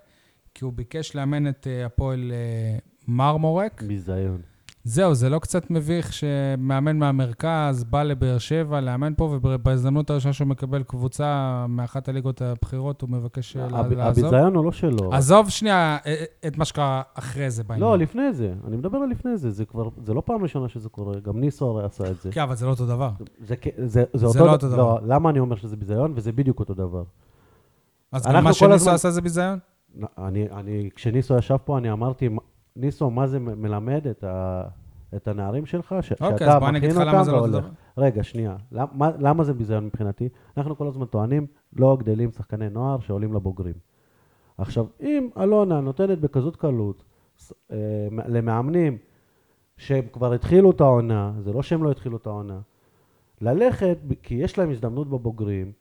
Speaker 1: כי הוא ביקש לאמן את אה, הפועל אה, מרמורק.
Speaker 2: ביזיון.
Speaker 1: זהו, זה לא קצת מביך שמאמן מהמרכז בא לבאר שבע לאמן פה, ובהזדמנות הראשונה שהוא מקבל קבוצה מאחת הליגות הבכירות, הוא מבקש אה,
Speaker 2: הב-
Speaker 1: לה- לעזוב?
Speaker 2: הביזיון הוא לא שלו.
Speaker 1: עזוב שנייה אה, את מה שקרה אחרי זה בעניין.
Speaker 2: לא, לפני זה. אני מדבר על לפני זה. זה כבר, זה לא פעם ראשונה שזה קורה. גם ניסו הרי עשה את זה.
Speaker 1: כן, אבל זה לא אותו דבר.
Speaker 2: זה, כ- זה, זה,
Speaker 1: זה
Speaker 2: אותו,
Speaker 1: לא
Speaker 2: ד-
Speaker 1: אותו דבר.
Speaker 2: לא, למה אני אומר שזה ביזיון? וזה בדיוק אותו דבר.
Speaker 1: אז
Speaker 2: אנחנו
Speaker 1: גם מה
Speaker 2: כל
Speaker 1: שניסו
Speaker 2: הזמן-
Speaker 1: עשה זה ביזיון?
Speaker 2: אני, אני, כשניסו ישב פה, אני אמרתי, "מ- ניסו, מה זה מ- מלמד את, ה, את הנערים שלך, ש,
Speaker 1: אוקיי, אז
Speaker 2: שאתה
Speaker 1: בוא אני אגיד
Speaker 2: מכין
Speaker 1: לך למה
Speaker 2: אותם
Speaker 1: זה לא אותו
Speaker 2: והולך.
Speaker 1: דבר.
Speaker 2: רגע, שנייה. למ, מה, למה זה ביזיון מבחינתי? אנחנו כל הזמן טוענים, לא גדלים שחקני נוער שעולים לבוגרים. עכשיו, אם אלונה נותנת בכזאת קלות ס- אה, מ- למאמנים שהם כבר התחילו את העונה, זה לא שהם לא התחילו את העונה, ללכת, ב- כי יש להם הזדמנות בבוגרים,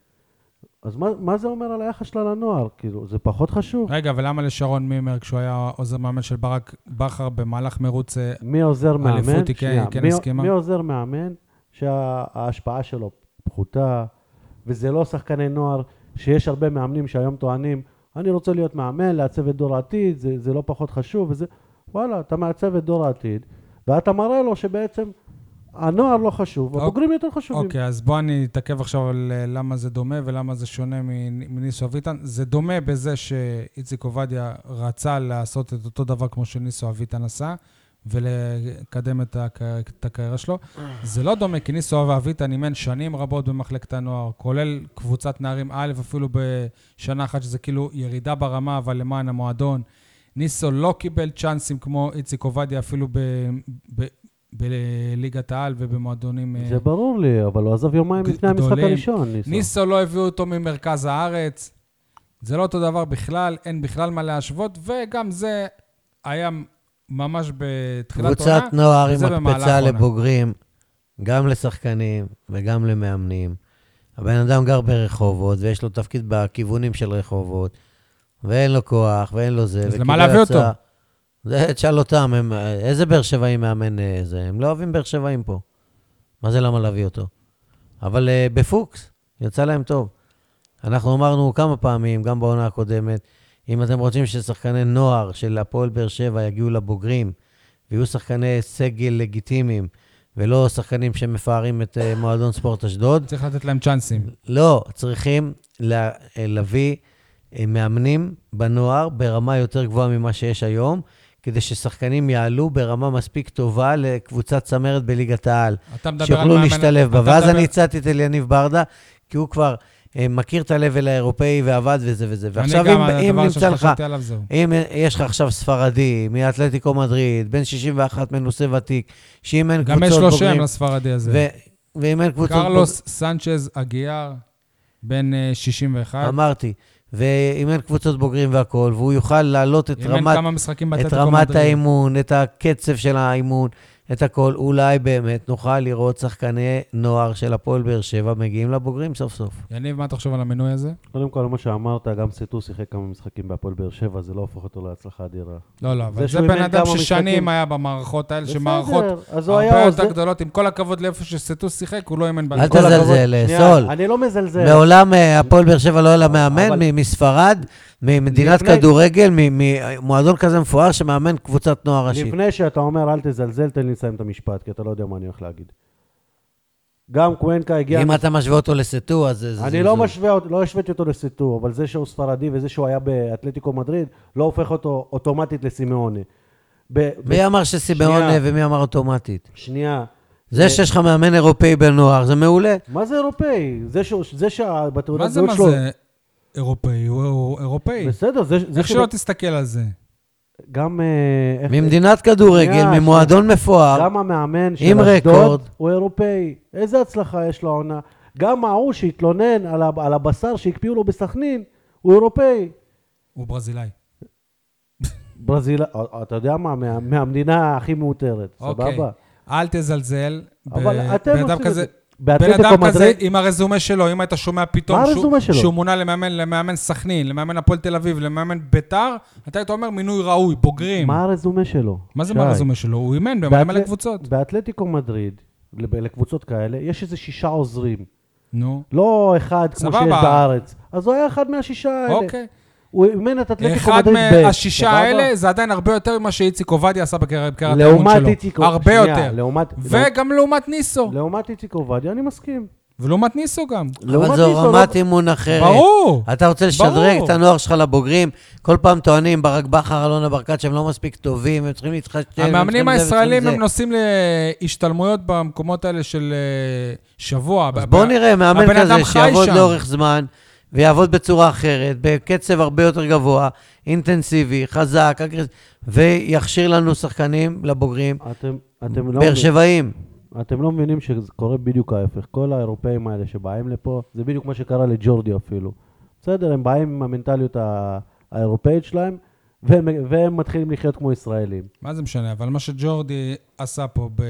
Speaker 2: אז מה, מה זה אומר על היחס שלה לנוער? כאילו, זה פחות חשוב?
Speaker 1: רגע, ולמה לשרון מימר, כשהוא היה עוזר מאמן של ברק בכר במהלך מרוץ... אה,
Speaker 2: מי עוזר מאמן,
Speaker 1: אליפות היא
Speaker 2: שנייה,
Speaker 1: כן
Speaker 2: מי-
Speaker 1: הסכימה?
Speaker 2: מי עוזר מאמן שההשפעה שלו פחותה, וזה לא שחקני נוער, שיש הרבה מאמנים שהיום טוענים, אני רוצה להיות מאמן, לעצב את דור העתיד, זה, זה לא פחות חשוב, וזה, וואלה, אתה מעצב את דור העתיד, ואתה מראה לו שבעצם הנוער לא חשוב,
Speaker 1: אוק-
Speaker 2: הבוגרים יותר חשובים.
Speaker 1: אוקיי, אז בוא אני אתעכב עכשיו על אה, למה זה דומה ולמה זה שונה מ- מניסו אביטן. זה דומה בזה שאיציק עובדיה רצה לעשות את אותו דבר כמו שניסו אביטן עשה, ולקדם את, הקר... את הקריירה שלו. זה לא דומה, כי ניסו אביטן אימן שנים רבות במחלקת הנוער, כולל קבוצת נערים א', אפילו בשנה אחת, שזה כאילו ירידה ברמה, אבל למען המועדון. ניסו לא קיבל צ'אנסים כמו איציק עובדיה, אפילו ב... ב... בליגת העל ובמועדונים... אה,
Speaker 2: זה ברור לי, אבל הוא עזב יומיים
Speaker 1: ג-
Speaker 2: לפני המשחק
Speaker 1: גדולים.
Speaker 2: הראשון, ניסו.
Speaker 1: ניסו לא הביאו אותו ממרכז הארץ. זה לא אותו דבר בכלל, אין בכלל מה להשוות, וגם זה היה ממש בתחילת
Speaker 3: קבוצת
Speaker 1: עונה.
Speaker 3: נוער עם
Speaker 1: וזה במהלך
Speaker 3: מקפצה
Speaker 1: עונה.
Speaker 3: לבוגרים, גם לשחקנים וגם למאמנים. הבן אדם גר ברחובות, ויש לו תפקיד בכיוונים של רחובות, ואין לו כוח, ואין לו זה.
Speaker 1: אז
Speaker 3: וכאילו
Speaker 1: למה להביא
Speaker 3: יצא-
Speaker 1: אותו?
Speaker 3: זה, תשאל אותם, הם, איזה באר שבעי מאמן אה, זה? הם לא אוהבים באר שבעים פה. מה זה למה להביא אותו? אבל אה, בפוקס, יצא להם טוב. אנחנו אמרנו כמה פעמים, גם בעונה הקודמת, אם אתם רוצים ששחקני נוער של הפועל באר שבע יגיעו לבוגרים ויהיו שחקני סגל לגיטימיים, ולא שחקנים שמפארים את אה, מועדון ספורט אשדוד,
Speaker 1: צריך לתת להם צ'אנסים.
Speaker 3: לא, צריכים לה, להביא אה, מאמנים בנוער ברמה יותר גבוהה ממה שיש היום, כדי ששחקנים יעלו ברמה מספיק טובה לקבוצת צמרת בליגת העל,
Speaker 1: אתה מדבר על
Speaker 3: שיוכלו
Speaker 1: מאמן-
Speaker 3: להשתלב בה.
Speaker 1: אתה
Speaker 3: ואז
Speaker 1: מדבר-
Speaker 3: אני הצעתי את אליניב ברדה, כי הוא כבר אה, מכיר את הלבל האירופאי ועבד וזה וזה.
Speaker 1: אני
Speaker 3: ועכשיו,
Speaker 1: גם,
Speaker 3: אם, אם
Speaker 1: הדבר
Speaker 3: נמצא
Speaker 1: הראשון
Speaker 3: לך...
Speaker 1: שחשבתי עליו זהו.
Speaker 3: אם יש לך עכשיו ספרדי מאתלטיקו מדריד, בן 61 מנוסה ותיק, שאם אין
Speaker 1: גם יש
Speaker 3: קבוצות
Speaker 1: לו שם
Speaker 3: בוגרים...
Speaker 1: לספרדי הזה.
Speaker 3: ו- ואם אין קבוצות...
Speaker 1: קרלוס סנצ'ז אגיאר, בן אה, 61.
Speaker 3: אמרתי. ואם אין קבוצות בוגרים והכול, והוא יוכל להעלות את
Speaker 1: אימן
Speaker 3: רמת,
Speaker 1: כמה משחקים
Speaker 3: את
Speaker 1: באתלטיקו
Speaker 3: רמת
Speaker 1: מדריד.
Speaker 3: האימון, את הקצב של האימון, את הכל, אולי באמת נוכל לראות שחקני נוער של הפועל באר שבע מגיעים לבוגרים סוף סוף.
Speaker 1: יניב, מה אתה חושב על המינוי הזה?
Speaker 2: קודם כל, מה שאמרת, גם סטו שיחק כמה משחקים בהפועל באר שבע, זה לא הופך אותו להצלחה אדירה.
Speaker 1: לא, לא,
Speaker 2: זה
Speaker 1: אבל זה
Speaker 2: שהוא
Speaker 1: בן
Speaker 2: אימן
Speaker 1: אדם
Speaker 2: כמה
Speaker 1: ששנים
Speaker 2: משחקים.
Speaker 1: היה במערכות האלה,
Speaker 2: בסדר,
Speaker 1: שמערכות
Speaker 2: אז הוא
Speaker 1: הרבה
Speaker 2: היה
Speaker 1: יותר
Speaker 2: עוזר-
Speaker 1: גדולות. עם כל הכבוד לאיפה שסטוס שיחק, הוא לא אימן
Speaker 3: אל
Speaker 1: בליגה.
Speaker 2: כל הכבוד-
Speaker 3: תזלזל, אה,
Speaker 2: שנייה,
Speaker 3: סול.
Speaker 2: אני לא מזלזל.
Speaker 3: מעולם אה, הפועל באר שבע לא היה לה מאמן
Speaker 2: אבל-
Speaker 3: מ- מספרד, ממדינת
Speaker 2: לפני-
Speaker 3: כדורגל, מ- ממועדון כזה מפואר שמאמן קבוצת נוער ראשית.
Speaker 2: לפני שאתה אומר אל תזלזל, תן לי לסיים את המשפט, כי אתה לא יודע מה אני הולך להגיד. גם קוונקה הגיע...
Speaker 3: אם אתה משווה אותו לסטו, אז זה... זה-
Speaker 2: אני לא
Speaker 3: זה-
Speaker 2: משווה, אותו- לא השוויתי אותו לסיטור, אבל זה שהוא ספרדי וזה שהוא היה באתלטיקו מדריד, לא הופך אותו אוטומטית לסימאוני. ב- ב-
Speaker 3: מי אמר שסיבאון אה,
Speaker 2: שנייה. אה,
Speaker 3: ומי אמר אוטומטית?
Speaker 2: שנייה.
Speaker 3: זה שיש לך מאמן אירופאי בנוער, זה מעולה.
Speaker 2: מה זה אירופאי? זה שהוא- זה
Speaker 1: מה
Speaker 2: שבתעודת
Speaker 1: זה,
Speaker 2: זהות
Speaker 1: מה
Speaker 2: שלו...
Speaker 1: זה? אירופאי, הוא- הוא אירופאי.
Speaker 2: בסדר, זה... זה
Speaker 1: איך
Speaker 2: שהוא-
Speaker 1: שלא תסתכל על זה.
Speaker 2: גם... אה, איך-
Speaker 3: ממדינת כדורגל,
Speaker 2: שנייה,
Speaker 3: ממועדון מפואר,
Speaker 2: גם המאמן של
Speaker 3: עם רקורד.
Speaker 2: אשדוד הוא אירופאי. איזה הצלחה יש לו העונה. גם ההוא שהתלונן על ה- על הבשר שהקפיאו לו בסכנין, הוא אירופאי.
Speaker 1: הוא ברזילאי.
Speaker 2: ברזיל... אה, אתה יודע מה? מה- מהמדינה הכי מאותרת,
Speaker 1: אוקיי.
Speaker 2: סבבה?
Speaker 1: אל תזלזל. ב-
Speaker 2: אבל אתם
Speaker 1: בן אדם
Speaker 2: עושים את
Speaker 1: כזה...
Speaker 2: זה.
Speaker 1: בן אדם
Speaker 2: באתלטיקו
Speaker 1: כזה,
Speaker 2: מדריד,
Speaker 1: עם הרזומה שלו, אם היית שומע פתאום
Speaker 2: מה
Speaker 1: שהוא-
Speaker 2: הרזומה שלו?
Speaker 1: שהוא מונה למאמן למאמן סכנין, למאמן הפועל תל אביב, למאמן ביתר, אתה היית אומר מינוי ראוי, בוגרים.
Speaker 2: מה הרזומה שלו?
Speaker 1: מה זה
Speaker 2: שי?
Speaker 1: מה הרזומה שלו? הוא אימן במלא מלא
Speaker 2: באתל-
Speaker 1: קבוצות.
Speaker 2: באתלטיקו מדריד, לב- לקבוצות כאלה, יש איזה שישה עוזרים.
Speaker 1: נו,
Speaker 2: לא אחד כמו
Speaker 1: סבבה.
Speaker 2: שיש בארץ. אז הוא היה אחד מהשישה האלה.
Speaker 1: אוקיי.
Speaker 2: הוא אימן את אתלטיקו
Speaker 1: אחד
Speaker 2: מדריד ב',
Speaker 1: מהשישה
Speaker 2: סבבה?
Speaker 1: האלה, זה עדיין הרבה יותר ממה שאיציק עובדיה עשה בקריירת האמון שלו.
Speaker 2: לעומת איציק עובדיה.
Speaker 1: הרבה יותר.
Speaker 2: לעומת, לא-
Speaker 1: וגם לעומת ניסו.
Speaker 2: לעומת איציק עובדיה, אני מסכים.
Speaker 1: ולעומת ניסו גם.
Speaker 3: אבל
Speaker 2: לעומת
Speaker 3: זו
Speaker 2: ניסו, לא-
Speaker 3: רמת אימון אחרת.
Speaker 1: ברור.
Speaker 3: אתה רוצה לשדרג
Speaker 1: ברור.
Speaker 3: את הנוער שלך לבוגרים, כל פעם טוענים, ברק בכר, אלונה ברקת, שהם לא מספיק טובים, הם צריכים להתחשב.
Speaker 1: המאמנים
Speaker 3: הם צריכים זה,
Speaker 1: הישראלים
Speaker 3: צריכים
Speaker 1: הם
Speaker 3: זה.
Speaker 1: נוסעים להשתלמויות במקומות האלה של אה, שבוע.
Speaker 3: אז
Speaker 1: ב-
Speaker 3: בואו
Speaker 1: ב-
Speaker 3: נראה, מאמן
Speaker 1: הבן אדם
Speaker 3: כזה
Speaker 1: חי
Speaker 3: שיעבוד
Speaker 1: שם.
Speaker 3: לאורך זמן, ויעבוד בצורה אחרת, בקצב הרבה יותר גבוה, אינטנסיבי, חזק, אגרס- ויכשיר לנו שחקנים לבוגרים,
Speaker 2: אתם, אתם, לא
Speaker 3: באר שבעים.
Speaker 2: מבינים, אתם לא מבינים שזה קורה בדיוק ההפך. כל האירופאים האלה שבאים לפה, זה בדיוק מה שקרה לג'ורדי אפילו. בסדר, הם באים עם המנטליות ה- האירופאית שלהם, והם, והם מתחילים לחיות כמו ישראלים.
Speaker 1: מה זה משנה? אבל מה שג'ורדי עשה פה ב...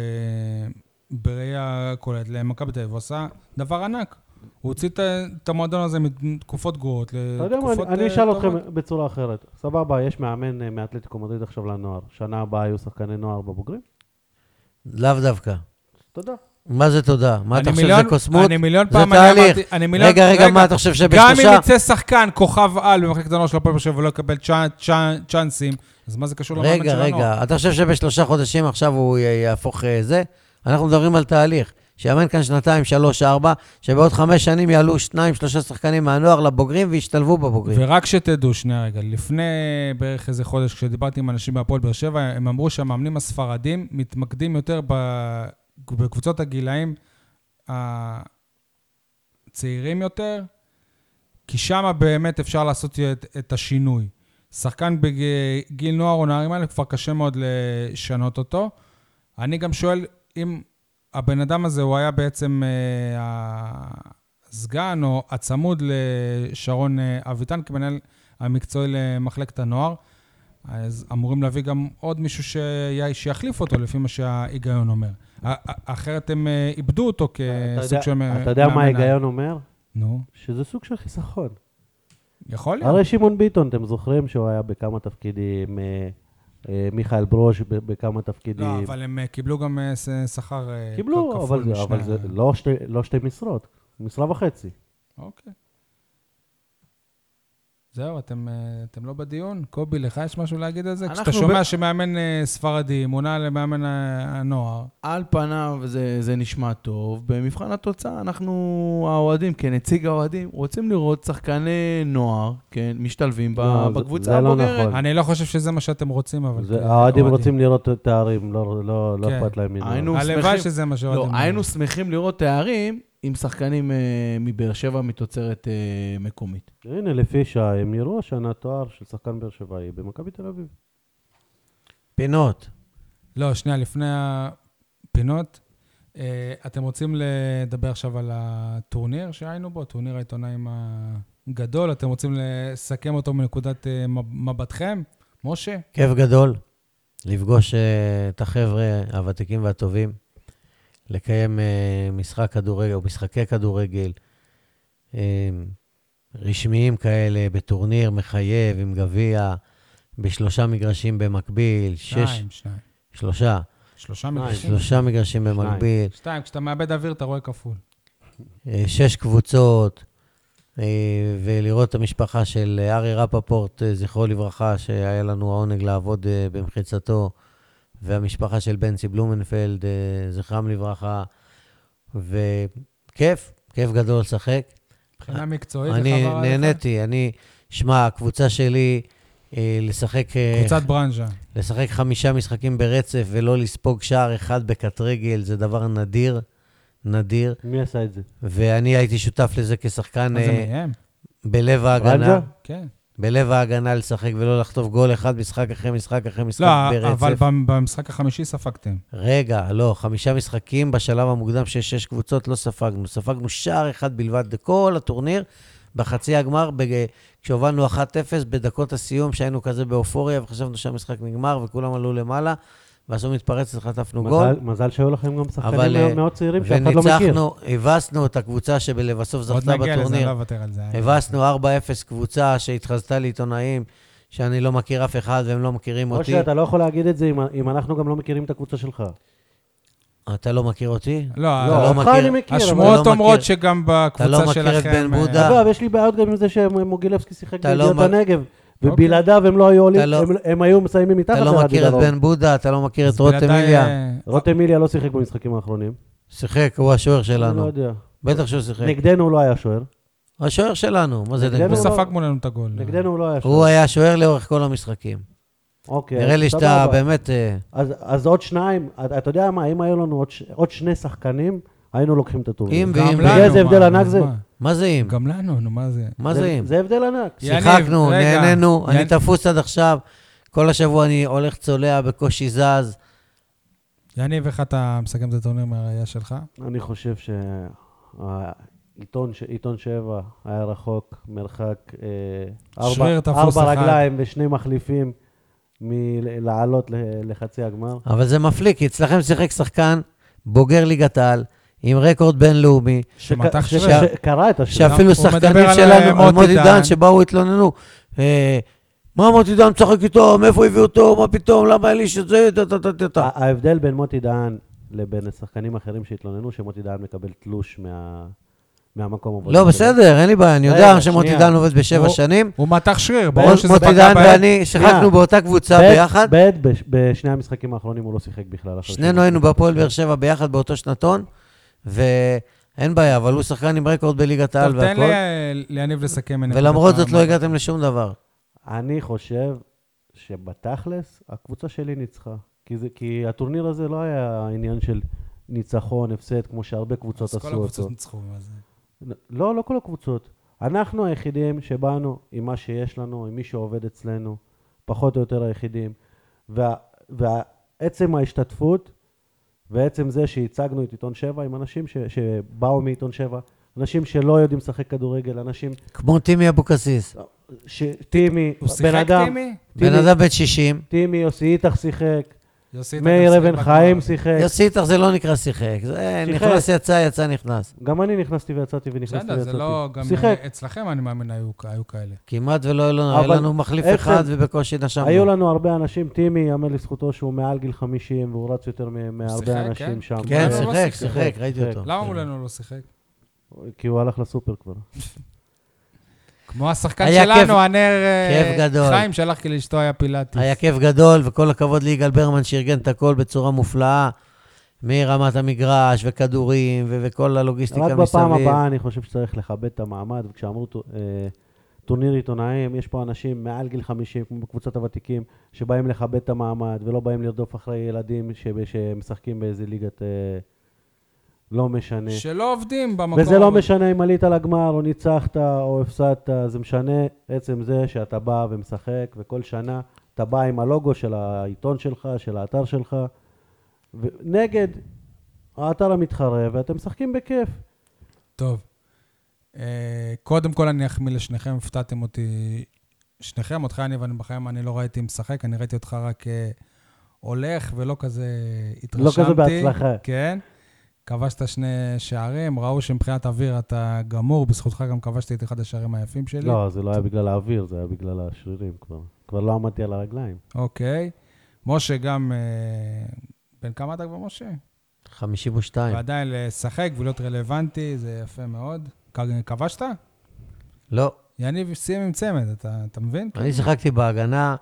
Speaker 1: בראייה כוללת למכבי תל אביב, הוא עשה דבר ענק. הוא הוציא את ה- את המועדון הזה מתקופות גרועות
Speaker 2: אתה יודע מה,
Speaker 1: לתקופות
Speaker 2: אני- אני
Speaker 1: אה,
Speaker 2: אשאל
Speaker 1: טובות.
Speaker 2: אתכם בצורה אחרת. סבבה, יש מאמן אה, מאתלטיקו מדריד עכשיו לנוער. שנה הבאה יהיו שחקני נוער בבוגרים?
Speaker 3: לאו דווקא.
Speaker 2: תודה.
Speaker 3: מה זה תודה? מה אתה
Speaker 1: אני
Speaker 3: חושב,
Speaker 1: מיליון-
Speaker 3: זה קוסמות?
Speaker 1: אני מיליון
Speaker 3: זה
Speaker 1: פעם, אני
Speaker 3: תהליך.
Speaker 1: אמרתי- אני מיליון-
Speaker 3: רגע, רגע,
Speaker 1: רגע,
Speaker 3: מה אתה חושב
Speaker 1: גם אם
Speaker 3: שבשלושה...
Speaker 1: יצא שחקן, כוכב על במחלקת הנוער של הפועל באר שבע ולא יקבל צ'אנ- צ'אנ- צ'אנסים, אז מה זה קשור למאמן של
Speaker 3: רגע,
Speaker 1: הנוער?
Speaker 3: רגע, אתה חושב שבשלושה חודשים עכשיו הוא י- יהפוך אה, זה? אנחנו מדברים על תהליך. שיאמן כאן שנתיים, שלוש, ארבע, שבעוד חמש שנים יעלו שניים, שלושה שחקנים מהנוער לבוגרים וישתלבו בבוגרים.
Speaker 1: ורק שתדעו, שנייה רגע, לפני בערך איזה חודש, כשדיברתי עם אנשים מהפועל באר שבע, הם אמרו שהמאמנים הספרדים מתמקדים יותר ב- בקבוצות הגילאים הצעירים יותר, כי שם באמת אפשר לעשות את, את השינוי. שחקן בגיל נוער או נערים האלה, כבר קשה מאוד לשנות אותו. אני גם שואל אם הבן אדם הזה, הוא היה בעצם אה, הסגן או הצמוד לשרון אה, אביטן כמנהל המקצועי למחלקת הנוער, אז אמורים להביא גם עוד מישהו שיה- שיחליף אותו, לפי מה שההיגיון אומר. א- א- אחרת הם אה, איבדו אותו
Speaker 2: אתה
Speaker 1: כסוג
Speaker 2: יודע-
Speaker 1: של... מ-
Speaker 2: אתה יודע מה
Speaker 1: מאמן אה. על.
Speaker 2: ההיגיון אומר?
Speaker 1: נו,
Speaker 2: שזה סוג של חיסכון.
Speaker 1: יכול להיות.
Speaker 2: הרי שמעון ביטון, אתם זוכרים שהוא היה בכמה תפקידים, אה, אה, מיכאל ברוש ב- בכמה תפקידים.
Speaker 1: לא, אבל הם אה, קיבלו גם אה, ש- שכר אה, כ-
Speaker 2: קיבלו, אבל
Speaker 1: כפול
Speaker 2: זה- אבל
Speaker 1: משני
Speaker 2: זה
Speaker 1: ה-
Speaker 2: לא שתי- לא שתי משרות, משרה וחצי.
Speaker 1: אוקיי. זהו, אתם, אה, אתם לא בדיון? קובי, לך יש משהו להגיד על זה?
Speaker 4: אנחנו
Speaker 1: כשאתה שומע
Speaker 4: ב-
Speaker 1: שמאמן אה, ספרדי מונה למאמן ה- הנוער,
Speaker 4: על פניו זה, זה נשמע טוב. במבחן התוצאה, אנחנו, האוהדים, כנציג האוהדים, רוצים לראות שחקני נוער, כן, משתלבים ב-
Speaker 2: לא, זה-
Speaker 4: בקבוצה
Speaker 2: זה לא
Speaker 4: הבוגרת.
Speaker 2: נכון.
Speaker 1: אני לא חושב שזה מה שאתם רוצים, אבל...
Speaker 2: זה-
Speaker 1: כ-
Speaker 2: האוהדים
Speaker 1: אוהדים.
Speaker 2: רוצים לראות תארים, לא לא- לא
Speaker 1: כן.
Speaker 2: אכפת להם מזה.
Speaker 4: היינו-
Speaker 1: הלוואי
Speaker 4: שמחים.
Speaker 1: שזה מה
Speaker 4: לא,
Speaker 1: שאוהדים...
Speaker 4: היינו שמחים לראות תארים עם שחקנים אה, מבאר שבע מתוצרת אה, מקומית.
Speaker 2: הנה, לפי שעה, הם יראו השנה תואר של שחקן באר שבעי במכבי תל אביב.
Speaker 3: פינות.
Speaker 1: לא, שנייה, לפני הפינות, אה, אתם רוצים לדבר עכשיו על הטורניר שהיינו בו, טורניר העיתונאים הגדול, אתם רוצים לסכם אותו מנקודת אה, מב- מבטכם? משה?
Speaker 3: כיף גדול לפגוש אה, את החבר'ה הוותיקים והטובים, לקיים אה, משחק כדורגל או משחקי כדורגל אה, רשמיים כאלה, בטורניר מחייב עם גביע, בשלושה מגרשים במקביל, שש,
Speaker 1: שניים, שניים.
Speaker 3: שלושה,
Speaker 1: שלושה מגרשים?
Speaker 3: שלושה מגרשים במקביל,
Speaker 1: שתיים, כשאתה מאבד אוויר אתה רואה כפול.
Speaker 3: אה, שש קבוצות, אה, ולראות את המשפחה של ארי רפפורט, אה, זכרו לברכה, שהיה לנו העונג לעבוד אה, במחיצתו, והמשפחה של בנצי בלומנפלד, אה, זכרם לברכה, וכיף, כיף גדול לשחק.
Speaker 1: מבחינה מקצועית, איך
Speaker 3: אני
Speaker 1: עבר עליך?
Speaker 3: נהניתי, אני, שמע, הקבוצה שלי, אה, לשחק... אה,
Speaker 1: קבוצת ברנז'ה.
Speaker 3: לשחק חמישה משחקים ברצף ולא לספוג שער אחד בקט רגל זה דבר נדיר, נדיר.
Speaker 2: מי עשה את זה?
Speaker 3: ואני הייתי שותף לזה כשחקן
Speaker 1: מה זה
Speaker 3: אה,
Speaker 1: מהם?
Speaker 3: בלב ההגנה.
Speaker 2: רנג'ה?
Speaker 1: כן.
Speaker 3: בלב ההגנה לשחק ולא לחטוף גול אחד משחק אחרי משחק אחרי משחק
Speaker 1: לא,
Speaker 3: ברצף.
Speaker 1: אבל במ- במשחק החמישי ספגתם.
Speaker 3: רגע, לא, חמישה משחקים בשלב המוקדם של שש קבוצות לא ספגנו. ספגנו שער אחד בלבד בכל הטורניר, בחצי הגמר, בג... כשהובלנו 1-0 בדקות הסיום, שהיינו כזה באופוריה וחשבנו שהמשחק נגמר וכולם עלו למעלה, ועשו מתפרצת, חטפנו גול.
Speaker 2: מזל- מזל שהיו לכם גם
Speaker 3: אבל,
Speaker 2: שחקנים
Speaker 3: אה,
Speaker 2: מאוד צעירים שאף אחד לא מכיר.
Speaker 3: וניצחנו, הבסנו את הקבוצה שבסוף
Speaker 1: עוד נגיע
Speaker 3: זכתה
Speaker 1: לזה, אני
Speaker 3: בטורניר.
Speaker 1: לא אוותר על זה.
Speaker 3: הבסנו 4-0 קבוצה שהתחזתה לעיתונאים, שאני לא מכיר אף אחד והם לא מכירים אותי.
Speaker 2: משה, אתה לא יכול להגיד את זה אם- אם אנחנו גם לא מכירים את הקבוצה שלך.
Speaker 3: אתה לא מכיר אותי?
Speaker 1: לא,
Speaker 3: אתה
Speaker 2: לא,
Speaker 1: אבל-
Speaker 2: אותך
Speaker 3: מכיר-
Speaker 2: אני מכיר, אבל...
Speaker 1: השמועות
Speaker 3: אתה לא
Speaker 1: אומרות
Speaker 3: מכיר-
Speaker 1: שגם בקבוצה
Speaker 3: לא מכיר
Speaker 1: שלכם...
Speaker 3: את בן
Speaker 1: אה,
Speaker 3: בודה?
Speaker 2: אגב, יש לי בעיות גם עם זה שמוגילבסקי שיחק
Speaker 3: אתה לא
Speaker 2: בידיעות
Speaker 3: מ- אוקיי.
Speaker 2: הנגב, ובלעדיו הם לא היו עולים,
Speaker 3: אתה לא-
Speaker 2: הם- הם היו מסיימים מתחת
Speaker 3: אתה לא
Speaker 2: לרדיו
Speaker 3: מכיר את
Speaker 2: דרום.
Speaker 3: בן בודה, אתה לא מכיר את
Speaker 1: אז בלעדיי,
Speaker 3: רותם איליה.
Speaker 1: אה,
Speaker 2: רותם איליה לא שיחק במשחקים האחרונים.
Speaker 3: שיחק, הוא השוער
Speaker 2: אני לא
Speaker 3: שלנו.
Speaker 2: יודע.
Speaker 3: בטח שהוא שיחק.
Speaker 2: נגדנו הוא לא היה שוער.
Speaker 3: השוער שלנו, מה זה
Speaker 2: נגדנו
Speaker 1: הוא
Speaker 3: נגדנו?
Speaker 2: לא-
Speaker 1: ספג מולנו את הגול.
Speaker 2: נגדנו הוא לא היה שוער.
Speaker 3: הוא היה שוער לאורך כל המשחקים.
Speaker 2: אוקיי.
Speaker 3: נראה לי שאתה
Speaker 2: סבבה.
Speaker 3: באמת... אה,
Speaker 2: אז, אז עוד שניים, אתה, אתה יודע מה, אם היו לנו עוד, ש, עוד שני שחקנים, היינו לוקחים את הטורניר.
Speaker 3: אם
Speaker 1: גם
Speaker 3: ואם...
Speaker 1: לנו,
Speaker 2: בגלל זה
Speaker 1: מה,
Speaker 2: הבדל
Speaker 1: נו,
Speaker 2: ענק
Speaker 1: אז
Speaker 2: זה.
Speaker 1: מה?
Speaker 3: מה זה אם?
Speaker 1: גם לנו, נו, מה זה?
Speaker 3: מה זה אם?
Speaker 2: זה הבדל ענק.
Speaker 1: יניב,
Speaker 3: שיחקנו,
Speaker 1: רגע.
Speaker 3: נהנינו, אני
Speaker 1: יניב-
Speaker 3: תפוס עד עכשיו. כל השבוע אני הולך צולע, בקושי זז.
Speaker 1: יניב, איך אתה מסכם את הטורניר מהראייה שלך?
Speaker 2: אני חושב שעיתון ש... עיתון שבע היה רחוק, מרחק אה,
Speaker 1: שריר
Speaker 2: ארבע,
Speaker 1: תפוס
Speaker 2: ארבע
Speaker 1: אחד.
Speaker 2: רגליים ושני מחליפים מלעלות ל- לחצי הגמר.
Speaker 3: אבל זה מפליא, כי אצלכם שיחק שחקן בוגר ליגת העל, עם רקורד בינלאומי,
Speaker 1: שמתח
Speaker 2: שק- ש-
Speaker 1: שריר.
Speaker 2: שקרא את השיר.
Speaker 1: הוא
Speaker 3: שאפילו
Speaker 1: מדבר
Speaker 3: שחקנים
Speaker 1: על, אה,
Speaker 3: שלנו, על
Speaker 1: מוטי
Speaker 3: מוטי
Speaker 1: דן.
Speaker 3: דן, שבאו התלוננו. אה, מה מוטי דן משחק איתו? מאיפה הביאו אותו? מה פתאום? למה אליש את זה? טה, טה, טה, טה, טה.
Speaker 2: ה- ההבדל בין מוטי דהן לבין שחקנים אחרים שהתלוננו, שמוטי דהן מקבל תלוש מה... מהמקום עבודה.
Speaker 3: לא,
Speaker 2: שלו.
Speaker 3: בסדר, אין לי בעיה, אני יודע
Speaker 2: רגע,
Speaker 3: שמוטי
Speaker 2: שנייה.
Speaker 3: דן עובד בשבע
Speaker 1: הוא-
Speaker 3: שנים.
Speaker 1: הוא מתח שריר, ברור שזה
Speaker 3: מוטי
Speaker 1: פגע
Speaker 3: דן
Speaker 1: בהם.
Speaker 3: ואני שיחקנו
Speaker 2: שנייה.
Speaker 3: באותה קבוצה
Speaker 2: ב'-
Speaker 3: ביחד.
Speaker 2: ב', בש- בשני המשחקים האחרונים הוא לא שיחק בכלל. אחרי
Speaker 3: שנינו
Speaker 2: שהוא-
Speaker 3: היינו בהפועל באר שבע ביחד באותו שנתון, ואין בעיה, אבל הוא שחקן עם רקורד בליגת העל
Speaker 1: טוב, תן
Speaker 3: והכל,
Speaker 1: לי- אה, ליניב לסכם. מנקודת
Speaker 3: ולמרות זאת לא
Speaker 1: המבט.
Speaker 3: הגעתם לשום דבר.
Speaker 2: אני חושב שבתכלס, הקבוצה שלי ניצחה. כי, זה, כי הטורניר הזה לא היה עניין של ניצחון, הפסד, כמו שהרבה קבוצות
Speaker 1: אז
Speaker 2: עשו
Speaker 1: כל
Speaker 2: לא אותו.
Speaker 1: הקבוצות ניצחו. אז-
Speaker 2: לא, לא כל הקבוצות. אנחנו היחידים שבאנו עם מה שיש לנו, עם מי שעובד אצלנו, פחות או יותר היחידים. וה- ועצם ההשתתפות ועצם זה שהצגנו את עיתון 7 עם אנשים ש, שבאו מעיתון 7, אנשים שלא יודעים לשחק כדורגל, אנשים
Speaker 3: כמו טימי אבוקסיס.
Speaker 2: לא, שטימי,
Speaker 1: הוא שיחק,
Speaker 2: בן אדם,
Speaker 1: טימי?
Speaker 3: בן אדם בן 60,
Speaker 2: טימי, יוסי איתך שיחק,
Speaker 1: יוסי, אתה גם
Speaker 2: מאיר
Speaker 1: שיחק
Speaker 2: אבן
Speaker 1: בגמר.
Speaker 2: חיים שיחק.
Speaker 3: יוסי איתך זה לא נקרא שיחק, זה
Speaker 2: שיחק.
Speaker 3: נכנס יצא, יצא נכנס.
Speaker 2: גם אני נכנסתי ויצאתי ונכנסתי
Speaker 1: בסדר,
Speaker 2: ויצאתי.
Speaker 1: זה לא... גם
Speaker 2: שיחק.
Speaker 1: אצלכם, אני מאמין, היו היו כאלה.
Speaker 3: כמעט ולא היה לנו, היה
Speaker 2: אבל
Speaker 3: לנו מחליף
Speaker 2: עצם-
Speaker 3: אחד ובקושי נשמנו.
Speaker 2: היו לנו הרבה אנשים, טימי, ייאמר לזכותו שהוא מעל גיל 50 והוא רץ יותר מ-
Speaker 1: שיחק,
Speaker 2: מהרבה
Speaker 1: כן?
Speaker 2: אנשים שם. אה,
Speaker 3: כן,
Speaker 1: אבל הוא לא
Speaker 3: שיחק,
Speaker 1: שיחק.
Speaker 3: שיחק, ראיתי
Speaker 2: שיחק.
Speaker 3: אותו.
Speaker 1: למה מולנו הוא לא שיחק?
Speaker 2: כי הוא הלך לסופר כבר.
Speaker 1: כמו השחקן
Speaker 3: היה כיף-
Speaker 1: שלנו, הנר אה,
Speaker 3: כיף גדול.
Speaker 1: חיים, שלחתי לאשתו היה פילאטיס.
Speaker 3: היה כיף גדול, וכל הכבוד ליגאל ברמן שארגן את הכל בצורה מופלאה, מרמת המגרש וכדורים ו- וכל הלוגיסטיקה
Speaker 2: רק
Speaker 3: מסביב.
Speaker 2: בפעם הבאה אני חושב שצריך לכבד את המעמד, וכשאמרו טו- אה, טורניר עיתונאים, יש פה אנשים מעל גיל 50, כמו בקבוצת הוותיקים, שבאים לכבד את המעמד ולא באים לרדוף אחרי ילדים ש- שמשחקים באיזה ליגת... אה, לא משנה.
Speaker 1: שלא עובדים במקום.
Speaker 2: וזה לא
Speaker 1: אבל-
Speaker 2: משנה אם עלית לגמר או ניצחת או הפסדת, זה משנה עצם זה שאתה בא ומשחק, וכל שנה אתה בא עם הלוגו של העיתון שלך, של האתר שלך, ו- נגד האתר המתחרה, ואתם משחקים בכיף.
Speaker 1: טוב. אה, קודם כל אני אחמיא לשניכם, הפתעתם אותי. שניכם, אותך אני ואני בחיים, אני לא ראיתי משחק, אני ראיתי אותך רק אה, הולך ולא כזה
Speaker 2: לא
Speaker 1: התרשמתי.
Speaker 2: כזה בהצלחה.
Speaker 1: כן. כבשת שני שערים, ראו שמבחינת אוויר אתה גמור, בזכותך גם כבשתי את אחד השערים היפים שלי.
Speaker 2: לא, זה לא היה בגלל האוויר, זה היה בגלל השרירים כבר. כבר לא עמדתי על הרגליים.
Speaker 1: אוקיי. משה גם... אה, בן כמה אתה כבר, משה?
Speaker 3: 52.
Speaker 1: ועדיין לשחק ולהיות רלוונטי, זה יפה מאוד. כ- כבשת?
Speaker 3: לא,
Speaker 1: יניב סיים עם צמד, אתה אתה מבין?
Speaker 3: אני שיחקתי בהגנה.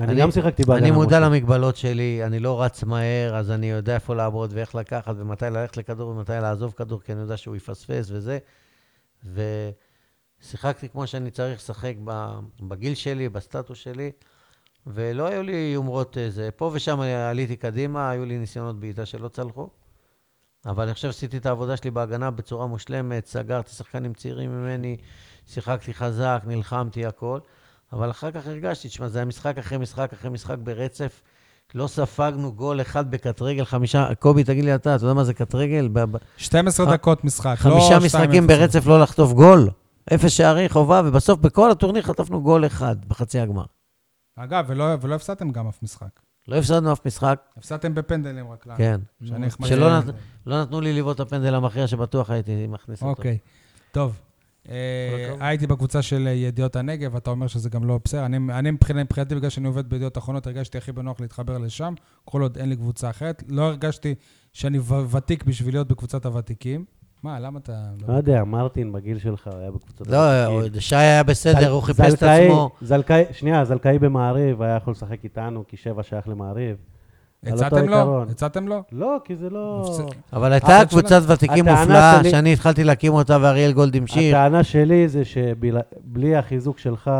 Speaker 2: אני גם שיחקתי בהגנה.
Speaker 3: אני מודע
Speaker 2: משה.
Speaker 3: למגבלות שלי, אני לא רץ מהר, אז אני יודע איפה לעבוד ואיך לקחת ומתי ללכת לכדור ומתי לעזוב כדור, כי אני יודע שהוא יפספס וזה. ושיחקתי כמו שאני צריך לשחק ב- בגיל שלי, בסטטוס שלי, ולא היו לי יומרות איזה. פה ושם אני עליתי קדימה, היו לי ניסיונות בעיטה שלא צלחו, אבל אני חושב שעשיתי את העבודה שלי בהגנה בצורה מושלמת, סגרתי שחקנים צעירים ממני, שיחקתי חזק, נלחמתי, הכל. אבל אחר כך הרגשתי, תשמע, זה היה משחק אחרי משחק אחרי משחק ברצף. לא ספגנו גול אחד בקט רגל, חמישה... קובי, תגיד לי אתה, אתה יודע מה זה קט רגל? ב-
Speaker 2: לא,
Speaker 3: ב-
Speaker 1: 12
Speaker 3: ח-
Speaker 1: דקות משחק, לא
Speaker 3: חמישה
Speaker 1: 2-0.
Speaker 3: משחקים ברצף לא לחטוף גול. אפס שערי חובה, ובסוף בכל הטורניר חטפנו גול אחד בחצי הגמר.
Speaker 1: אגב, ולא ולא הפסדתם גם אף משחק.
Speaker 3: לא הפסדנו אף משחק,
Speaker 1: הפסדתם בפנדלים רק
Speaker 2: אה.
Speaker 1: לנו.
Speaker 3: כן.
Speaker 1: שאני אחמד
Speaker 3: שלא
Speaker 1: להם.
Speaker 3: נת- לא נתנו לי לבעוט את הפנדל המכריע שבטוח הייתי מכניס אותו.
Speaker 1: אוקיי, טוב. אה,
Speaker 3: כל הכבוד.
Speaker 1: הייתי בקבוצה של אה, ידיעות הנגב, אתה אומר שזה גם לא בסדר. אני- אני מבחינת- מבחינתי, בגלל שאני עובד בידיעות אחרונות, הרגשתי הכי בנוח להתחבר לשם, כל עוד אין לי קבוצה אחרת. לא הרגשתי שאני ו- ותיק בשביל להיות בקבוצת הוותיקים. מה, למה אתה... לא-
Speaker 3: אה,
Speaker 2: לא יודע, מרטין בגיל שלך היה בקבוצת...
Speaker 3: לא,
Speaker 2: הוותיקים.
Speaker 3: שי היה בסדר,
Speaker 2: זל-
Speaker 3: הוא חיפש את
Speaker 2: זלקאי-
Speaker 3: עצמו.
Speaker 2: זלקאי, שנייה, זלקאי במעריב היה יכול לשחק איתנו, כי שבע שייך למעריב. על אותו
Speaker 1: הצעתם לו?
Speaker 2: עיקרון.
Speaker 1: הצעתם לו?
Speaker 2: לא, כי זה לא...
Speaker 1: בסדר.
Speaker 3: אבל
Speaker 1: אף
Speaker 3: הייתה
Speaker 1: אחד
Speaker 3: קבוצת ותיקים
Speaker 2: הטענה
Speaker 3: מופלאה,
Speaker 2: שלי-
Speaker 3: שאני התחלתי להקים אותה, ואריאל גולד המשיך.
Speaker 2: הטענה שלי זה שבלי החיזוק שלך,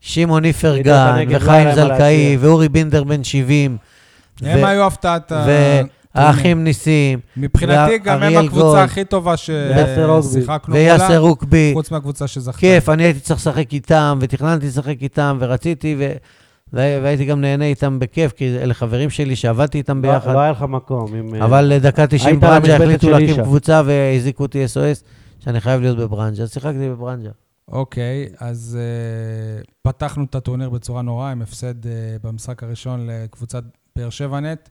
Speaker 3: שמעון
Speaker 2: ידיעות
Speaker 3: איפרגן,
Speaker 2: הנגב, לא היה
Speaker 3: וחיים
Speaker 2: להם מה
Speaker 3: זלקאי,
Speaker 2: להציע.
Speaker 3: ואורי בינדר בן 70.
Speaker 1: הם
Speaker 3: ו-
Speaker 1: היו הפתעת... ה-
Speaker 3: והאחים ניסים,
Speaker 1: מבחינתי, גם הם
Speaker 3: ואריאל גולד.
Speaker 1: הקבוצה הכי טובה
Speaker 2: ויאסר רוגבי.
Speaker 1: ששיחקנו
Speaker 3: ויאסר
Speaker 1: מולה,
Speaker 3: רוקבי.
Speaker 1: חוץ מהקבוצה שזכתה.
Speaker 3: כיף, אני הייתי צריך לשחק איתם, ותכננתי לשחק איתם, ורציתי, ו- וה- והייתי גם נהנה איתם בכיף, כי אלה חברים שלי שעבדתי איתם
Speaker 2: לא
Speaker 3: ביחד.
Speaker 2: לא היה לך מקום. אם, אה,
Speaker 3: אבל דקה 90
Speaker 2: היית על
Speaker 3: ברנג'ה
Speaker 2: המשבצת
Speaker 3: החליטו
Speaker 2: של
Speaker 3: להקים
Speaker 2: אישה.
Speaker 3: קבוצה והזעיקו אותי SOS, שאני חייב להיות בברנג'ה, אז שיחקתי בברנג'ה.
Speaker 1: אוקיי, אז אה, פתחנו את הטורניר בצורה נוראה עם הפסד אה, במשחק הראשון לקבוצת באר שבע נט,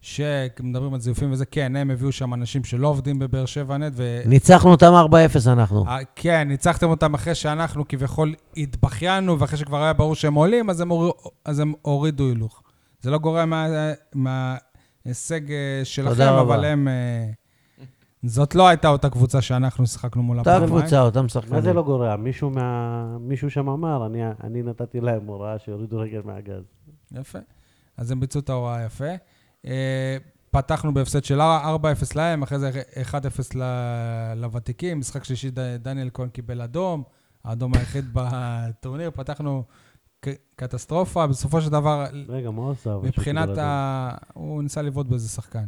Speaker 1: שמדברים על זיופים וזה, כן, הם הביאו שם אנשים שלא עובדים בבאר שבע נט, ו...
Speaker 3: ניצחנו אותם 4-0 אנחנו.
Speaker 1: אה, כן, ניצחתם אותם אחרי שאנחנו כביכול התבכיינו, ואחרי שכבר היה ברור שהם עולים, אז הם, הור... אז הם הורידו הילוך. זה לא גורע מה... מההישג אה, שלכם,
Speaker 3: תודה רבה.
Speaker 1: אבל הם... אה, זאת לא הייתה אותה קבוצה שאנחנו שיחקנו מולה
Speaker 3: אותה קבוצה, אותם שחקנים.
Speaker 2: מה זה לא גורע? מישהו, מה... מישהו שם אמר, אני, אני נתתי להם הוראה שיורידו רגל מהגז.
Speaker 1: יפה. אז הם ביצעו את ההוראה יפה. אה, פתחנו בהפסד של 4-0 להם, אחרי זה 1-0 ל- לוותיקים. משחק שלישי, ד- דניאל כהן קיבל אדום, האדום היחיד בטורניר. פתחנו ק- קטסטרופה. בסופו של דבר,
Speaker 2: רגע, מה הוא כאילו עשה? אבל
Speaker 1: מבחינת
Speaker 2: שקיבל לא, אדום?
Speaker 1: ה... הוא ניסה לבעוט באיזה שחקן.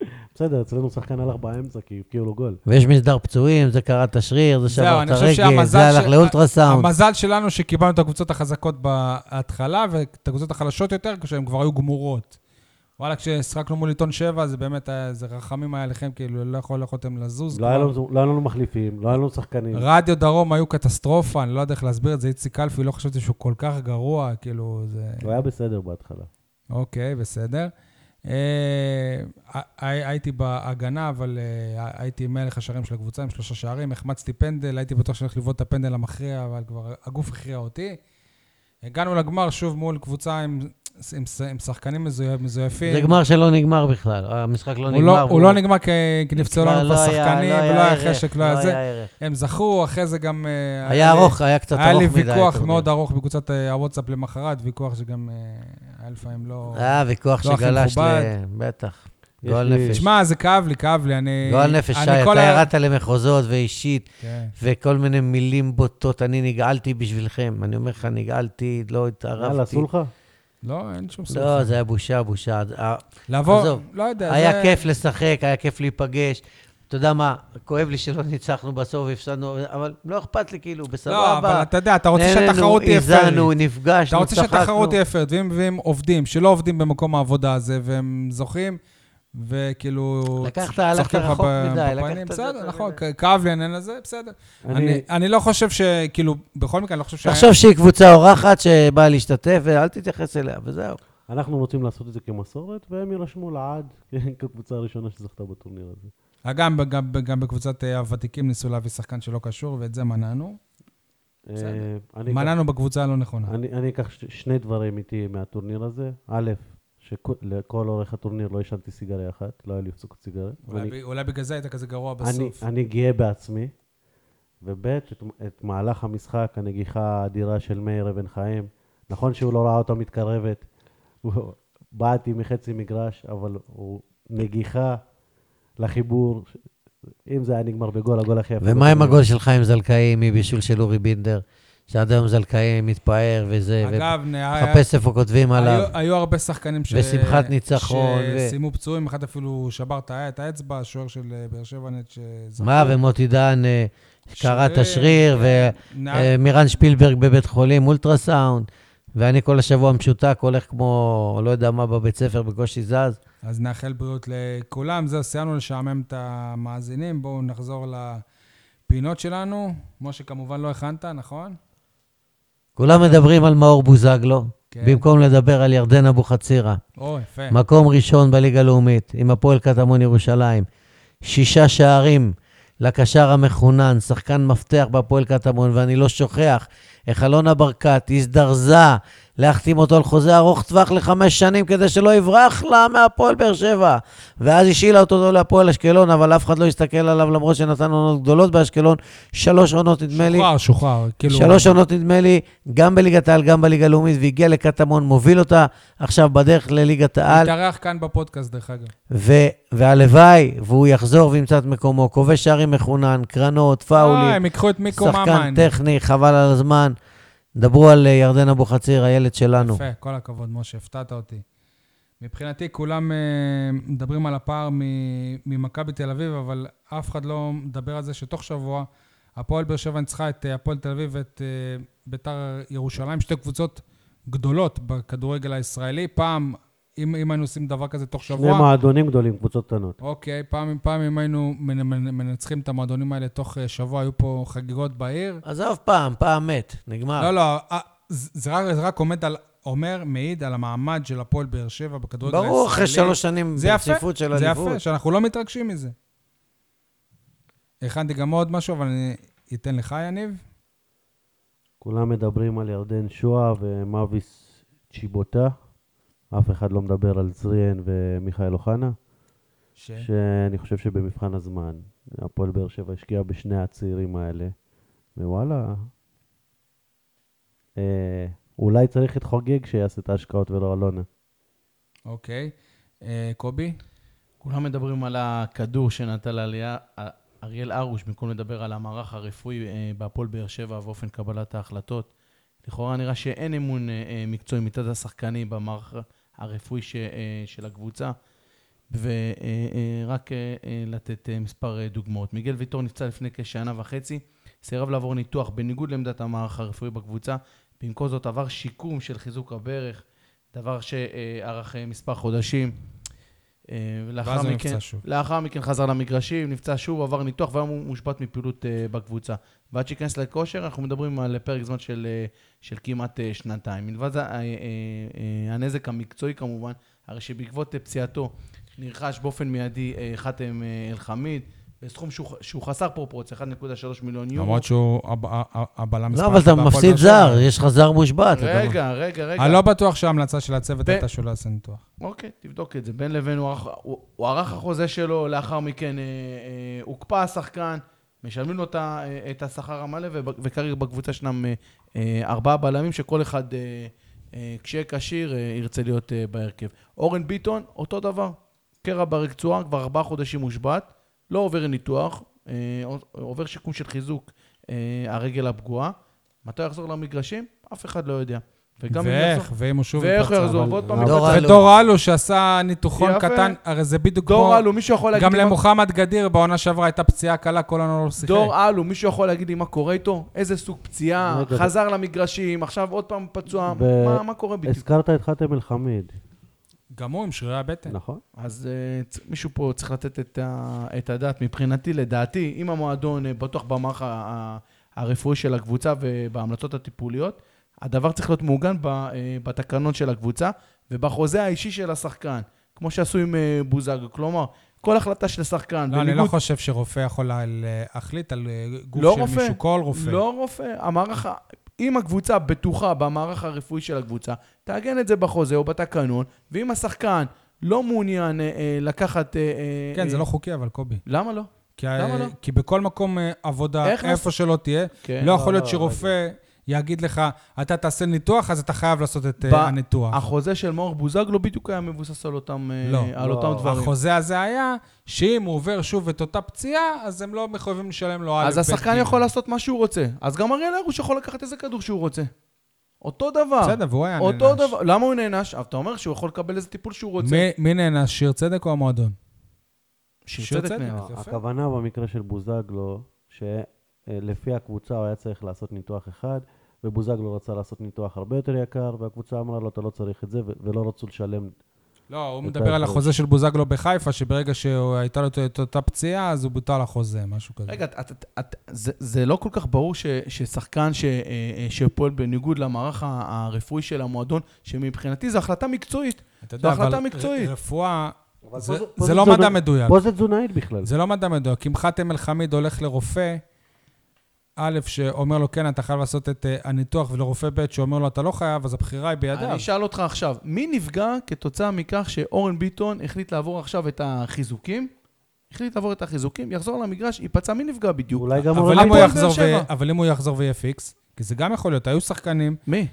Speaker 2: לא בסדר, אצלנו שחקן הלך באמצע, כי הבקיעו לו גול.
Speaker 3: ויש מסדר פצועים, זה קרע את השריר, זה
Speaker 1: זהו,
Speaker 3: שבר את
Speaker 1: אני חושב
Speaker 3: הרגל,
Speaker 1: שהמזל
Speaker 3: זה הלך
Speaker 1: של-
Speaker 3: לאולטרסאונד.
Speaker 1: המזל שלנו שקיבלנו את הקבוצות החזקות בהתחלה, ואת הקבוצות החלשות יותר, כשהן כבר היו גמורות. וואלה, כששחקנו מול עיתון שבע, זה באמת, היה- זה רחמים היה לכם, כאילו, לא יכול- לא יכולתם לזוז.
Speaker 2: לא היה
Speaker 1: כבר.
Speaker 2: לנו- לא היה לנו מחליפים, לא היה לנו שחקנים.
Speaker 1: רדיו דרום היו קטסטרופה, אני לא יודע איך להסביר את זה, איציק קלפי, לא חשבתי שהוא כל כך גרוע, כאילו, זה...
Speaker 2: הוא היה בסדר בהתחלה.
Speaker 1: אוקיי, בסדר. אה, הי- הייתי בהגנה, אבל אה, הייתי מלך השערים של הקבוצה עם שלושה שערים, החמצתי פנדל, הייתי בטוח שאני הולך לבעוט את הפנדל המכריע, אבל כבר הגוף הכריע אותי. הגענו לגמר שוב מול קבוצה עם, עם, עם שחקנים מזויף- מזויפים.
Speaker 3: זה גמר שלא נגמר בכלל, המשחק לא
Speaker 1: הוא לא,
Speaker 3: נגמר.
Speaker 1: הוא לא נגמר כי כי נפצעו
Speaker 3: כבר
Speaker 1: לנו כבר
Speaker 3: לא היה-
Speaker 1: שחקנים,
Speaker 3: לא היה
Speaker 1: ולא היה
Speaker 3: ערך,
Speaker 1: חשק, לא היה זה.
Speaker 3: ערך.
Speaker 1: הם זכו, אחרי זה גם... אה,
Speaker 3: היה
Speaker 1: לי-
Speaker 3: ארוך, היה קצת ארוך
Speaker 1: היה
Speaker 3: מדי.
Speaker 1: לי ויכוח
Speaker 3: הטורניר.
Speaker 1: מאוד ארוך בקבוצת אה, הוואטסאפ למחרת, ויכוח שגם אה, היה לפעמים לא...
Speaker 3: היה ויכוח
Speaker 1: לא הכי
Speaker 3: שגלש ל...
Speaker 1: מכובד.
Speaker 3: בטח.
Speaker 2: יש
Speaker 3: גועל
Speaker 2: לי-
Speaker 3: נפש.
Speaker 1: תשמע, זה כאב לי, כאב לי, אני...
Speaker 3: גועל לא נפש,
Speaker 1: אני
Speaker 3: שי,
Speaker 1: כל
Speaker 3: אתה
Speaker 1: ה-
Speaker 3: ירדת למחוזות ואישית,
Speaker 1: כן.
Speaker 3: וכל מיני מילים בוטות. אני נגעלתי בשבילכם. אני אומר לך, נגעלתי, לא
Speaker 2: יאללה,
Speaker 3: התערבתי.
Speaker 2: עשו לך?
Speaker 1: לא, אין שום סוף.
Speaker 3: לא, זה היה בושה, בושה. אה,
Speaker 1: לבוא,
Speaker 3: עזוב.
Speaker 1: לא יודע, זה-
Speaker 3: היה כיף לשחק, היה כיף להיפגש. אתה יודע מה, כואב לי שלא ניצחנו בסוף, הפסדנו, אבל לא אכפת לי, כאילו, בסבבה.
Speaker 1: לא, אבל אתה יודע, אתה רוצה
Speaker 3: נהנינו,
Speaker 1: שהתחרות תהיה
Speaker 3: איזנו,
Speaker 1: פיירית. אתה
Speaker 3: נפגשנו,
Speaker 1: רוצה
Speaker 3: צחקנו.
Speaker 1: שהתחרות תהיה פיירית, ואם ואם עובדים, שלא עובדים במקום העבודה הזה, והם זוכים, וכאילו...
Speaker 3: לקחת,
Speaker 1: צ-
Speaker 3: הלכת
Speaker 1: צוחקים לך
Speaker 3: רחוק
Speaker 1: ב-
Speaker 3: מדי,
Speaker 1: בפנים.
Speaker 3: לקחת את זה
Speaker 1: בסדר,
Speaker 3: יותר
Speaker 1: נכון,
Speaker 3: מדי.
Speaker 1: כ- כאב לי העניין הזה, בסדר.
Speaker 2: אני-
Speaker 1: אני- אני לא חושב ש... כאילו, בכל מקרה, אני לא חושב שהיה...
Speaker 3: תחשוב שהיא קבוצה אורחת שבאה להשתתף, ואל תתייחס אליה, וזהו.
Speaker 2: אנחנו רוצים לעשות את זה כמסורת, והם יירשמו לעד כן, כקבוצה הראשונה שזכתה בטורניר הזה.
Speaker 1: גם, גם, גם בקבוצת אה, הוותיקים ניסו להביא שחקן שלא קשור, ואת זה מנענו. בסדר.
Speaker 2: אה, אני אקח-
Speaker 1: מנענו בקבוצה הלא נכונה.
Speaker 2: אני אני אקח ש- שני דברים איתי מהטורניר הזה. א', שלכל אורך הטורניר לא עישנתי סיגריה אחת, לא היה לי הפסוק סיגריה.
Speaker 1: אולי,
Speaker 2: ואני-
Speaker 1: אני... אולי בגלל זה היית כזה גרוע
Speaker 2: אני,
Speaker 1: בסוף. אני...
Speaker 2: אני גאה בעצמי, וב' את, את מהלך המשחק, הנגיחה האדירה של מאיר אבן חיים. נכון שהוא לא ראה אותה מתקרבת, הוא- בעטתי מחצי מגרש, אבל הוא נגיחה לחיבור. אם זה היה נגמר בגול, הגול הכי יפה.
Speaker 3: ומה עם
Speaker 2: בטורניר.
Speaker 3: הגול של חיים זלקאי מבישול של אורי בינדר, שעד היום זלקאי מתפאר וזה,
Speaker 1: אגב, נה-
Speaker 3: ומחפש איפה כותבים עליו.
Speaker 1: היו, היו הרבה שחקנים ש...
Speaker 3: ושמחת ניצחון, ו-
Speaker 1: שסיימו פצועים, אחד אפילו שבר את ה- את האצבע, השוער של אה, באר שבע נט שזכו.
Speaker 3: מה, ומוטי דן אה, קרע את
Speaker 1: שריר,
Speaker 3: השריר,
Speaker 1: אה, נע-
Speaker 3: ומירן שפילברג בבית חולים, אולטרסאונד, ואני כל השבוע משותק, הולך כמו לא יודע מה בבית ספר, בקושי זז.
Speaker 1: אז נאחל בריאות לכולם. זהו, סיימנו לשעמם את המאזינים. בואו נחזור לפינות שלנו. משה, כמובן לא הכנת, נכון?
Speaker 3: כולם מדברים על מאור בוזגלו,
Speaker 1: כן.
Speaker 3: במקום לדבר על ירדן אבוחצירא.
Speaker 1: או, יפה.
Speaker 3: מקום ראשון בליגה הלאומית, עם הפועל קטמון ירושלים. שישה שערים לקשר המחונן, שחקן מפתח בהפועל קטמון, ואני לא שוכח איך אלונה ברקת הזדרזה להחתים אותו על חוזה ארוך טווח לחמש שנים כדי שלא יברח לה מהפועל באר שבע. ואז השאילה אותו לא להפועל אשקלון, אבל אף אחד לא הסתכל עליו למרות שנתן עונות גדולות באשקלון, שלוש עונות נדמה לי.
Speaker 1: שוחרר, שוחרר. כאילו...
Speaker 3: שלוש עונות נדמה לי, גם בליגת העל, גם בליגה הלאומית, והגיע לקטמון, מוביל אותה עכשיו בדרך לליגת העל.
Speaker 1: התארח כאן בפודקאסט, דרך אגב.
Speaker 3: ו- והלוואי, והוא יחזור וימצא את מקומו. כובש שערים מחונן, קרנות,
Speaker 1: אה,
Speaker 3: פאולים,
Speaker 1: הם ייקחו את מיקו
Speaker 3: שחקן
Speaker 1: ממן.
Speaker 3: טכני, חבל על הזמן. דברו על אה, ירדן אבוחציר, הילד שלנו.
Speaker 1: יפה, כל הכבוד, משה, הפתעת אותי. מבחינתי, כולם אה, מדברים על הפער מ- ממכבי תל אביב, אבל אף אחד לא מדבר על זה שתוך שבוע הפועל באר שבע ניצחה את אה, הפועל תל אביב ואת אה, ביתר ירושלים, שתי קבוצות גדולות בכדורגל הישראלי. פעם, אם, אם היינו עושים דבר כזה תוך
Speaker 2: שני
Speaker 1: שבוע,
Speaker 2: מועדונים גדולים, קבוצות קטנות.
Speaker 1: אוקיי, פעם, פעם אם היינו מנ- מנ- מנצחים את המועדונים האלה תוך אה, שבוע, היו פה חגיגות בעיר.
Speaker 3: עזוב פעם, פעם מת, נגמר.
Speaker 1: לא, לא, אה, זה זה רק, זה רק עומד על, אומר, מעיד על המעמד של הפועל באר שבע בכדורגל הישראלי.
Speaker 3: ברור, אחרי שלוש שנים
Speaker 1: זה יפה,
Speaker 3: ברציפות של
Speaker 1: זה
Speaker 3: אליפות.
Speaker 1: יפה, שאנחנו לא מתרגשים מזה. הכנתי גם עוד משהו, אבל אני אתן לך, יניב.
Speaker 2: כולם מדברים על ירדן שואה ומאביס צ'יבוטה. אף אחד לא מדבר על זריאן ומיכאל אוחנה.
Speaker 1: ש...
Speaker 2: שאני חושב שבמבחן הזמן, הפועל באר שבע השקיעה בשני הצעירים האלה, ווואלה, אה, אולי צריך את חוגג שיעשה את ההשקעות ולא אלונה.
Speaker 1: אוקיי. אה, קובי?
Speaker 4: כולם מדברים על הכדור שנטל עליה אה, אריאל הרוש, במקום לדבר על המערך הרפואי אה, בהפועל באר שבע ואופן קבלת ההחלטות. לכאורה נראה שאין אמון אה, אה, מקצועי מצד השחקנים במערך הרפואי ש- אה, של הקבוצה. אה, ורק לתת אה, מספר אה, דוגמאות. מיגל ויטור נפצע לפני כשנה וחצי, סירב לעבור ניתוח בניגוד לעמדת המערך הרפואי בקבוצה. במקום זאת עבר שיקום של חיזוק הברך, דבר שארך אה, מספר חודשים. אה, ולאחר
Speaker 1: ואז הוא
Speaker 4: מכן-
Speaker 1: נפצע שוב.
Speaker 4: לאחר מכן חזר למגרשים, נפצע שוב, עבר ניתוח והיום הוא מושבת מפעילות אה, בקבוצה. ועד שייכנס לכושר, אנחנו מדברים על פרק זמן של, אה, של כמעט אה, שנתיים. מלבד זה, אה, אה, אה, הנזק המקצועי כמובן, הרי שבעקבות אה, פציעתו נרכש באופן מיידי אה, חתם אה, אל-חמיד, בסכום שהוא, שהוא חסר פרופורציה, 1.3 מיליון יורו.
Speaker 1: למרות שהוא הב- ה- ה- הבלם
Speaker 3: לא,
Speaker 1: מספר
Speaker 3: אבל
Speaker 1: אחת
Speaker 3: אתה
Speaker 1: בהפועל
Speaker 3: מפסיד
Speaker 1: באר שבע.
Speaker 3: זר, יש לך זר מושבת. אתה לא-
Speaker 4: רגע, רגע, רגע.
Speaker 1: אני לא בטוח שההמלצה של הצוות
Speaker 4: ב-
Speaker 1: הייתה שהוא לא יעשה ניתוח.
Speaker 4: אוקיי, תבדוק את זה. בין לבין הוא ערך- הוא הוא ערך החוזה שלו, לאחר מכן אה, אה, הוקפא השחקן, משלמים לו את ה- אה, את השכר המלא, וב- וכרגע בקבוצה ישנם אה, אה, ארבעה בלמים שכל אחד, אה, אה, כשיהיה כשיר, אה, ירצה להיות אה, בהרכב. אורן ביטון, אותו דבר. קרע ברצועה, כבר ארבעה חודשים מושבת, לא עובר ניתוח, אה, עובר שיקום של חיזוק אה, הרגל הפגועה. מתי הוא יחזור למגרשים? אף אחד לא יודע. וגם אם
Speaker 1: ואיך,
Speaker 4: יחזור-
Speaker 1: ואם הוא שוב
Speaker 4: ואיך הוא
Speaker 1: ייפצע.
Speaker 4: יחזור?
Speaker 2: אבל-
Speaker 4: ועוד פעם
Speaker 2: אבל-
Speaker 4: ייפצע.
Speaker 3: דור אלו.
Speaker 1: ודור אלו שעשה ניתוחון
Speaker 4: יפה.
Speaker 1: קטן, הרי זה בדיוק כמו...
Speaker 4: דור אלו, מישהו יכול להגיד...
Speaker 1: גם
Speaker 4: לי מה-
Speaker 1: למוחמד גדיר בעונה שעברה הייתה פציעה קלה, כל העונה לא שיחק.
Speaker 4: דור אלו, מישהו יכול להגיד לי מה קורה איתו? איזה סוג פציעה?
Speaker 2: רגע.
Speaker 4: חזר למגרשים, עכשיו עוד פעם פצוע,
Speaker 2: ו-
Speaker 4: מה- מה קורה בדיוק?
Speaker 2: הזכרת את חתם אל-חמיד,
Speaker 1: גם הוא עם שרירי הבטן.
Speaker 2: נכון?
Speaker 4: אז אה, צ- מישהו פה צריך לתת את ה- את הדעת. מבחינתי, לדעתי, אם המועדון אה, בטוח במערך ה- ה- הרפואי של הקבוצה ובהמלצות הטיפוליות, הדבר צריך להיות מעוגן ב- אה, בתקנון של הקבוצה ובחוזה האישי של השחקן, כמו שעשו עם אה, בוזגלו. כלומר, כל החלטה של שחקן,
Speaker 1: לא, אני לא חושב שרופא יכול לה- להחליט על אה, גוף
Speaker 4: לא
Speaker 1: של
Speaker 4: רופא.
Speaker 1: מישהו, כל רופא.
Speaker 4: לא רופא, המערך, ה- אם הקבוצה בטוחה במערך הרפואי של הקבוצה, תעגן את זה בחוזה או בתקנון, ואם השחקן לא מעוניין אה, אה, לקחת... אה, אה,
Speaker 1: כן, זה
Speaker 4: אה,
Speaker 1: לא חוקי, אבל קובי.
Speaker 4: למה לא?
Speaker 1: כי ה-
Speaker 4: למה לא?
Speaker 1: כי בכל מקום אה, עבודה,
Speaker 4: איך
Speaker 1: איפה
Speaker 4: נס-
Speaker 1: שלא תהיה,
Speaker 4: כן.
Speaker 1: לא יכול
Speaker 2: לא,
Speaker 1: להיות
Speaker 2: לא,
Speaker 1: שרופא יגיד לך, אתה תעשה ניתוח, אז אתה חייב לעשות את אה,
Speaker 4: ב-
Speaker 1: הניתוח.
Speaker 4: החוזה של מאור בוזגלו בדיוק היה מבוסס על אותם, אה,
Speaker 1: לא.
Speaker 4: על
Speaker 2: לא.
Speaker 4: אותם דברים.
Speaker 1: החוזה הזה היה, שאם הוא עובר שוב את אותה פציעה, אז הם לא מחויבים לשלם לו א',
Speaker 4: אז
Speaker 1: ב',
Speaker 4: השחקן
Speaker 1: ג'.
Speaker 4: יכול לעשות מה שהוא רוצה. אז גם אריאל הרוש יכול לקחת איזה כדור שהוא רוצה. אותו דבר.
Speaker 1: בסדר, והוא היה נענש.
Speaker 4: אותו דבר. למה הוא נענש? אבל אתה אומר שהוא יכול לקבל איזה טיפול שהוא רוצה.
Speaker 1: מי- מי נענש, שיר צדק או המועדון? שיר
Speaker 4: שיר
Speaker 1: צדק.
Speaker 4: צדק נענש.
Speaker 1: יפה.
Speaker 2: הכוונה במקרה של בוזגלו, שלפי הקבוצה הוא היה צריך לעשות ניתוח אחד, ובוזגלו רצה לעשות ניתוח הרבה יותר יקר, והקבוצה אמרה לו, אתה לא צריך את זה, ו- ולא רצו לשלם.
Speaker 1: לא, הוא
Speaker 2: אתה
Speaker 1: מדבר על
Speaker 2: יכול.
Speaker 1: החוזה של בוזגלו בחיפה, שברגע שהייתה לו את אותה פציעה, אז הוא בוטל החוזה, משהו כזה.
Speaker 4: רגע, את, את, את, זה, זה לא כל כך ברור ש, ששחקן ש, אה, אה, שפועל בניגוד למערך ה- הרפואי של המועדון, שמבחינתי זו החלטה מקצועית.
Speaker 1: אתה יודע,
Speaker 4: זו החלטה
Speaker 1: אבל
Speaker 4: מקצועית.
Speaker 1: ר- רפואה,
Speaker 2: אבל
Speaker 1: זה-
Speaker 2: פה פה
Speaker 1: זה לא
Speaker 2: תזונה-
Speaker 1: מדע מדויק.
Speaker 2: פה זה תזונאית בכלל.
Speaker 1: זה לא מדע מדויק. אם חאתם אל-חמיד הולך לרופא, א', שאומר לו, כן, אתה חייב לעשות את אה, הניתוח, ולרופא ב', שאומר לו, אתה לא חייב, אז הבחירה היא בידיו.
Speaker 4: אני אשאל אותך עכשיו, מי נפגע כתוצאה מכך שאורן ביטון החליט לעבור עכשיו את החיזוקים? החליט לעבור את החיזוקים, יחזור למגרש, ייפצע, מי נפגע בדיוק?
Speaker 2: אולי גם
Speaker 1: אבל
Speaker 2: לא אורן
Speaker 1: אם הוא
Speaker 4: לא הפועל באר
Speaker 1: יחזור ו-
Speaker 4: שבע.
Speaker 1: אבל אם הוא יחזור ויהיה פיקס, כי זה גם יכול להיות, היו שחקנים,
Speaker 4: מי?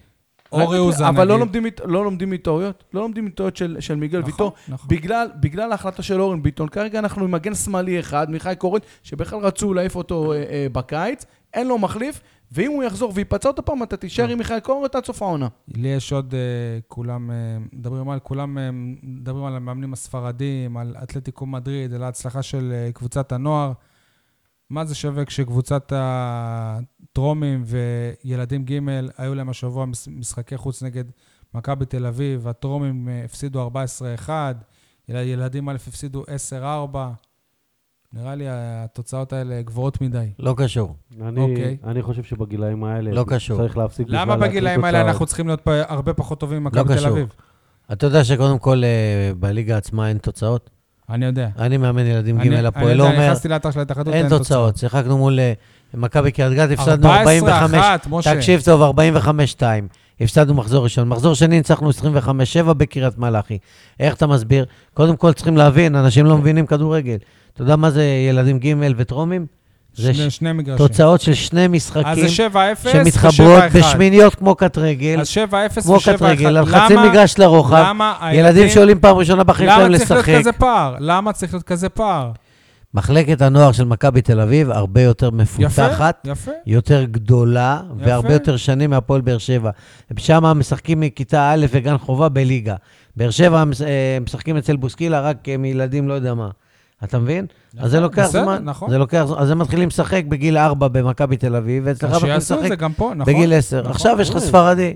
Speaker 1: אורי אוזן,
Speaker 4: אבל לא
Speaker 1: נגיד.
Speaker 4: לומדים, מת- לא לומדים מטעויות, לא לומדים מטעויות של, של מיגל
Speaker 1: נכון,
Speaker 4: ויטור.
Speaker 1: נכון.
Speaker 4: בגלל, בגלל ההחלטה של אורן ביטון, כרגע אנחנו עם מגן שמאלי אחד, מיכאי קורן, שבכלל רצו להעיף אותו אה, אה, בקיץ, אין לו מחליף, ואם הוא יחזור וייפצע עוד פעם, אתה תישאר עם מיכאי קורן עד סוף העונה.
Speaker 1: לי יש עוד, אה, כולם אה, מדברים על, כולם אה, מדברים על המאמנים הספרדים, על אתלטיקו מדריד, על ההצלחה של אה, קבוצת הנוער. מה זה שווה כשקבוצת הטרומים וילדים ג' היו להם השבוע מש- משחקי חוץ נגד מכבי תל אביב, הטרומים אה, הפסידו 14-1, יל- ילדים א' הפסידו 10-4. נראה לי התוצאות האלה גבוהות מדי.
Speaker 3: לא קשור.
Speaker 2: אני,
Speaker 1: אוקיי.
Speaker 2: אני חושב שבגילאים האלה...
Speaker 3: לא קשור.
Speaker 2: צריך להפסיק בכלל
Speaker 1: למה
Speaker 2: להקליט
Speaker 1: בגילאים האלה
Speaker 2: תוצאות.
Speaker 1: אנחנו צריכים להיות פה הרבה פחות טובים ממכבי תל
Speaker 3: קשור.
Speaker 1: אביב?
Speaker 3: אתה יודע שקודם כל אה, בליגה עצמה אין תוצאות?
Speaker 1: אני יודע.
Speaker 3: אני מאמן ילדים
Speaker 1: אני-
Speaker 3: ג' הפועל,
Speaker 1: אני
Speaker 3: לא
Speaker 1: יודע,
Speaker 3: אומר,
Speaker 1: נכנסתי לאתר של ההתאחדות,
Speaker 3: אין תוצאות. שיחקנו מול אה, מכבי קריית גת,
Speaker 1: 14-1,
Speaker 3: הפסדנו 45...
Speaker 1: משה.
Speaker 3: תקשיב טוב, 45-2. הפסדנו מחזור ראשון. מחזור שני ניצחנו 25-7 בקריית מלאכי. איך אתה מסביר? קודם כל צריכים להבין, אנשים לא מבינים כדורגל. אתה יודע מה זה ילדים ג' וטרומים? זה
Speaker 1: שני,
Speaker 3: ש...
Speaker 1: שני מגרשים.
Speaker 3: תוצאות של שני
Speaker 1: אז זה
Speaker 3: משחקים
Speaker 1: 7-0
Speaker 3: שמתחברות
Speaker 1: ו-7-1.
Speaker 3: בשמיניות כמו קט רגל,
Speaker 1: אז 7-0
Speaker 3: כמו
Speaker 1: ו-7-1.
Speaker 3: קט רגל, על חצי
Speaker 1: למה-
Speaker 3: מגרש לרוחב.
Speaker 1: למה
Speaker 3: ילדים
Speaker 1: הילדים-
Speaker 3: שעולים פעם ראשונה בחיים שלהם
Speaker 1: למה צריך להיות
Speaker 3: לשחק.
Speaker 1: כזה פער? למה צריך להיות כזה פער?
Speaker 3: מחלקת הנוער של מכבי תל אביב הרבה יותר
Speaker 1: יפה,
Speaker 3: מפותחת,
Speaker 1: יפה.
Speaker 3: יותר גדולה
Speaker 1: יפה.
Speaker 3: והרבה יותר שנים מהפועל באר שבע. שם משחקים מכיתה א' וגן חובה בליגה. באר שבע מש- אה, משחקים אצל בוסקילה רק עם ילדים לא יודע מה. אתה מבין? אז זה לוקח
Speaker 1: בסדר,
Speaker 3: זמן.
Speaker 1: נכון.
Speaker 3: זה לוקח זמן. אז הם מתחילים לשחק בגיל 4 במכבי תל אביב, ואצלך
Speaker 1: אז
Speaker 3: מתחילים
Speaker 1: שיעשו את
Speaker 3: לשחק
Speaker 1: זה גם פה, נכון?
Speaker 3: בגיל 10.
Speaker 1: נכון,
Speaker 3: עכשיו יש לך
Speaker 1: ברור.
Speaker 3: ספרדי.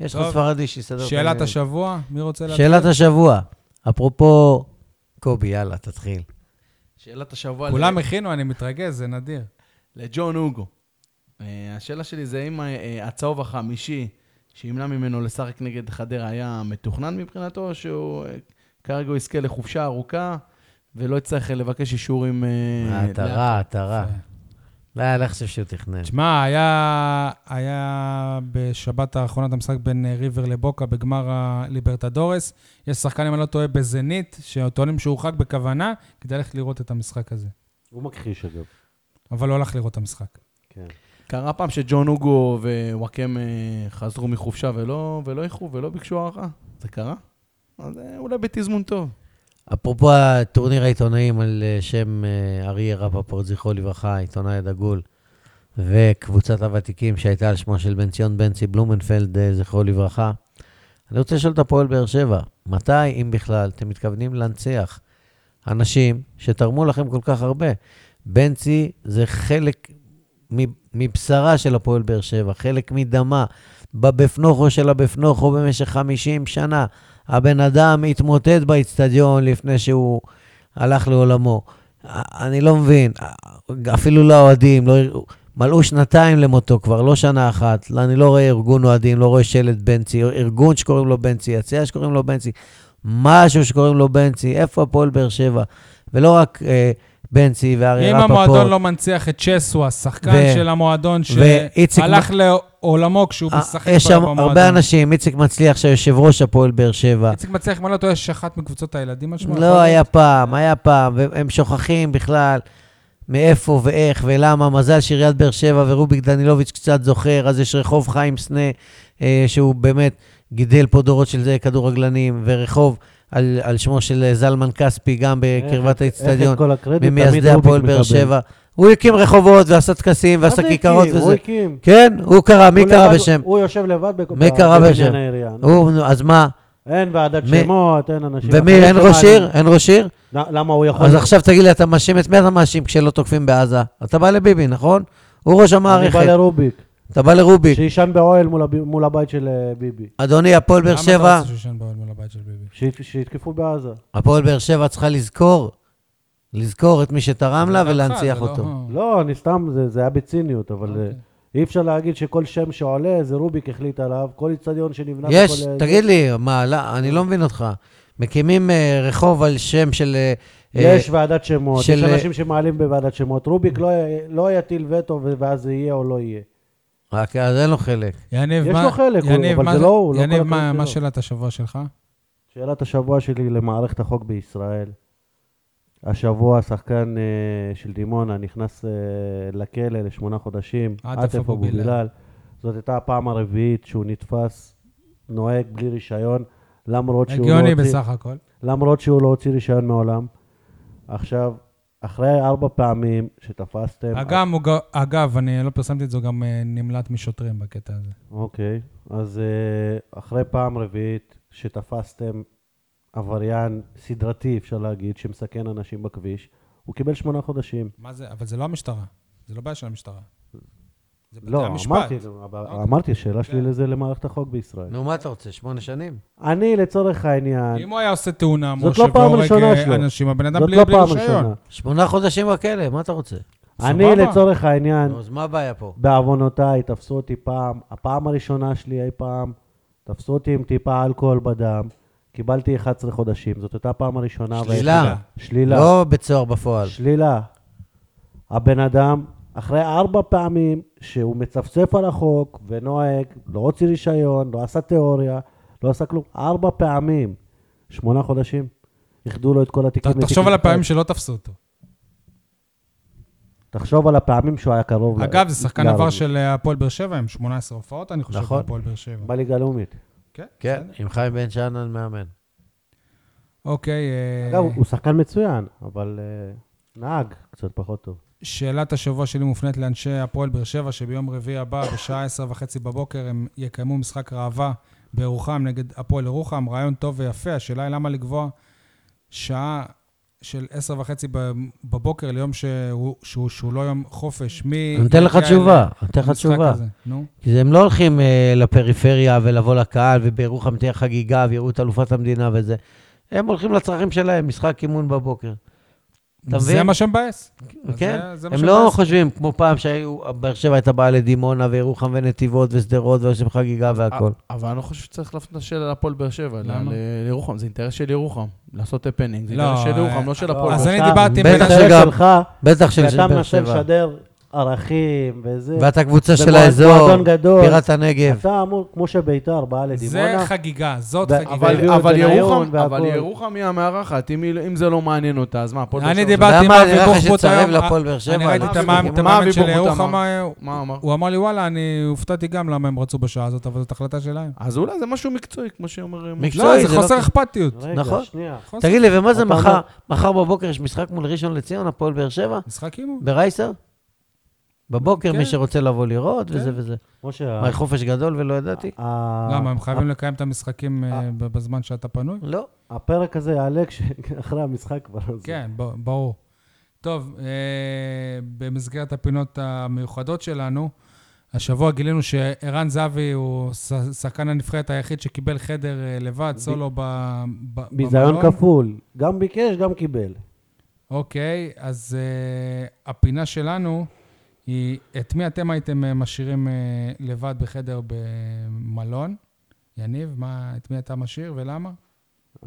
Speaker 3: יש לך
Speaker 1: טוב.
Speaker 3: ספרדי שיסדר את
Speaker 1: שאלת
Speaker 3: העניינים.
Speaker 1: השבוע, מי רוצה להתחיל?
Speaker 3: שאלת השבוע. אפרופו קובי, יאללה, תתחיל.
Speaker 4: שאלת השבוע
Speaker 1: כולם
Speaker 4: ל-
Speaker 1: הכינו, אני מתרגז, זה נדיר.
Speaker 4: לג'ון הוגו. אה, השאלה שלי זה אם אה, הצהוב החמישי שימנע ממנו לשחק נגד חדרה היה מתוכנן מבחינתו, או שהוא אה, כרגע הוא יזכה לחופשה ארוכה ולא יצטרך אה, לבקש אישורים... אה,
Speaker 3: אה, אתה
Speaker 4: לאט.
Speaker 3: רע, אתה רע. לא, אני חושב שהוא תכנן.
Speaker 1: תשמע, היה, היה בשבת האחרונה את המשחק בין אה, ריבר לבוקה בגמר הליברטדורס. יש שחקן, אם אני לא טועה, בזנית, שטוענים שהורחק בכוונה, כדי ללכת לראות את המשחק הזה.
Speaker 2: הוא מכחיש אגב.
Speaker 1: אבל לא הלך לראות את המשחק.
Speaker 2: כן.
Speaker 4: קרה פעם שג'ון הוגו ווואקם אה, חזרו מחופשה ולא, ולא איחרו ולא ביקשו הערכה? זה קרה? אז אה, אולי בתזמון טוב.
Speaker 3: אפרופו הטורניר העיתונאים על אה, שם אה, אריה רפפורט, זכרו לברכה, עיתונאי הדגול, וקבוצת הוותיקים שהייתה על שמו של בן ציון בנצי בלומנפלד, אה, זכרו לברכה. אני רוצה לשאול את הפועל באר שבע, מתי, אם בכלל, אתם מתכוונים להנציח אנשים שתרמו לכם כל כך הרבה? בנצי זה חלק מ- מבשרה של הפועל באר שבע, חלק מדמה, בבפנוכו של הבפנוכו במשך 50 שנה. הבן אדם התמוטט באיצטדיון לפני שהוא הלך לעולמו. אני לא מבין, אפילו לאוהדים, לא... מלאו שנתיים למותו כבר, לא שנה אחת. אני לא רואה ארגון אוהדים, לא רואה שלט בנצי, ארגון שקוראים לו בנצי, יציע שקוראים לו בנצי, משהו שקוראים לו בנצי, איפה הפועל באר שבע? ולא רק אה, בנצי ואריה
Speaker 1: אם
Speaker 3: רפפורט.
Speaker 1: המועדון לא מנציח את צ'סו, השחקן
Speaker 3: ו-
Speaker 1: של המועדון,
Speaker 3: ואיציק
Speaker 1: שהלך לעולמו כשהוא
Speaker 3: אה,
Speaker 1: משחק
Speaker 3: יש שם
Speaker 1: במועדון.
Speaker 3: הרבה אנשים, איציק מצליח, שיושב ראש הפועל באר שבע.
Speaker 1: איציק מצליח, אם אני לא טועה, יש אחת מקבוצות הילדים על שמו. נכון? יכול
Speaker 3: לא
Speaker 1: להיות?
Speaker 3: היה פעם, היה פעם, והם שוכחים בכלל מאיפה ואיך ולמה. מזל שעיריית באר שבע ורוביק דנילוביץ' קצת זוכר, אז יש רחוב חיים סנה, אה, שהוא באמת גידל פה דורות של זה, כדורגלנים, ורחוב על, על שמו של אה, זלמן כספי, גם בקרבת
Speaker 2: איך
Speaker 3: האיצטדיון,
Speaker 2: את כל הקרדיט תמיד
Speaker 3: ממייסדי
Speaker 2: רוביק
Speaker 3: הפועל באר
Speaker 2: מקבל.
Speaker 3: שבע. הוא הקים רחובות ועשה טקסים
Speaker 2: מה
Speaker 3: ועשה
Speaker 2: זה
Speaker 3: כיכרות
Speaker 2: הקים? הוא
Speaker 3: וזה.
Speaker 2: הקים.
Speaker 3: כן, הוא קרא, מי
Speaker 2: הוא
Speaker 3: קרא
Speaker 2: לבד-
Speaker 3: בשם?
Speaker 2: הוא יושב לבד בק-
Speaker 3: מי קרא
Speaker 2: בבניין
Speaker 3: בשם?
Speaker 2: העירייה.
Speaker 3: הוא, נו, אז מה?
Speaker 2: אין ועדת
Speaker 3: מי-
Speaker 2: שמות, אין אנשים...
Speaker 1: כאילו,
Speaker 3: ומי,
Speaker 2: אחרים
Speaker 1: לא
Speaker 3: אין ראש
Speaker 2: שמעלים.
Speaker 3: עיר? אין ראש עיר?
Speaker 2: ל- למה הוא
Speaker 1: נכון.
Speaker 2: יכול...
Speaker 3: אז עכשיו תגיד לי, אתה מאשים את מי אתה מאשים כשלא תוקפים בעזה? אתה בא לביבי, נכון? הוא ראש
Speaker 2: אני
Speaker 3: המערכת,
Speaker 2: בא לרוביק,
Speaker 3: אתה בא לרוביק.
Speaker 2: שיישן באוהל מול הב- מול הבית של אה, ביבי.
Speaker 3: אדוני, הפועל באר
Speaker 1: למה אתה
Speaker 3: שבע,
Speaker 1: רוצה שהוא ישן באוהל מול הבית של ביבי?
Speaker 2: שית- שיתקפו בעזה.
Speaker 3: הפועל באר שבע צריכה לזכור, לזכור את מי שתרם לה
Speaker 1: זה דעתך,
Speaker 3: ולהנציח
Speaker 1: זה לא-
Speaker 3: אותו.
Speaker 2: לא, אני סתם, זה- זה היה בציניות, אבל אה,
Speaker 1: אוקיי.
Speaker 2: אי אפשר להגיד שכל שם שעולה, זה רוביק החליט עליו, כל איצטדיון שנבנה...
Speaker 3: יש,
Speaker 2: וכל, אה,
Speaker 3: תגיד לי, מה, לא, אני לא מבין אותך. מקימים אה, רחוב על שם של... אה, אה,
Speaker 2: יש ועדת שמות,
Speaker 3: של- אה,
Speaker 2: יש אנשים שמעלים בוועדת שמות. רוביק לא י- לא יטיל וטו ואז זה יהיה או לא יהיה.
Speaker 3: רק אז אין לו חלק.
Speaker 1: יניב,
Speaker 2: יש
Speaker 1: מה-
Speaker 2: לו חלק, הוא-
Speaker 1: יניב,
Speaker 2: אבל
Speaker 1: מה-
Speaker 2: זה לא הוא, לא כל
Speaker 1: יניב, מה-
Speaker 2: הקרדיט
Speaker 1: מה
Speaker 2: שלו.
Speaker 1: שאלת השבוע שלך?
Speaker 2: שאלת השבוע שלי למערכת החוק בישראל. השבוע שחקן אה, של דימונה נכנס אה, לכלא לשמונה חודשים,
Speaker 1: עטף
Speaker 2: עטף
Speaker 1: אבו
Speaker 2: אבו
Speaker 1: בילאל.
Speaker 2: בילאל. זאת הייתה הפעם הרביעית שהוא נתפס נוהג בלי רישיון, למרות שהוא, לא
Speaker 1: הגיוני
Speaker 2: הוציא,
Speaker 1: בסך הכל.
Speaker 2: למרות שהוא לא הוציא רישיון מעולם. עכשיו, אחרי ארבע פעמים שתפסתם...
Speaker 1: אגב, הוא ג- אגב, אני לא פרסמתי את זה, הוא גם אה, נמלט משוטרים בקטע הזה.
Speaker 2: אוקיי, אז אה, אחרי פעם רביעית שתפסתם עבריין סדרתי, אפשר להגיד, שמסכן אנשים בכביש, הוא קיבל שמונה חודשים.
Speaker 1: מה זה? אבל זה לא המשטרה. זה לא בעיה של המשטרה. זה בתי
Speaker 2: לא,
Speaker 1: המשפט. כן.
Speaker 2: אמרתי, אבל- אמרתי, שאלה שלי לזה למערכת החוק בישראל.
Speaker 3: נו, מה אתה רוצה? שמונה שנים?
Speaker 2: אני, לצורך העניין,
Speaker 1: אם הוא היה עושה תאונה,
Speaker 2: זאת
Speaker 1: משה,
Speaker 2: לא פעם
Speaker 1: והורג,
Speaker 2: ראשונה
Speaker 1: אה,
Speaker 2: שלו.
Speaker 1: אנשים, הבן אדם
Speaker 2: זאת
Speaker 1: בלי
Speaker 2: לא
Speaker 1: בלי
Speaker 2: פעם
Speaker 1: רישיון.
Speaker 2: ראשונה.
Speaker 3: שמונה חודשים בכלא, מה אתה רוצה?
Speaker 2: אני,
Speaker 1: סבבה.
Speaker 2: לצורך
Speaker 1: כן.
Speaker 2: העניין,
Speaker 3: נו, אז מה הבעיה פה?
Speaker 2: בעוונותיי, תפסו אותי פעם, הפעם הראשונה שלי אי פעם, תפסו אותי עם טיפה אלכוהול בדם, קיבלתי 11 חודשים, זאת הייתה הפעם הראשונה.
Speaker 3: שלילה.
Speaker 1: לא,
Speaker 2: והיחידה. שלילה.
Speaker 3: לא בית סוהר בפועל.
Speaker 2: שלילה. הבן אדם אחרי ארבע פעמים שהוא מצפצף על החוק ונוהג, לא הוציא רישיון, לא עשה תיאוריה, לא עשה כלום, ארבע פעמים, שמונה חודשים, איחדו לו את כל התיקים.
Speaker 1: ת- תחשוב
Speaker 2: לתיק
Speaker 1: על
Speaker 2: אחד.
Speaker 1: הפעמים שלא תפסו אותו.
Speaker 2: תחשוב על הפעמים שהוא היה קרוב. ל-
Speaker 1: אגב, זה שחקן
Speaker 2: לערבי.
Speaker 1: עבר של אה, הפועל באר שבע, עם 18 הופעות, אני חושב,
Speaker 3: נכון.
Speaker 1: בהפועל באר שבע.
Speaker 2: בליגה הלאומית.
Speaker 1: כן,
Speaker 3: כן,
Speaker 1: בסדר.
Speaker 3: עם חיים בן שאנן מאמן.
Speaker 1: אוקיי, אה,
Speaker 2: אגב, הוא שחקן מצוין, אבל אה, נהג קצת פחות טוב.
Speaker 1: שאלת השבוע שלי מופנית לאנשי הפועל באר שבע, שביום רביעי הבא, בשעה עשר וחצי בבוקר, הם יקיימו משחק ראווה בירוחם נגד הפועל ירוחם. רעיון טוב ויפה, השאלה היא למה לקבוע שעה של עשר וחצי ב- בבוקר ליום שהוא, שהוא, שהוא לא יום חופש. מי...
Speaker 3: אני אתן לך
Speaker 1: יגיע
Speaker 3: תשובה, אני אתן לך
Speaker 1: למשחק
Speaker 3: תשובה.
Speaker 1: הזה? נו.
Speaker 3: כי הם לא הולכים אה, לפריפריה ולבוא לקהל, ובירוחם תהיה חגיגה, ויראו את אלופת המדינה וזה. הם הולכים לצרכים שלהם, משחק אימון בבוקר. אתה
Speaker 1: זה
Speaker 3: מבין?
Speaker 1: מה שמבאס. אז
Speaker 3: כן,
Speaker 1: זה- זה מה
Speaker 3: הם לא
Speaker 1: שמבאס.
Speaker 3: חושבים כמו פעם שבאר שבע הייתה באה לדימונה, וירוחם ונתיבות ושדרות, ועושים חגיגה והכול.
Speaker 1: אה,
Speaker 4: אבל אני לא חושב שצריך להפנות את השאלה לפועל באר שבע. אלא
Speaker 1: למה?
Speaker 4: ל- לירוחם, זה אינטרס של ירוחם. לעשות הפנינג. זה
Speaker 1: לא,
Speaker 4: אינטרס של
Speaker 1: אה,
Speaker 4: ירוחם, לא של הפועל
Speaker 1: אז
Speaker 4: באר
Speaker 1: אני
Speaker 2: עכשיו,
Speaker 1: דיברתי עם
Speaker 3: בטח
Speaker 1: בן
Speaker 2: אתה
Speaker 1: אדם-
Speaker 3: שגם-
Speaker 2: שלך,
Speaker 3: בטח של של
Speaker 2: ואתה
Speaker 3: באר
Speaker 2: מנסה
Speaker 3: שבע.
Speaker 2: לשדר ערכים וזה.
Speaker 3: ואתה קבוצה
Speaker 2: זה
Speaker 3: של
Speaker 2: מועד-
Speaker 3: האזור,
Speaker 2: מועדון גדול.
Speaker 3: בירת הנגב.
Speaker 2: אתה אמור, כמו שביתר באה
Speaker 1: זה
Speaker 2: לדימונה,
Speaker 1: חגיגה, זאת
Speaker 2: ו-
Speaker 1: חגיגה.
Speaker 4: אבל,
Speaker 2: והביאו את
Speaker 4: אבל,
Speaker 2: בניון
Speaker 4: ירוחם,
Speaker 2: והכל.
Speaker 4: אבל ירוחם היא המארחת, אם, היא- אם זה לא מעניין אותה, אז מה, הפועל באר
Speaker 1: אני
Speaker 4: שבע?
Speaker 1: דיברתי- עם
Speaker 3: למה
Speaker 1: אבי
Speaker 3: נראה לך
Speaker 1: בוחבוט
Speaker 3: שתצרב
Speaker 1: היום?
Speaker 3: להפועל באר שבע? לא
Speaker 1: אני ראיתי
Speaker 4: מה
Speaker 1: את
Speaker 4: אבי
Speaker 1: המאמן
Speaker 4: בוחבוט
Speaker 1: את המאמן
Speaker 4: אמר?
Speaker 1: של ירוחם, אה,
Speaker 4: מה אמר?
Speaker 1: הוא אמר לי, וואלה, אני הופתעתי גם למה הם רצו בשעה הזאת, אבל זאת החלטה שלהם.
Speaker 4: אז אולי זה משהו מקצועי, כמו שאומר... אה,
Speaker 3: מקצועי.
Speaker 1: לא, זה
Speaker 3: זה לא
Speaker 1: חוסר
Speaker 3: כ-
Speaker 1: אכפתיות.
Speaker 2: רגע,
Speaker 3: נכון.
Speaker 2: שנייה.
Speaker 1: חוסר-
Speaker 3: תגיד לי, ומה זה
Speaker 2: אתה
Speaker 3: מחר?
Speaker 2: אומר-
Speaker 3: מחר בבוקר יש משחק מול ראשון לציון, הפועל באר שבע?
Speaker 1: משחק אימון.
Speaker 3: ברייסר? בבוקר,
Speaker 1: כן.
Speaker 3: מי שרוצה לבוא לראות,
Speaker 1: כן.
Speaker 3: וזה וזה.
Speaker 2: משה,
Speaker 3: מה, חופש גדול ולא ידעתי?
Speaker 2: ה-
Speaker 1: למה, הם חייבים לקיים את המשחקים אה,
Speaker 2: אה.
Speaker 1: ב- בזמן שאתה פנוי?
Speaker 3: לא.
Speaker 2: הפרק הזה יעלה כש- אחרי המשחק כבר. אז-
Speaker 1: כן, ב- ברור. טוב, אה, במסגרת הפינות המיוחדות שלנו, השבוע גילינו שערן זהבי הוא ש- שחקן הנבחרת היחיד שקיבל חדר אה, לבד, סולו ב- ב- במלון.
Speaker 2: ביזיון כפול, גם ביקש, גם קיבל.
Speaker 1: אוקיי, אז uh, הפינה שלנו היא את מי אתם הייתם אה, משאירים uh, לבד בחדר במלון? יניב, מה, את מי אתה משאיר ולמה?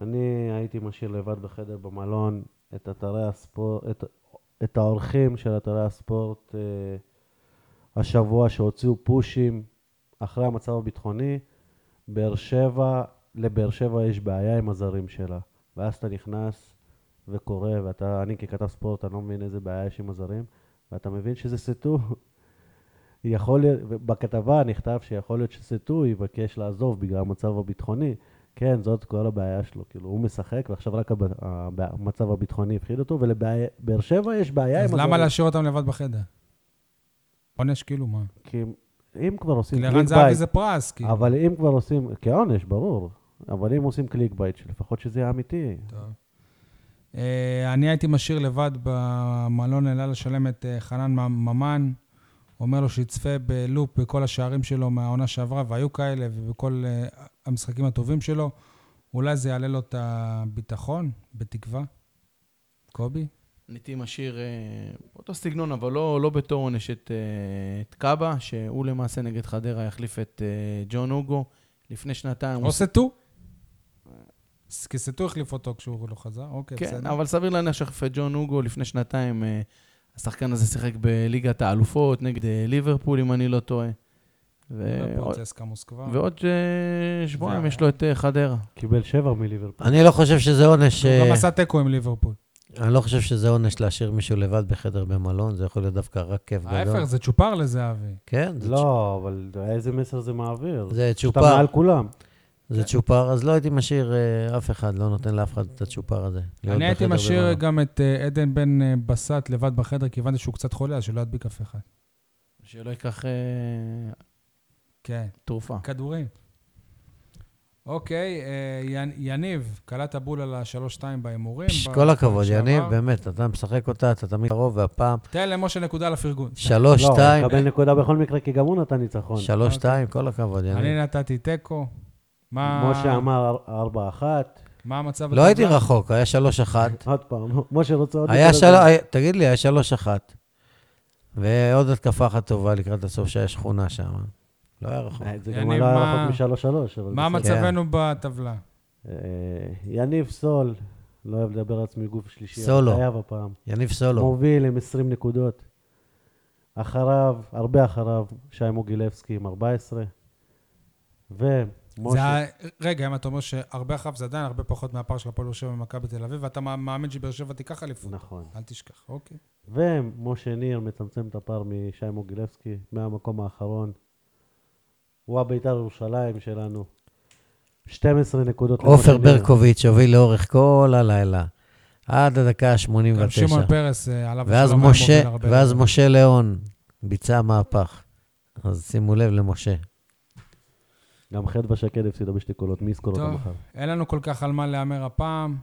Speaker 2: אני הייתי משאיר לבד בחדר במלון את אתרי הספורט, את, את האורחים של אתרי הספורט אה, השבוע שהוציאו פושים אחרי המצב הביטחוני. באר שבע, לבאר שבע יש בעיה עם הזרים שלה. ואז אתה נכנס וקורא, ואתה, אני ככתב ספורט, אני לא מבין איזה בעיה יש עם הזרים, ואתה מבין שזה סטו. יכול להיות, בכתבה נכתב שיכול להיות שסטו יבקש לעזוב בגלל המצב הביטחוני. כן, זאת כל הבעיה שלו. כאילו, הוא משחק, ועכשיו רק הב- הבע- המצב הביטחוני הפחיד אותו, ולבאר שבע יש בעיה עם
Speaker 1: אז
Speaker 2: הזרים.
Speaker 1: למה להשאיר אותם לבד בחדר? עונש כאילו, מה?
Speaker 2: כי אם כבר עושים
Speaker 1: כי
Speaker 2: קליק
Speaker 1: לערן
Speaker 2: בייט...
Speaker 1: זהבי זה פרס,
Speaker 3: כן.
Speaker 1: כאילו.
Speaker 2: אבל אם כבר עושים, כעונש, ברור. אבל אם עושים קליק בייט, שלפחות שזה יהיה אמיתי.
Speaker 1: טוב. אה, אני הייתי משאיר לבד במלון אלה לשלם את אה, חנן מ- ממן, אומר לו שיצפה בלופ בכל השערים שלו מהעונה שעברה, והיו כאלה, ובכל אה, המשחקים הטובים שלו. אולי זה יעלה לו את הביטחון, בתקווה. קובי?
Speaker 4: הייתי משאיר אה, אותו סגנון, אבל לא, לא בתור עונש את, אה, את קאבה, שהוא למעשה נגד חדרה יחליף את אה, ג'ון אוגו. לפני שנתיים...
Speaker 1: או סטו? ס- כי סטו החליף אותו כשהוא לא חזר, אוקיי,
Speaker 4: כן,
Speaker 1: בסדר.
Speaker 4: אבל סביר להניח שחפי ג'ון אוגו לפני שנתיים, אה, השחקן הזה שיחק בליגת האלופות נגד אה, ליברפול, אם אני לא טועה. ו-
Speaker 1: והפועל צסקה לא מוסקבה.
Speaker 4: ועוד אה, שבועיים
Speaker 1: זה-
Speaker 4: יש לו את אה, חדרה.
Speaker 2: קיבל שבע מליברפול.
Speaker 3: אני לא חושב שזה עונש...
Speaker 1: הוא גם
Speaker 3: אה,
Speaker 1: עשה תיקו עם ליברפול.
Speaker 3: אני לא חושב שזה עונש להשאיר מישהו לבד בחדר במלון, זה יכול להיות דווקא רק כיף
Speaker 1: ההפך,
Speaker 3: גדול.
Speaker 1: זה צ'ופר לזהבי.
Speaker 3: כן, זה צ'ופ-
Speaker 2: לא, אבל איזה מסר זה מעביר?
Speaker 3: זה
Speaker 2: אתה
Speaker 3: צ'ופר,
Speaker 2: מעל כולם.
Speaker 3: זה צ'ופר, אז לא הייתי משאיר אה, אף אחד, לא נותן לאף אחד את הצ'ופר הזה. להיות
Speaker 1: אני הייתי
Speaker 3: לא בחדר
Speaker 1: משאיר
Speaker 3: במלון.
Speaker 1: גם את אה, עדן בן אה, בסט לבד בחדר, כי הבנתי שהוא קצת חולה, אז שלא ידביק אף אחד.
Speaker 4: שלא ייקח אה,
Speaker 1: כן.
Speaker 4: תרופה.
Speaker 1: כדורים. אוקיי, אה, ין- יניב, קלעת בול על השלוש-שתיים בהימורים.
Speaker 3: פש,
Speaker 1: ב-
Speaker 3: כל הכבוד,
Speaker 1: שעבר.
Speaker 3: יניב, באמת, אתה משחק אותה, אתה תמיד קרוב, והפעם,
Speaker 1: תן למשה נקודה על הפרגון.
Speaker 3: שלוש,
Speaker 2: לא,
Speaker 3: שתיים,
Speaker 2: הוא יקבל נקודה בכל מקרה, כי גם הוא נתן ניצחון.
Speaker 3: שלוש, שתיים, כל הכבוד, יניב.
Speaker 1: אוקיי. אני נתתי תיקו. מה
Speaker 2: כמו שאמר, ארבע אחת.
Speaker 1: מה המצב?
Speaker 3: לא הייתי
Speaker 1: בטבלה?
Speaker 3: רחוק, היה שלוש, אחת.
Speaker 2: עוד פעם, משה רוצה עוד...
Speaker 3: היה
Speaker 2: נקודה.
Speaker 3: שלוש, תגיד לי, היה שלוש אחת. ועוד התקפה אחת טובה לקראת הסוף שהיה שכונה שם. לא היה רחוק.
Speaker 2: אה, זה גם
Speaker 1: יניב,
Speaker 2: לא היה
Speaker 1: מה-
Speaker 2: רחוק משלוש שלוש, אבל...
Speaker 1: מה
Speaker 3: כן.
Speaker 2: בסדר.
Speaker 1: מצבנו בטבלה?
Speaker 2: אה, יניב סול, לא אוהב לדבר על עצמי גוף שלישי. אבל
Speaker 3: סולו.
Speaker 2: חייב הפעם.
Speaker 3: יניב סולו.
Speaker 2: מוביל עם 20 נקודות. אחריו, הרבה אחריו, שי מוגילבסקי עם 14.
Speaker 1: זה
Speaker 2: ומשה,
Speaker 1: ה... רגע, אם אתה אומר שהרבה אחריו זה עדיין הרבה פחות מהפער של הפועל באר שבע ומכבי תל אביב, ואתה מא- מאמין שבאר שבע תיקח אליפות.
Speaker 2: נכון.
Speaker 1: אל תשכח, אוקיי.
Speaker 2: ומשה ניר מצמצם את הפער משי מוגילבסקי מהמקום האחרון. הוא הבית"ר ירושלים שלנו. 12 נקודות.
Speaker 3: עופר
Speaker 2: למשה ניר.
Speaker 3: ברקוביץ' הוביל לאורך כל הלילה, עד הדקה
Speaker 1: גם
Speaker 3: ה-89.
Speaker 1: שמעון פרס אה, עליו...
Speaker 3: ואז
Speaker 1: השלום, היה
Speaker 3: משה,
Speaker 1: מוביל הרבה.
Speaker 3: ואז משה ליאון ביצע מהפך. אז שימו לב למשה.
Speaker 2: גם חדווה שקד הפסידה בשתי קולות, מי יזכור אותה
Speaker 1: טוב,
Speaker 2: מחר?
Speaker 1: אין לנו כל כך על מה להמר הפעם.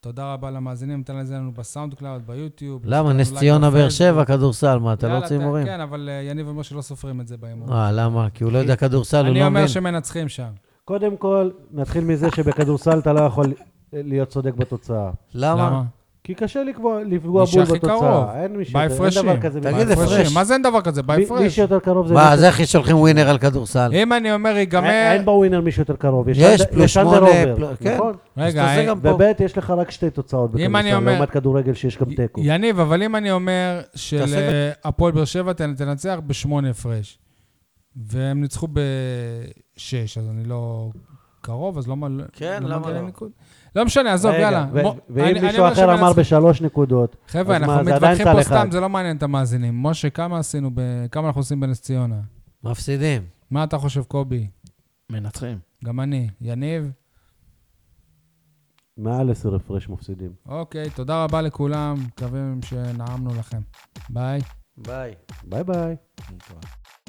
Speaker 1: תודה רבה למאזינים, ניתן לזה לנו בסאונד קלאוד, ביוטיוב.
Speaker 3: למה?
Speaker 1: אולי
Speaker 3: נס ציונה באר
Speaker 1: בפייסבוק.
Speaker 3: שבע, כדורסל, מה, אתה לא
Speaker 1: יאללה,
Speaker 3: רוצה הימורים?
Speaker 1: כן, אבל אה, יניב אומר שלא סופרים את זה בהימור.
Speaker 3: אה, למה? כי הוא לא יודע כדורסל, הוא
Speaker 1: אני
Speaker 3: לא
Speaker 1: אומר
Speaker 3: מבין.
Speaker 1: שמנצחים שם.
Speaker 2: קודם כל, נתחיל מזה שבכדורסל אתה לא יכול להיות צודק בתוצאה.
Speaker 3: למה?
Speaker 2: כי קשה לקבוע, לפגוע
Speaker 1: מי
Speaker 2: בול
Speaker 1: שהכי קרוב.
Speaker 2: בתוצאה. אין מי שיותר, אין
Speaker 1: בהפרשים.
Speaker 2: דבר כזה.
Speaker 3: תגיד,
Speaker 2: בהפרש.
Speaker 3: הפרש.
Speaker 1: מה זה אין דבר כזה?
Speaker 2: מי- מי
Speaker 1: בהפרש.
Speaker 2: שיותר קרוב זה...
Speaker 3: מה,
Speaker 2: מי
Speaker 3: אז איך שולחים ווינר על כדורסל?
Speaker 1: אם אני אומר
Speaker 2: אין-
Speaker 1: ייגמר...
Speaker 2: אין בווינר מי שיותר קרוב.
Speaker 3: יש
Speaker 2: אנד-
Speaker 3: פלוס
Speaker 2: אנדר
Speaker 3: שמונה,
Speaker 2: אובר,
Speaker 3: פלוס- כן.
Speaker 2: נכון?
Speaker 3: אז
Speaker 1: רגע,
Speaker 3: תעשה
Speaker 1: אה,
Speaker 3: גם פה.
Speaker 2: בבית יש לך רק שתי תוצאות
Speaker 1: אם אני
Speaker 2: בכדורסל,
Speaker 1: אומר-
Speaker 2: לעומת כדורגל שיש גם תיקו.
Speaker 1: יניב, אבל אם אני אומר
Speaker 3: תעשה
Speaker 1: שלהפועל באר שבע תנ- תנצח בשמונה הפרש, והם ניצחו בשש, אז אני לא קרוב, אז לא מ-
Speaker 3: כן,
Speaker 1: לא
Speaker 3: למה
Speaker 1: מגיע
Speaker 3: לא?
Speaker 1: לניקוד. לא משנה, עזוב,
Speaker 2: רגע,
Speaker 1: יאללה.
Speaker 2: ו-
Speaker 1: מו- אני-
Speaker 2: ואם
Speaker 1: אני
Speaker 2: מישהו
Speaker 1: אומר
Speaker 2: אחר אמר
Speaker 1: שמנצחים.
Speaker 2: בשלוש נקודות,
Speaker 1: חבר'ה,
Speaker 2: אז
Speaker 1: אנחנו
Speaker 2: מה, זה עדיין
Speaker 1: מתווכחים פה
Speaker 2: צד אחד.
Speaker 1: סתם, זה לא מעניין את המאזינים. משה, כמה עשינו, ב- כמה אנחנו עושים בנס ציונה?
Speaker 3: מפסידים.
Speaker 1: מה אתה חושב, קובי?
Speaker 4: מנצחים.
Speaker 1: גם אני. יניב?
Speaker 2: מעל עשר הפרש מפסידים.
Speaker 1: אוקיי, תודה רבה לכולם, מקווים שנעמנו לכם. ביי.
Speaker 3: ביי.
Speaker 2: ביי ביי.